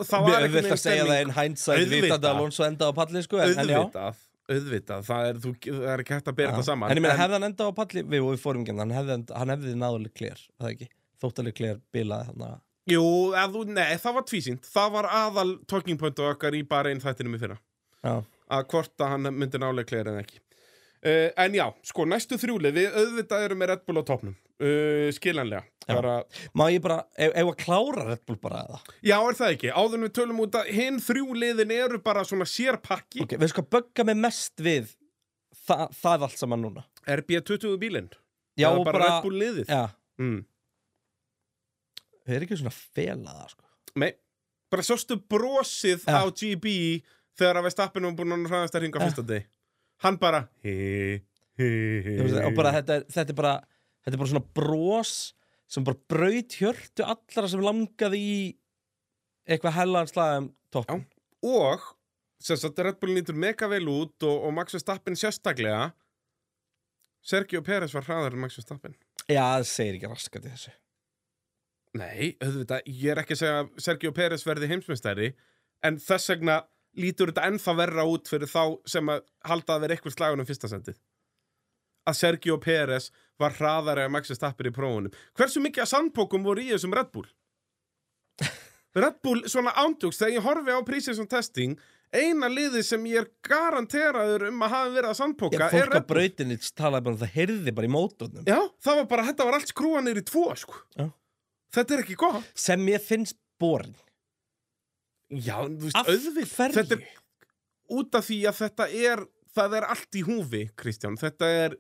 það var Við vilt að segja það einn hændsæð Auðvitað. vitandi að Alonso enda á palli sko, en, en já Auðvitað, auðvitað Það er, þú, það er ekki hægt að bera Já. þetta saman En ég meina, hefði hann enda á palli Við, við fórum ekki, hann hefði, hann hefði náðuleg klér Það ekki, þóttaleg klér bilaði þannig að Jú, að þú, nei, það var tvísýnt Það var aðal talking point okkar í bara einn þættinum í fyrra Já. Að hvort að hann myndi nálega klera en ekki uh, En já, sko, næstu þrjúlið Við auðvitað erum með Red Bull á topnum uh, Skiljanlega Já. bara, Má ég bara, ef, ef að klára Red Bull bara eða já, er það ekki? Áður en við tölum út að hinn þrjúliðin eru bara svona sérpakki Ok, við sko bögga mig mest við það, það allt saman núna RB20 bílinn Já, Það og er bara, Red Bull liðið Já, mm. við erum ekki svona felaða sko. Nei, bara sástu brosið Já. á GB Þegar að við stappinum búin að hraðast að ringa Já. fyrsta deg Hann bara Hei, hei, Þú veist, Og bara þetta, er- þetta er bara Þetta er bara svona brós sem bara braut hjörtu allra sem langaði í eitthvað hellanslæðum topp Já. og sem sagt Red Bull lítur mega vel út og, og Max Verstappen sérstaklega Sergio Pérez var hraðar en Max Verstappen Já, það segir ekki raskat í þessu Nei, auðvitað, ég er ekki að segja að Sergio Pérez verði heimsmyndstæri en þess vegna lítur þetta ennþá verra út fyrir þá sem að halda að vera eitthvað slagunum fyrsta sendið að Sergio Pérez var hraðar en Max Verstappen í prófunum Hversu mikið að sandbókum voru í þessum Red Bull? Red Bull svona ándjóks þegar ég horfi á prísið sem testing eina liði sem ég er garanteraður um að hafa verið að Já, sandbóka er Fólk á Red Bull brautinni talaði bara um það heyrði bara í mótunum Já, það var bara, þetta var allt skrúa niður í tvo sko. Já. Þetta er ekki gott sem ég finnst borin Já, þú veist, Af auðvitað hverju? Þetta er út af því að þetta er það er allt í húfi, Kristján þetta er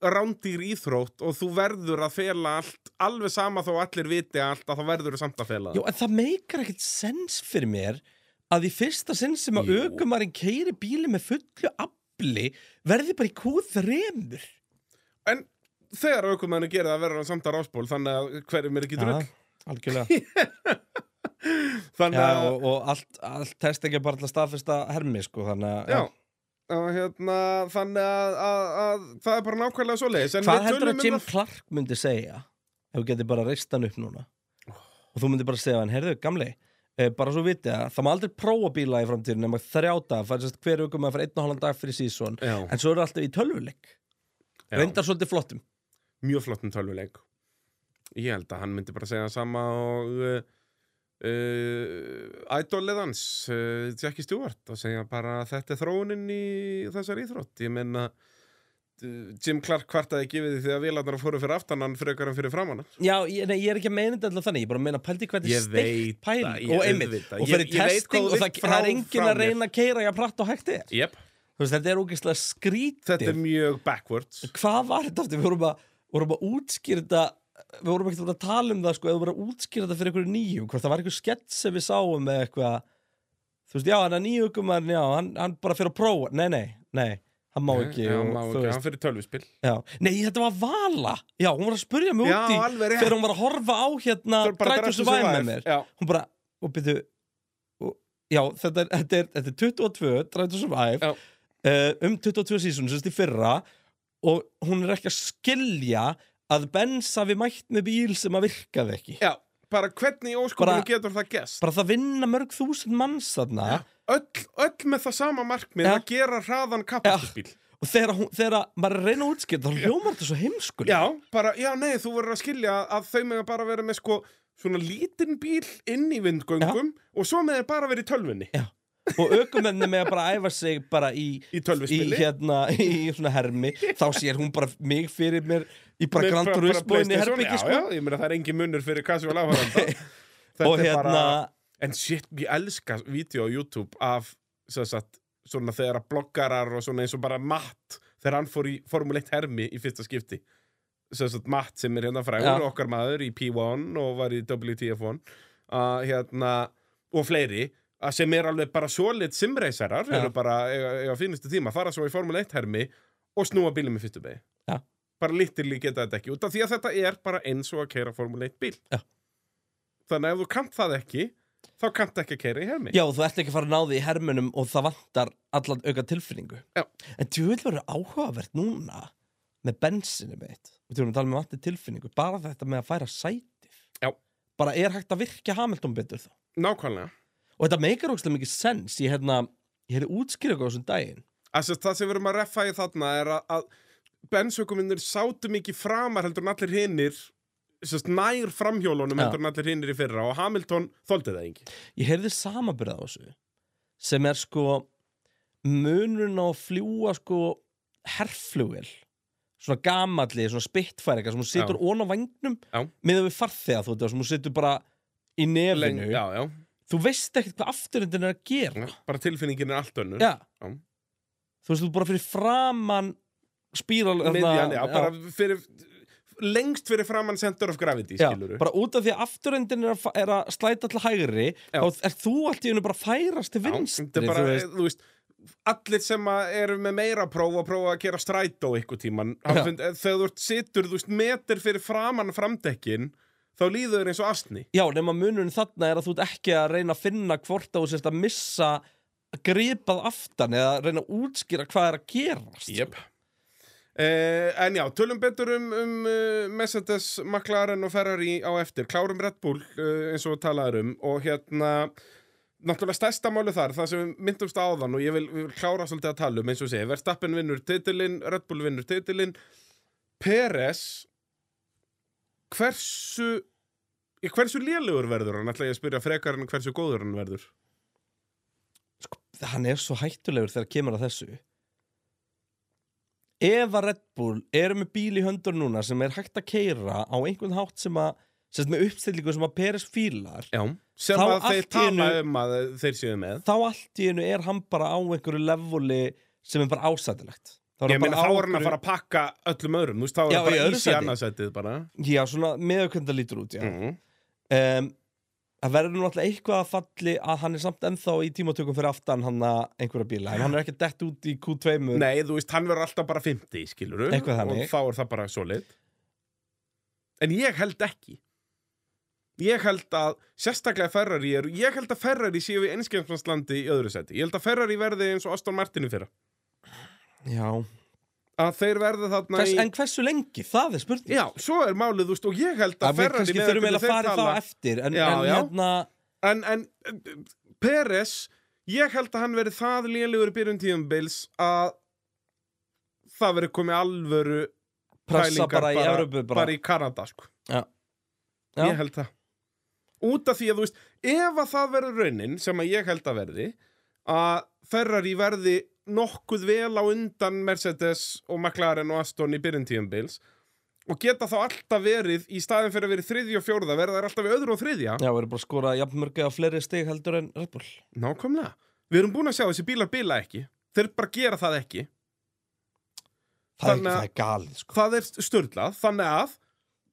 rándýr íþrótt og þú verður að fela allt alveg sama þó allir viti allt að þá verður þú samt að fela Jú, en það meikar ekkert sens fyrir mér að í fyrsta sinn sem að Jú. aukumarinn keiri bíli með fullu afli verði bara í Q3 það en þegar aukumennu gerir það verður hann samt að rásból þannig að hverjum er ekki drull algjörlega Já, þannig að, og, og allt, allt test ekki bara til að staðfesta hermi sko, þannig að já Og hérna, þannig að, að, að það er bara nákvæmlega svoleiðis en Hvað við heldur tölum að um Jim það- Clark myndi segja ef þú getur bara reist hann upp núna og þú myndir bara segja hann, heyrðu, gamli eh, bara svo vitið að það má aldrei prófa bíla í framtíðin nema þrjáta, hver aukum að fara einn og halvan dag fyrir síðan, Já, en svo eru alltaf í tölvuleik já. reyndar svolítið flottum mjög flottum tölvuleik ég held að hann myndi bara segja það sama og uh, uh, idolið hans uh, Jackie Stewart og segja bara þetta er þróunin í þessar íþrótt ég menna uh, Jim Clark kvartaði ekki við því þegar vélarnar fóru fyrir aftan hann frekar en fyrir framann hann. Já, ég, nei, ég er ekki að meina þetta alltaf þannig, ég er bara að meina pældi hvað þetta Ég er veit steikt það, pæling ég og einmitt, auðvitað. og Ég- fyrir ég veit hvað þú testing og vilt það, frá- það er engin frá að reyna að keira ég að prata og hægt er yep. Þú veist, þetta er ógeðslega skrítið þetta er mjög backwards hvað var þetta aftur, við vorum að, vorum að útskýra þetta við vorum ekkert að tala um það sko, eða við vorum að útskýra þetta fyrir einhverju nýjum hvort það var einhver skett sem við sáum með eitthvað þú veist, já, hann er nýjugumar já, hann, hann bara fyrir að prófa, nei, nei, nei hann má ekki, já, og, má þú ekki. hann fyrir tölvuspil já. nei, þetta var Vala, já, hún var að spurja mig já, út í alveg rétt þegar hún var að horfa á hérna Bara Drive to Drive to Survive með Survive, mér já. hún bara, og byrju og- já, þetta er, þetta er, þetta er 22 Drive to Survive Já. uh, um 22 season, sérst í fyrra og hún er ekki að skilja að Benz hafi mætt með bíl sem að virkaði ekki já, bara hvernig í óskopunum Bara- getur það gest bara það vinna mörg þúsund manns þarna öll, öll með það sama markmið Já. að gera hraðan kapastusbíl og þegar, hún, þegar að maður er að reyna að útskýra þá hljómar þetta svo heimskul Já, bara, já, nei, þú verður að skilja að þau með bara vera með sko svona lítinn bíl inn í vindgöngum og svo með þeir bara verið í tölvunni og aukumenni með að bara æfa sig bara í í í tölvuspili hérna, í svona hermi þá sér hún bara mig fyrir mér í bara Með Gran bara- bara Turismo inn í PlayStation, herbyggi Já, sko. já, ég meina það er engin munur fyrir casual áhörðanda og hérna En shit, ég elska vídeo á YouTube af sem sagt, svona þegar að bloggarar og svona eins og bara Matt þegar hann fór í Formule 1 hermi í fyrsta skipti sem sagt, Matt sem er hérna frægur Já. okkar maður í P1 og var í WTF1 uh, hérna, og fleiri að sem er alveg bara solid simreisarar Já. eru bara eiga, eiga fínustu tíma fara svo í Formule 1 hermi og snúa bílum í fyrstu begi Já. bara lítilí geta þetta ekki út af því að þetta er bara eins og að keira Formule 1 bíl Já. þannig að ef þú kant það ekki þá kant ekki að keira í hermi Já, þú ert ekki að fara að ná því í hermunum og það vantar allan auka tilfinningu. Já. En þú vil vera áhugavert núna með bensinu meitt. Og þú erum að tala með vantar tilfinningu. Bara þetta með að færa sætið. Já. Bara er hægt að virka Hamilton betur þá. nákvæmlega Og þetta meikar ógstlega mikið sens. Ég hérna, ég hefði útskýrað á þessum daginn. Þessi, það sem við erum að reffa í þarna er að, að bensökuminnir sátu mikið framar heldur en allir hinnir nær framhjólunum Já. heldur en allir hinnir í fyrra og Hamilton þoldi það engi Ég heyrði samabyrðað á þessu. Sem er sko munurinn á að fljúa sko herflugil. Svona gamalli, svona spittfæri eitthvað sem hún situr Já. ón á vangnum Já. miðað við farþega þú veit sem hún situr bara í nefinu já, já, þú veist ekkert hvað afturhendin er að gera Já, bara tilfinningin er allt önnur já. Já. þú veist þú bara fyrir framan spíral hérna, Miðjan, já, já, bara fyrir lengst fyrir framann center of gravity, já, skilur bara út af því að afturhendin er að, fa- er að slæta til hægri Já. þá er þú allt í hennu bara að færast til vinstri þetta er bara, þú þú veist. veist, allir sem að eru með meira próf og prófa að gera strætó eitthvað tíman, Já. fund, þegar þú ert situr, þú veist, meter fyrir framann framdekkin, þá líður þér eins og astni já, nema munurinn þarna er að þú ert ekki að reyna að finna hvort að þú sérst að missa gripað aftan eða reyna að útskýra hvað er að gerast Jep. Eh, en já, tölum betur um, um uh, Mercedes, McLaren og Ferrari á eftir, klárum Red Bull uh, eins og talaður um og hérna náttúrulega stærsta máli þar, það sem við myndumst á þann og ég vil, vil klára svolítið að tala um eins og segja, Verstappen vinnur titilinn, Red Bull vinnur titilinn Peres hversu í hversu lélugur verður hann, ætla ég að spyrja frekar en hversu góður hann verður hann er svo hættulegur þegar kemur að þessu ef að Red Bull eru með bíl í höndur núna sem er hægt að keira á einhvern hátt sem að sem sagt með uppstillingu sem að Peres fílar já. sem Þá að allt þeir í tala einu- um að þeir séu með þá allt í einu er hann bara á einhverju levoli sem er bara ásætilegt þá Ég meina bara þá á er hann að fara að pakka öllum öðrum, þú veist, þá er Já, hann í bara öðru ís í sæti. annarsætið bara. einhverju- já, svona meðaukvönda lítur út já. Mm. Mm. það verður nú alltaf eitthvað að falli að hann er samt ennþá í tímatökum fyrir aftan hann að einhverja bíla en hann er ekki dett út í Q2 -mur. Nei, þú veist, hann verður alltaf bara 50, skilur Eitthvað þannig. Og þá er það bara solid. En ég held ekki. Ég held að, sérstaklega Ferrari er, ég held að Ferrari séu í einskjöfnslandi í öðru sæti. Ég held að Ferrari verði eins og Aston Martin í fyrra. já, Að þeir verði þarna Hvers, í... en hversu lengi, það er spurning Já, svo er málið, þú veist, og ég held að að við Ferrari... kannski með þurfum hvernig eiginlega að þeir fara í tala- það á eftir en, Já, en já. hérna En, en uh, Peres, ég held að hann verið það lélugur í byrjun tíðumbils að það verið komið alvöru pressa pælingar bara í Evrópu bara, bara í Kanada, sko. Já. Ég held það. Út af því að, þú veist, ef að það verður raunin sem að ég held að verði, að Ferrari verði nokkuð vel á undan Mercedes og McLaren og Aston í byrjun tíðumbils og geta þá alltaf verið, í staðin fyrir að verið þriðja og fjórða, verða þær alltaf við öðru og þriðja. já, við erum bara að skora jafnmörg eða fleiri stig heldur en Red Bull Nákvæmlega. Við erum búin að sjá þessi bílar bila ekki. Þeir bara gera það ekki. það er, Þannig að- það er galið sko Það er störlað, þannig að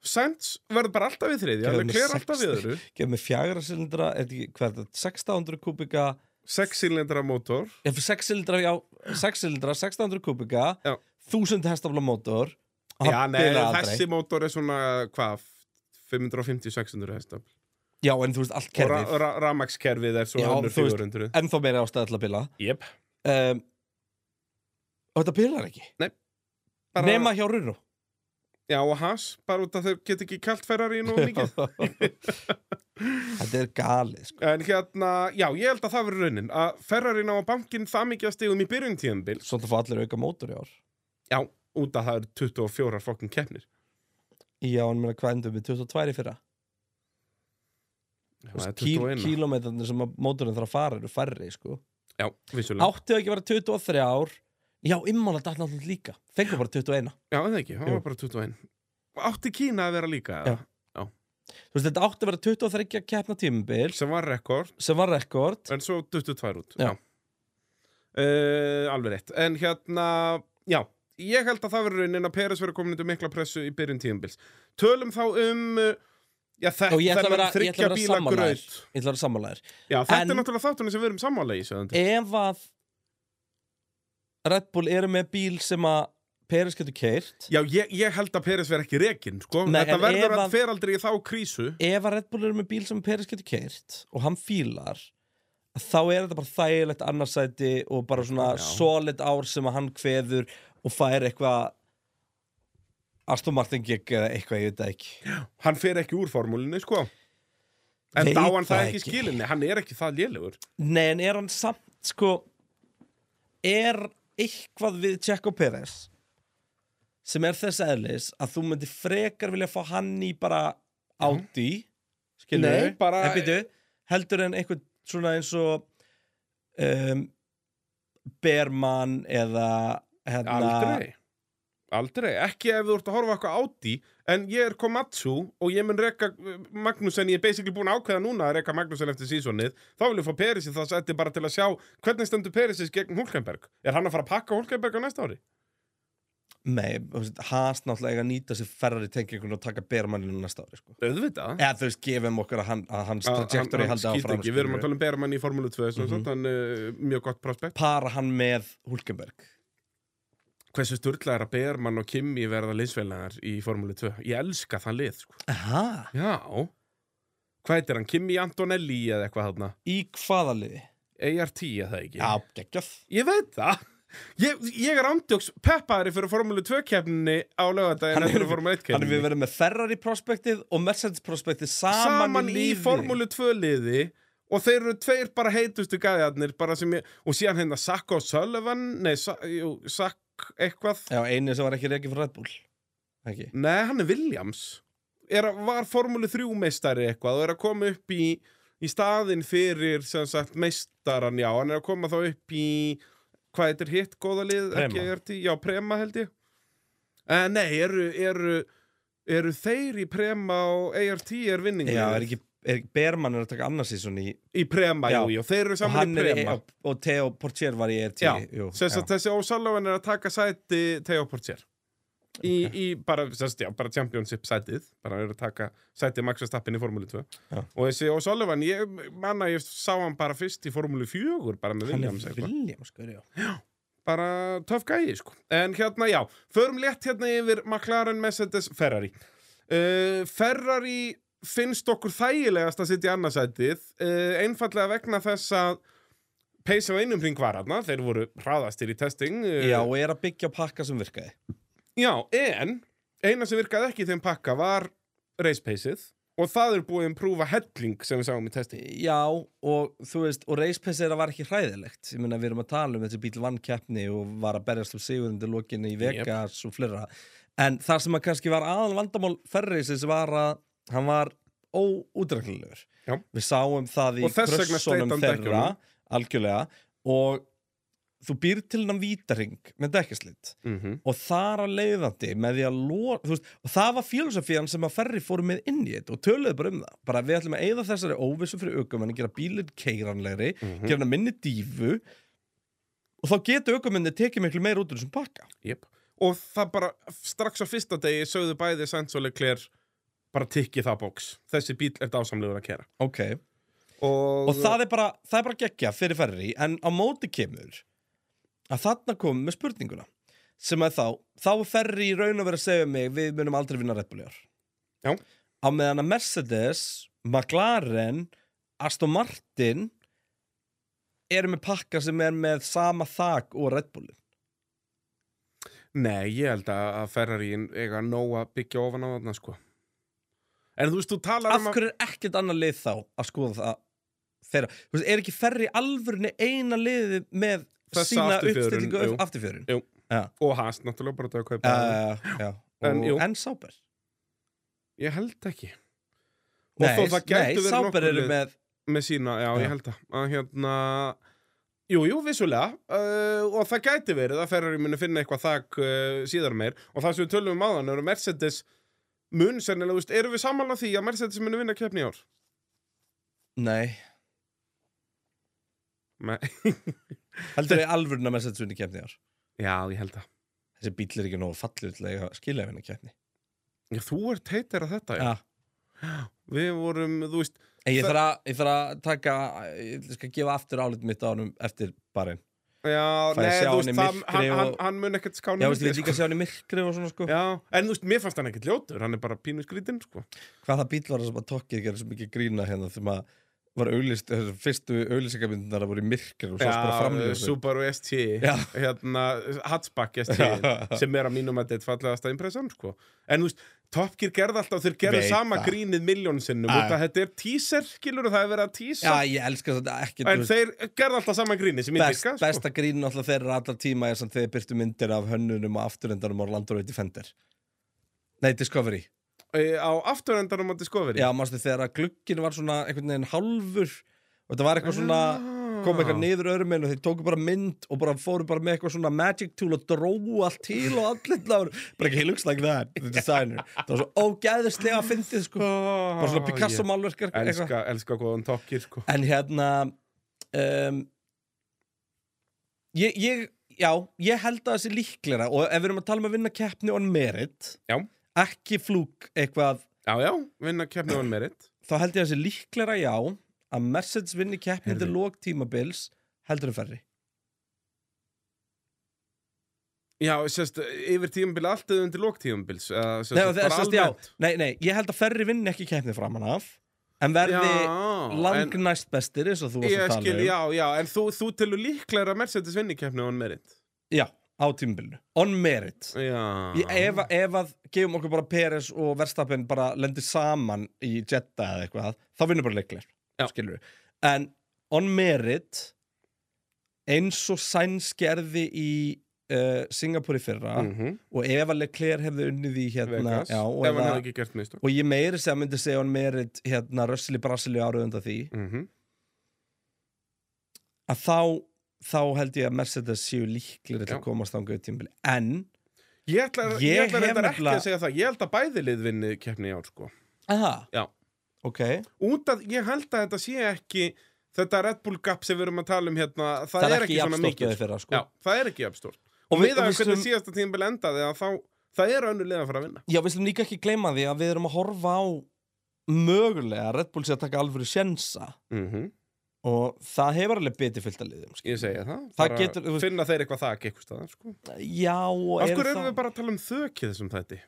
Sainz verður bara alltaf við þriðja, Gerðu alveg með klera sex- alltaf við öðru. gefum við fjagra silindra, er þetta ekki- hvað er þetta 1600 kubika, Sex sílindra mótor. ef 6 silindra já, 6 silindra, 1600 kubika Já. 1000 hestafla mótor og hann Já, nei, bilaði aldrei. þessi mótor er svona, hvað, 550-600 hestam. já, en þú veist, allt Og ra kerfið ra ramakskerfið er svo Já, önnur þú veist- 400. ennþá meira ástæða til að bila Jep. um, og þetta bilar ekki Bara, nema hjá Runo Já, og Haas, bara út að þau get ekki kalt Ferrari nú mikið. þetta er galið sko En hérna, já, ég held að það verður raunin að Ferrari ná að bankin það mikið að stigum í byrjun tíðanbils Svona fá allir auka mótor í ár Já, út að það eru 24 fokkin keppnir Já, en meina hvað endur við 22 í fyrra Já, Þú það er veist, kíl, 21. Kílómetrarnir sem að mótorinn þarf að fara eru færri sko. Já, vissulega Áttu það ekki að vera 23 ár Já, immála datt náttúrulega líka Fengur bara 21 Já, en það ekki, það Jú. var bara 21 Átti Kína að vera líka eða? Þú veist, þetta áttu að vera 23 keppna tímubil Sem var rekord, sem var rekord en svo 22 út Já. Eh, Alveg rétt En hérna, já Ég held að það verður raunin að Peres verður komin undir mikla pressu í byrjun tíðanbils Tölum þá um eh, Já, þe Og ég ætla að vera- þennan ég ætla að þryggja vera bíla sammála þér. gröð Ég ætla að vera sammálaðir. Já, þetta En- Eh- er náttúrulega þáttunum sem við erum sammála í sögandi. Ef að Red Bull eru með bíl sem að Peris getur keirt, Já, ég, ég held að Peres verð ekki rekin, sko. Nei, en Þetta verður ef að að- fer aldrei í þá krísu. ef að Red Bull eru með bíl sem Peris getur keirt og hann fílar, þá er þetta bara þægilegt annarsæti og bara svona Já. solid ár sem að hann kveður og fær eitthvað Aston Martin gig eða eitthvað, ég veit það ekki. Hann fer ekki úr formúlinu, sko. En Veit dá hann það það ekki ekki. skilinni, hann er ekki það lélugur. Nei, en er hann samt, sko Er eitthvað við Checo Pérez sem er þess eðlis að þú myndir frekar vilja fá hann í bara Mhm. Audi skilur Nei, bara- byrju, heldur en einhvern svona eins og um, Berman eða hérna, Aldrei. Aldrei. Ekki ef þú ert að horfa á eitthvað áti, en ég er Komatsu og ég mun reka Magnúsen, ég er basically búin að ákveða núna að reka Magnúsen eftir sísonið, þá vil ég fá Peris í það setti bara til að sjá hvernig stendur Perisis gegn Hulkenberg. Er hann að fara að pakka Hulkenberg á næsta ári? Nei, þú veist, hans náttúrulega eiga að nýta sér ferrari tengingun og taka Bermaninu næsta ári sko. Auðvitað. eða þú veist, gefum okkur að, hann, að hans Að- trajectory haldi skýt áfram ekki, við skilurðu. erum Mhm. að tala um Berman í Formule 2 mm -hmm. þannig uh, mjög gott prospekt para hann með Hulkenberg hversu sturla er að Berman og Kimi verða linsveilegar í Formule 2 ég elska það lið sko. Aha. já, hvað heitir hann, Kimi Antonelli eða eitthvað þarna Í hvaða liði? ART eða ekki Já, geggjað ég veit það Ég, ég er andjóks peppaðri fyrir Formule 2 keppninni á lögadaginn Hann er- en fyrir Formule 1 Þannig við keppninni. verðum með Ferrari prospektið og Mercedes prospektið saman, Saman í liði. Formule 2 liði og þeir eru tveir bara heitustu gæðarnir bara sem ég, og síðan hérna Sakko Sullivan, nei, Sa- jú, Sakk eitthvað Já, einu sem var ekki reikið frá Red Bull Ekki Nei, hann er Williams er, að- Var Formúlu 3 meistari eitthvað og er að koma upp í, í staðin fyrir sem sagt meistaran já, hann er að koma þá upp í hvað þetta er hitt góða lið Prema. ekki ERT, já, Prema held ég uh, Nei, eru, eru eru þeir í Prema og ART er vinningur Já, er ekki, er ekki Berman er að taka annars í svona í í Prema, Já. jú, jú, þeir eru Og saman hann í er í, Prema og, og Theo Portier var í ERT Já, jú, sem sagt þessi Ósalóan er að taka sæti Teo Portier í, í bara, sem sagt, já, bara championship sætið bara er að taka sætið Max Verstappen í Formúlu 2 Já. og þessi Ósalóan, ég manna ég sá hann bara fyrst í Formúlu 4 bara með Hann er Williams eitthvað Williams, sko, já bara töff gæi, sko en hérna, já, förum létt hérna yfir McLaren, Mercedes, Ferrari uh, Ferrari finnst okkur þægilegast að sitja í annarsætið uh, einfallega vegna þess að Pace á einum hring var hana, þeir voru hraðastir í testing eh, Já, og er að byggja á pakka sem virkaði Já, en eina sem virkaði ekki í þeim pakka var racepaceið og það er búið að prúfa helling sem við sáum í testi. Já, og þú veist, og reispessið var ekki hræðilegt Ég meina, við erum að tala um þessi bíl vann keppni og var að berjast um sigurundir lokinni í Vegas og fleira En það sem að kannski var aðal vandamál ferriðsins var að hann var óútræknilegur Já. Við sáum það í Og þess vegna sleit krössunum hann þeirra dekkjunum. algjörlega og þú býr til hann vítaring með dekkislit Mm -hmm. og þar að leiðandi með því að lóra veist, og það var fílosofían sem að ferri fóru með inn í þetta og töluðu bara um það bara við ætlum að eyða þessari óvissu fyrir aukumenni gera bílinn keiranlegri, Mhm. gera hann minni dífu og þá getur aukumenni tekið miklu meir út úr þessum pakka Yep. Og það bara strax á fyrsta degi sögðu bæði Sainz og Leclerc bara tikki það bóks. Þessi bíl er dásamlegur að kera. ok, Og, og það er bara það er bara geggja fyrir ferri en á móti kemur að þarna komum við með spurninguna sem að þá, þá er ferri í raun og verið að segja mig við munum aldrei vinna reppuljar Já. á meðan að Mercedes, McLaren Aston Martin eru með pakka sem er með sama þak og Red Bullin Nei, ég held að að Ferrari eiga nóg að byggja ofan á þarna, sko. En þú veist, þú talar af um að... hverju er ekkert annað lið þá að skoða það þeirra, þú veist, er ekki ferri alvörni eina liðið með Þessa sína afturfjörun, uppstillingu jú. af- afturfjörin Og hast, náttúrulega, bara til að kaupa... uh, já, En, jú. og, en Sáber Ég held ekki. Og Nei, þó það gætu nei verið nokkur Sáber eru lið. með með sína, já, Já. ég held að, að hérna, jú, jú, vissulega uh, og það gæti verið að Ferrari muni finna eitthvað þak uh, síðar meir og það sem við tölum um áðan eru Mercedes mun sennilega, þú veist, eru við samanlega því að Mercedes muni vinna keppni í ár? Nei, Me heldur við alvörna með setjum í kemni ár já, ég held að Þessi bíl er ekki nógu fallið til að skilja henni kemni Já, þú ert heitir að þetta, já. Já, Við vorum, þú veist, En ég þarf að, ég þarf að taka, ég skal gefa aftur álit mitt á honum eftir barinn. já, Fær að nei, sjá þú hann í veist, það, myrkri hann, hann, og- hann mun ekkert skána sko. Já, veist, ég vil líka sjá hann í myrkri og svona, sko. Já, en þú veist, mér fannst hann ekkert ljótur, hann er bara pínu skrítinn, sko. Hvað það bíl var það sem að tokkið gerir svo mikið grína hérna þegar maður var auðlist, þessar fyrstu auðlýsingamyndunar að voru í myrkri og svo bara eh, framlýður. Subaru ST, Já. hérna, Hatchback ST, Já. sem er að mínum að þetta fallegasta impressan, sko. En þú veist, Top Gear gerði alltaf, þeir gerðu Veit sama það. grínið miljón sinnum, Já. út að þetta er teaser, skilur, það er verið að teaser. Já, ég elska þetta ekki. en þeir gerðu alltaf sama grínið sem ég best, virka, sko. besta grín alltaf þeirra allar tíma er sem þeir byrtu myndir af hönnunum og afturrendanum á Land Rover Defender. Nei, Discovery. Eh, Á afturöndanum á Discovery. Já, mástu þegar að glugginn var svona einhvern veginn hálfur og þetta var eitthvað svona... kom Ah. eitthvað niður öðrum minn og þeir tóku bara mynd og bara fóru bara með eitthvað svona magic tool og dróu allt til og allir lágur bara ekki, he looks like that, the designer það var svo ógæðislega að fyndið sko Oh, bara svona Picasso ég málverkar eitthvað Elska, elska góðan tokkir sko en hérna um, ég, ég, já, ég held að það sé líklega og ef við erum að tala um að vinna keppni on merit Já. ekki flúk eitthvað Já, já, vinna keppni on merit þá held ég að það sé líklega já að Mercedes vinni keppni til Heyrðu. lók tímabils heldur en ferri Já, sérst, yfir tímabili allt eða undir lók tímabils uh, sérst, Nei, og það- sérst, já, nei, nei, ég held að ferri vinni ekki keppni framan af En verði en, langnæst bestir eins og þú varst Ég að tala skil, um já, já, en þú, þú telur líklega að Mercedes vinni keppni on merit Já, á tímabilinu, on merit Já Ég, ef, að- ef að gefum okkur bara Peres og Verstappen bara lendir saman í Jetta eða eitthvað þá vinnur bara leiklir, Já. skilur við En on merit eins og Sainz gerði í uh, Singapur í fyrra Mhm, og ef að leiklir hefði unnið í hérna Vegas, já, og, ef hann hefði eða, ekki gert mistök og ég meiri sem myndi segja on merit hérna Russell í Brasilíu árið undan því Mhm. að þá þá held ég að Mercedes séu líklir til Já. að komast þangað í tímbili en Ég ætla, ég Ég ætla hef reyndar ekki nefnilega- að segja það Ég held að bæði lið vinni keppni í ár sko Aha. Já. ok það, út að ég held að þetta sé ekki þetta Red Bull gap sem við erum að tala um hérna, það, er ekki svona jafnstórt mikið við fyrra já, sko. það er ekki jafnstórt og og við, við að við, hvernig slum, síðasta tíðan bila endaði að þá, það er önnur liða að fara að vinna já, við slum líka ekki gleyma því að við erum að horfa á mögulega að Red Bull sé að taka alvöru sjensa Mhm. -hmm. og það hefur alveg biti fyllt að liðum skil. ég segja það, Það Bara getur- þú- finna þeir eitthvað þak eitthvað staðar sko. já, og af hverju eru erum þá við bara að tala um þök í þessum þætti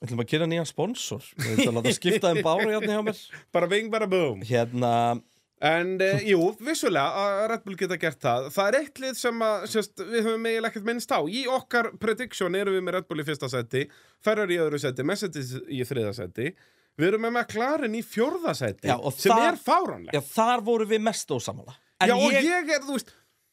við ætlum að kynna nýjan sponsor við ætlum að láta skipta um báru hérna hjá mér bara ving bara boom hérna, en e, jú, vissulega að Red Bull geta gert það það er eitt lið sem að, sérst, við höfum eiginlega ekkert minnst á í okkar prediction erum við með Red Bull í fyrsta seti Ferrari í öðru seti, Mercedes í þriða seti við erum með McLaren í fjórða seti Já, og sem það- er fáránlegt já, þar voru við mest ósamála en, Já, og ég, ég er, þú veist,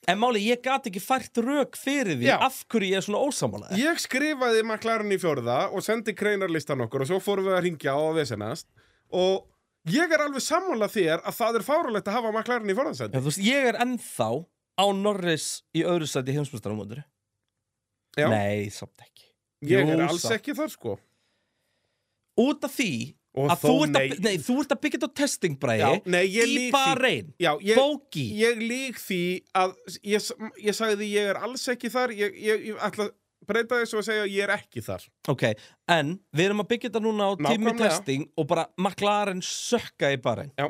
en máli, ég gat ekki fært rök fyrir því Já. af hverju ég er svona ósamála Ég skrifaði McLaren í fjórða og sendi kreinarlistan okkur og svo fórum við að ringja og að vesenast og ég er alveg sammála þér að það er fárulegt að hafa McLaren í Já, fjórðasendi. þú veist, ég er ennþá á Norris í öðru sæti heimsmyndstarumótur Já, Nei, samt ekki ég er jú, alls satt. ekki þar sko. Út af því Og að þú ert, nei. Að, nei, þú ert að byggja þetta á testingbræði Já, nei, ég í lýg því. Bahrein, Já, ég, bóki ég lík því að ég, ég sagði því ég er alls ekki þar, ég, ég, ég ætla að breyta þessu og segja að ég er ekki þar. Ok, en við erum að byggja þetta núna á tími Nákvæmlega. testing og bara McLaren sökka í Bahrein Já.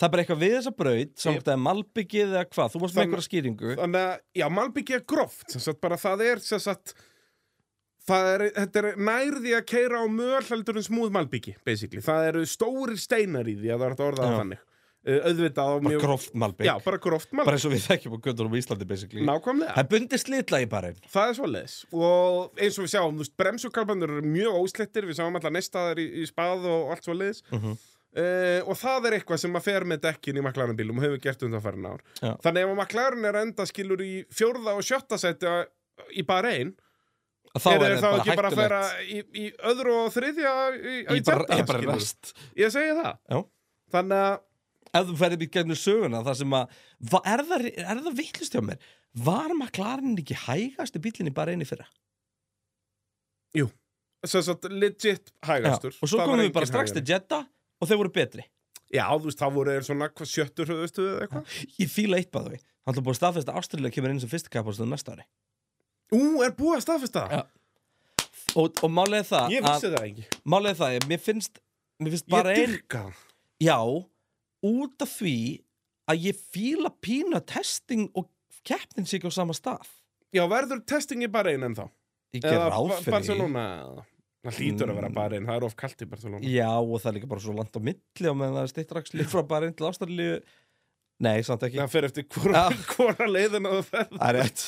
Það er bara eitthvað við þessa braut, samt að malbyggið eða hvað, þú varst með Þann- einhverja skýringu Þannig að, já, malbyggja er gróft, sem sagt bara það er, sem sagt, það er, þetta er nærði að keira á möl heldur en smúð malbyggi, basically. Það eru stórir steinar í því að það er hægt að orða Já. það þannig. Uh, auðvitað á Bara mjög... gróft malbygg, Já, bara gróft malbyggi. bara eins og við þekkjum á göttunum í Íslandi basically Nákvæmlega. Það er bundið slitla í Bahrein Það er svoleiðis og eins og við sjáum, þú veist, bremsukalbandur eru mjög óslettir, við sjáum alltaf nestaðar í, í spað og allt svoleiðis Mhm. Eh, og það er eitthvað sem að fer með dekkin í McLaren bílum og hefur gert undanfærin ár Já. Þannig ef að McLaren er að enda skilur í fjórða og sjötta seti að- í bara einn, Þá er er þeir þá þetta ekki bara að færa hættulegt í, í öðru og þriðja í, í Ég bara, Jeddah, ég bara skilurðu? rest Ég segi það Já. Þannig að, Ef þú ferðir mér gegnum söguna þar sem að va- Er það, er það vittlust hjá mér? Var McLaren ekki hægast í bílinni bara einu fyrra? sem sagt, legit Já, hægastur og svo Það var komum við enginn bara strax til hægari. Jeddah og þeir voru betri Já, þú veist, þá voru þeir svona hvað, sjöttur höfðustu eða eitthvað Ég fíla eitt bæðu við Hann ætla búið að staðfesta að Ástralja kemur inn sem fyrsta kapastöðum næsta ári Ú, er búið að staðfesta það? Já. Og, og málega það Ég að, vissi það ekki Málega það, að mér finnst mér finnst bara ég ein dyrka hann. já, út af því að ég fíla pínu að testing og keppnin sé ekki á sama stað Já, verður testingi bara einn ennþá ég ger ráð Ba- fyrir því. Barcelona Það hlýtur að vera Mm. bara einn, það er of kalt í Barcelona já, og það er líka bara svo langt á milli og meðan það er stittraksli frá bara einn til ástæðlíu nei, samt ekki, Það fer eftir hvora, Já. hvora leiðin að það ferð það er rétt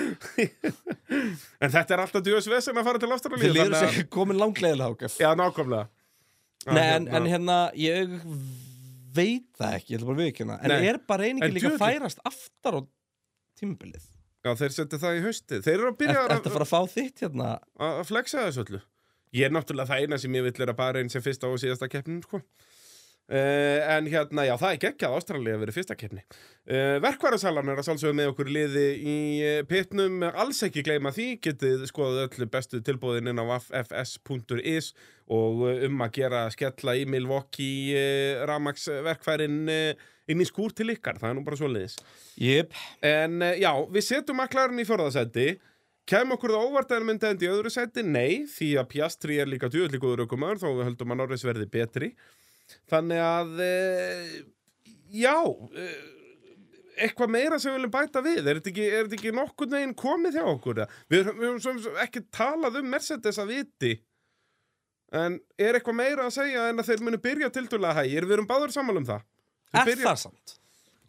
En þetta er alltaf djöðs vesen að fara til Ástralíu þið líður þannig sér að- ekki komin langleiðilega ágæf Já, nákvæmlega Já, Nei, en, en hérna- hérna, ég veit það ekki, ég ætla bara að viðkjöna En Nei. er bara En einingi líka að djöfull- færast aftar á tímabilið? Já, þeir setja það í haustið Þeir eru að Er byrja að, þetta að fara að fá þitt hérna? að, að flexa þessu öllu Ég er náttúrulega það eina sem ég vill er að bara einn sem fyrsta og síðasta keppnin sko. uh, En hérna, já, það er geggjað Ástralíu að vera fyrsta keppni uh, Verkværasalan er að sjálfsögum með okkur í liði í eh, pitnum Alls ekki gleyma því, getið skoðað öllu bestu tilbúðin inn á ffs.is Og eh, um að gera skella í Milwaukee uh, Ramax verkværin uh, inn í skúr til ykkar Það er nú bara svo liðis Jep, En eh, já, við setjum maklarinn í fjórðasæti Kem okkur það óvart en myndi enda í öðru sæti? Nei, því að Piastri er líka djúðlíkuður aukumöður þó við höldum að Norris verði betri Þannig að, e, já, e, eitthvað meira sem við viljum bæta við Er þetta ekki, er þetta ekki nokkurn veginn komið hjá okkur? eða? Við höfum- við höfum svo sem ekki talað um Mercedes að viti En er eitthvað meira að segja en að þeir munu byrja tildulega hægir? Við erum báður sammála um það Þeir er byrja- það samt?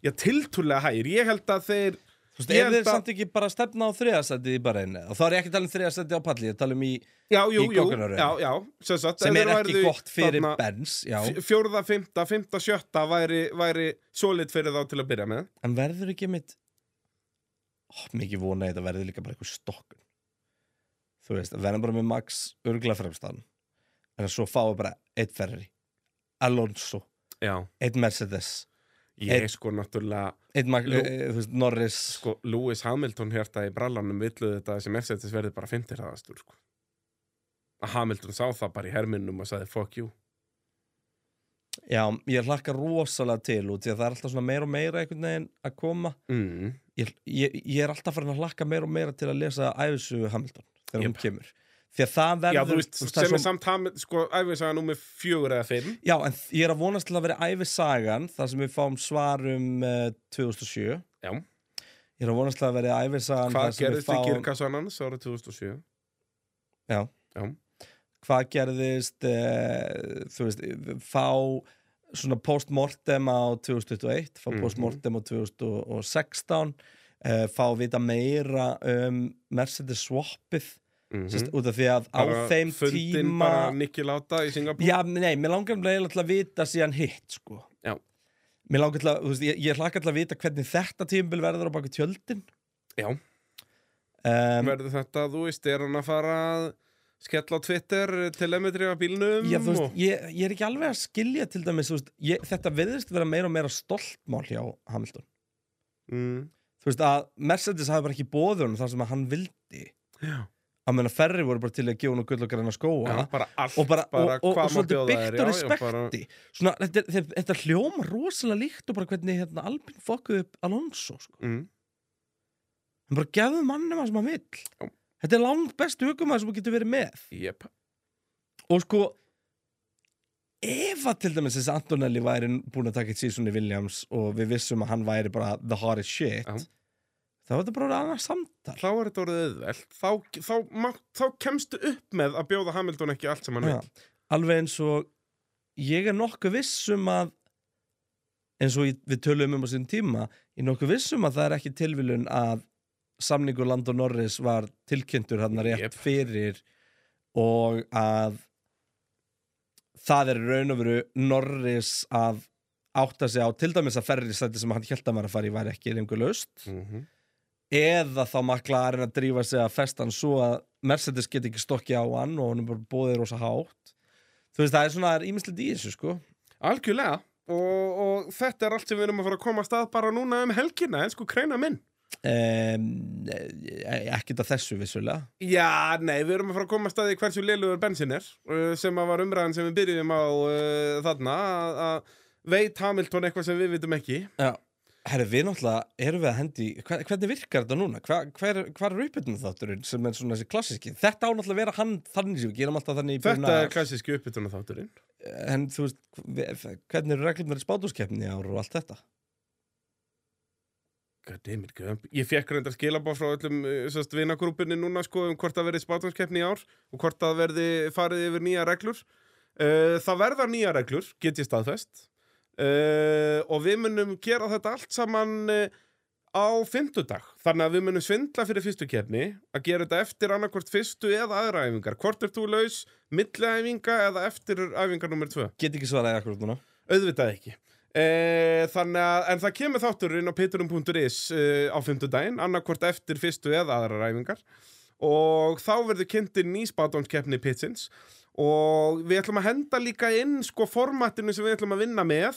Já, tildulega hægir, ég held að þeir Þú veist, Ég er held þeir að- samt ekki bara að stefna á þriðasætið í bara einu? Og þá er ég ekki að tala um þriðasætið á palli, ég tala um í Já, í jú, jú, goggunaröðinni. já, já, sem sagt sem ef er þeir ekki væru gott fyrir þarna Benz, já f- Fjórða, fymta, fymta, sjötta væri, væri solid fyrir þá til að byrja með En verður ekki mitt Ó, mikið vona ég þetta verður líka bara eitthvað stokkun Þú veist, verðum bara með Max örgla fremstan En svo fáum við bara eitt Ferrari Alonso, Já, eitt Mercedes ég Einn- sko náttúrulega Eitt Mag Jú. e, e, þú veist, Norris sko, Lewis Hamilton hérta í brallanum villuð þetta sem Mercedes verði bara fymtir aðastur sko. að Hamilton sá það bara í herminnum og sagði fuck you Já, ég hlakka rosalega til út Því að það er alltaf svona meira og meira einhvern veginn að koma mm. Ég, ég, ég er alltaf farin að hlakka meira og meira til að lesa æfisugu Hamilton Þegar Jep. hún kemur Því að það verður Já, þú veist, það er sem er svo- samt Hamilton sko, æfisaga númer fjögur eða fimm Já, en þ- ég er að vonast til að vera æfisagan þar sem við fáum svar um uh, 2007 Já. Ég er að vonast til að vera æfisagan Hvað þar sem við gerðist í fáum- kirkassan hans ára 2007? Hvað gerðist uh, þú veist, eh, fá svona postmortem á 2021 fá Mhm. postmortem á 2016 uh, fá að vita meira um Mercedes swappið Mm mm út af því að á Bara þeim fundin tíma bara Nicky Lauda í Singapur Já, nei, mér langar um leiðilega til að vita síðan hitt, sko. Já. Mér langar til að, þú veist, ég, ég hlakka til að vita hvernig þetta tímbil verður á baku tjöldin. Já. Um, verður þetta, þú veist, er hann að fara að skella á Twitter telemetri á bílnum já, þú veist, og... ég, ég er ekki alveg að skilja til dæmis, þú veist, ég, þetta viðist vera meira og meira stoltmál hjá Hamilton. mm, Þú veist, að Mercedes hafi bara ekki bóður honum þar sem að hann vildi. já, Að menna ferri voru bara til að gefa hún og gull og græna skóa. bara allt og bara, bara og, og, hvað og má svolítið bjóða þér, byggt á já, já, bara- respekti svona, þetta, er- þetta, þetta hljóma rosalega líkt og bara hvernig hérna, Albin fokkuð upp Alonso sko. mm, hann bara gefðu mannum að sem hann Já. vill þetta er langt bestu aukumæður sem hann getur verið með yep. og sko ef að til dæmis þessi Antonelli væri búin að taka eitt síðan í Williams og við vissum að hann væri bara the hottest shit Já. þá er þetta bara orðið annað samtal þá er þetta orðið auðvelt þá, þá, þá, þá kemstu upp með að bjóða Hamilton ekki allt sem hann Já, vil alveg eins og ég er nokkuð viss um að eins og ég- við töluðum um á sín tíma ég er nokkuð viss um að það er ekki tilviljun að samningur Landon Norris var tilkynntur hann rétt Jep. fyrir og að það er í raun og veru Norris að átta sig á til dæmis að ferri sætti sem hann held að var að fara í var ekki lengur laust mm eða þá makla að reyna að drífa sig að festa hann svo að Mercedes get ekki stokki á hann og hann er bara bóðið rosa hátt þú veist það er svona, það er ímislegt í þessu sko algjörlega og, og þetta er allt sem við erum að fara að koma að stað bara núna um helgina, en sko kreina minn um, e, ekkert að þessu vissulega Já, nei, við erum að fara að koma að staði hversu lélugur bensin er uh, sem að var umræðan sem við byrjuðum á uh, þarna að- að veit Hamilton eitthvað sem við vitum ekki Já. herri, við náttúrulega erum við að hendi hva, hvernig virkar þetta núna? Hva, hver, hver er uppbytun þátturinn sem er svona þessi klassíski? Þetta á náttúrulega að vera hann þannig sem við gerum alltaf þannig í Þetta byrjun er klassíski uppbytuna þátturinn. að- en þú veist, við- hvernig eru reglum verið spátuskeppni ár og allt þetta? Goddammit, Gump. Ég fekk reyndar skilabá frá öllum eh, sest, vinagrúpinni núna sko um hvort það verði spátumskeppni í ár og hvort það verði farið yfir nýja reglur. Uh, það verða nýja reglur, get ég staðfest. Uh, og við munum gera þetta allt saman uh, á fimmtudag. Þannig að við munum svindla fyrir fyrstu keppni að gera þetta eftir annarkvort fyrstu eða aðra æfingar. Hvort er þú laus, milli æfinga eða eftir æfingar nummer tvö? Get ekki svaraði akkur núna Auðvitað ekki e, Þannig að, en það kemur þátturinn á piturum.is e, á fimmtudaginn, annarkvort eftir fyrstu eða aðra ræfingar og þá verður kynntir ný spátumskeppni pitsins og við ætlum að henda líka inn sko formatinu sem við ætlum að vinna með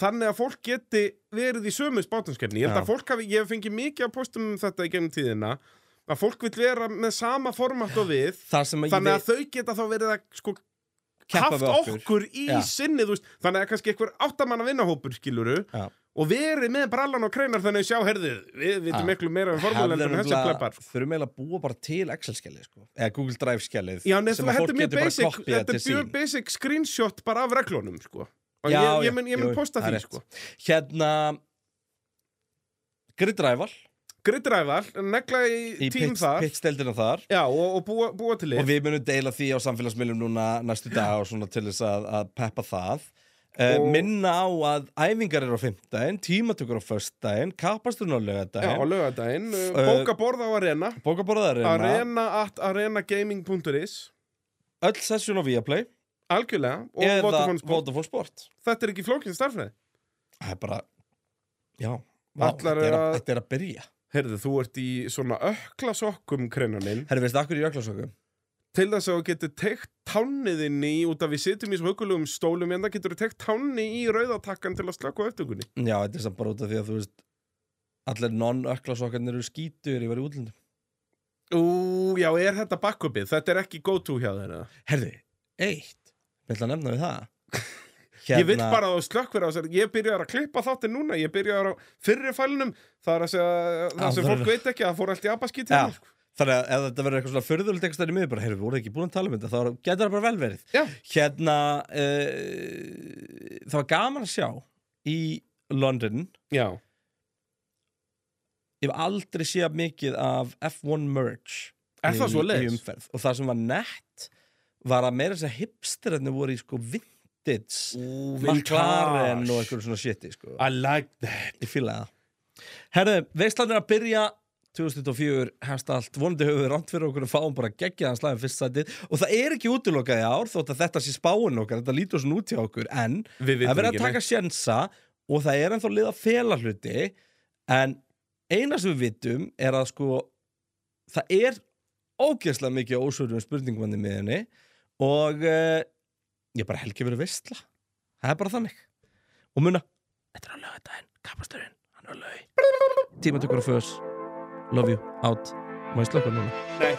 þannig að fólk geti verið í sömu spátumskeppni ég held Já. að fólk hafi, ég hef fengið mikið að postum um þetta í gegnum tíðina að fólk vil vera með sama format og við Þar sem að ég þannig að veit þau geta þá verið að sko keppa haft við okkur, okkur, í Já. sinni þú veist, þannig að kannski einhver áttamanna vinnahópur skiluru Já. og verið með brallan og kreinar þannig að sjá herðið, við Já. vitum miklu meira um formúlendur en þessi sko. kleppar þurfum eiginlega að búa bara til Excel-skjalið sko. eða Google Drive-skjalið Já, nefnir, sem að þetta fólk er mjög getur bara basic, kopjað þetta til er mjög sín basic screenshot bara af reglunum sko. og Já, ég, já, ég mun, ég mun jú, posta það er því rétt. sko. hérna Gridræval Gridræval, negla í í tím þar pitsteldina þar Já, og, og búa, búa og til lið við munum deila því á samfélagsmiðlum núna næstu dag og svona til þess að, að peppa það Uh, Og- minna á að æfingar eru á fimmtudaginn, tímatökur á föstudaginn, kapasturinn á Já, á lögadaginn, lögadaginn, F- bóka borð á Arena bókaborðarinn, Arena at arenagaming.is öll sessjón á Viaplay Algjörlega, og eða Vodafone Sport Vodafone Sport. Þetta er ekki flókinn starfræði Það er bara, já, vá, Allar þetta, er að, að- þetta er að byrja. Herðu, þú ert í svona ökla sokkum kreinaninn Herri, veistu, akkur í öklasöku? til þess að þú getur tekt tániðinni í út af við sitjum í svo hugulugum stólum en það getur þú tekt táni í rauðatakkan til að slöku öftugunni. Já, þetta er samt bara út af því að þú veist, allir non-öklasokkarnir eru skítur yfir í útlundum. Ú, já, er þetta bakkupið? Þetta er ekki go-to hjá þeirra. Herri, eitt, vil það nefna við það? Hérna. Ég vil bara að þú slökkver á þessar. Ég byrjar að klippa þáttin núna, ég byrjar á fyrri fælinum, það er að segja, Já, það sem það fólk er- veit ekki að það fór allt í hérna, sko. abaskítið. Já. Þannig að ef þetta verður eitthvað svona furðulegt eitthvað stærri miður bara, heyrðu, voru ekki búin að tala um þetta, þá er- getur það bara vel verið. Já. Hérna, uh, það var gaman að sjá í London, Já. ég hef aldrei séð mikið af F1 merch Er það í- svo í leiðis? umferð. Og það sem var nett var að meira þess að hipsterarnir voru í sko vintage, McLaren og eitthvað svona shiti, sko. I like that. Ég fíla það. Herðu, veistlan er að byrja 2024, hefst allt, vonandi höfum við rámt fyrir okkur að fáum bara geggjaðan slæðin fyrst sætið og það er ekki útilokað í ár þótt að þetta sé spáin okkar, þetta lítur svona út hjá okkur en Við það vitum verður ekki að taka sjensa og það er ennþá lið að fela hluti en eina sem við vitum er að sko það er ógeðslega mikið ósvörum spurningum með henni og uh, ég bara helgi verið veistla það er bara þannig og muna, þetta er á lögadaginn, kapasturinn hann er á lögi tímatökur á föðs, love you, out má ég slökka núna Nei.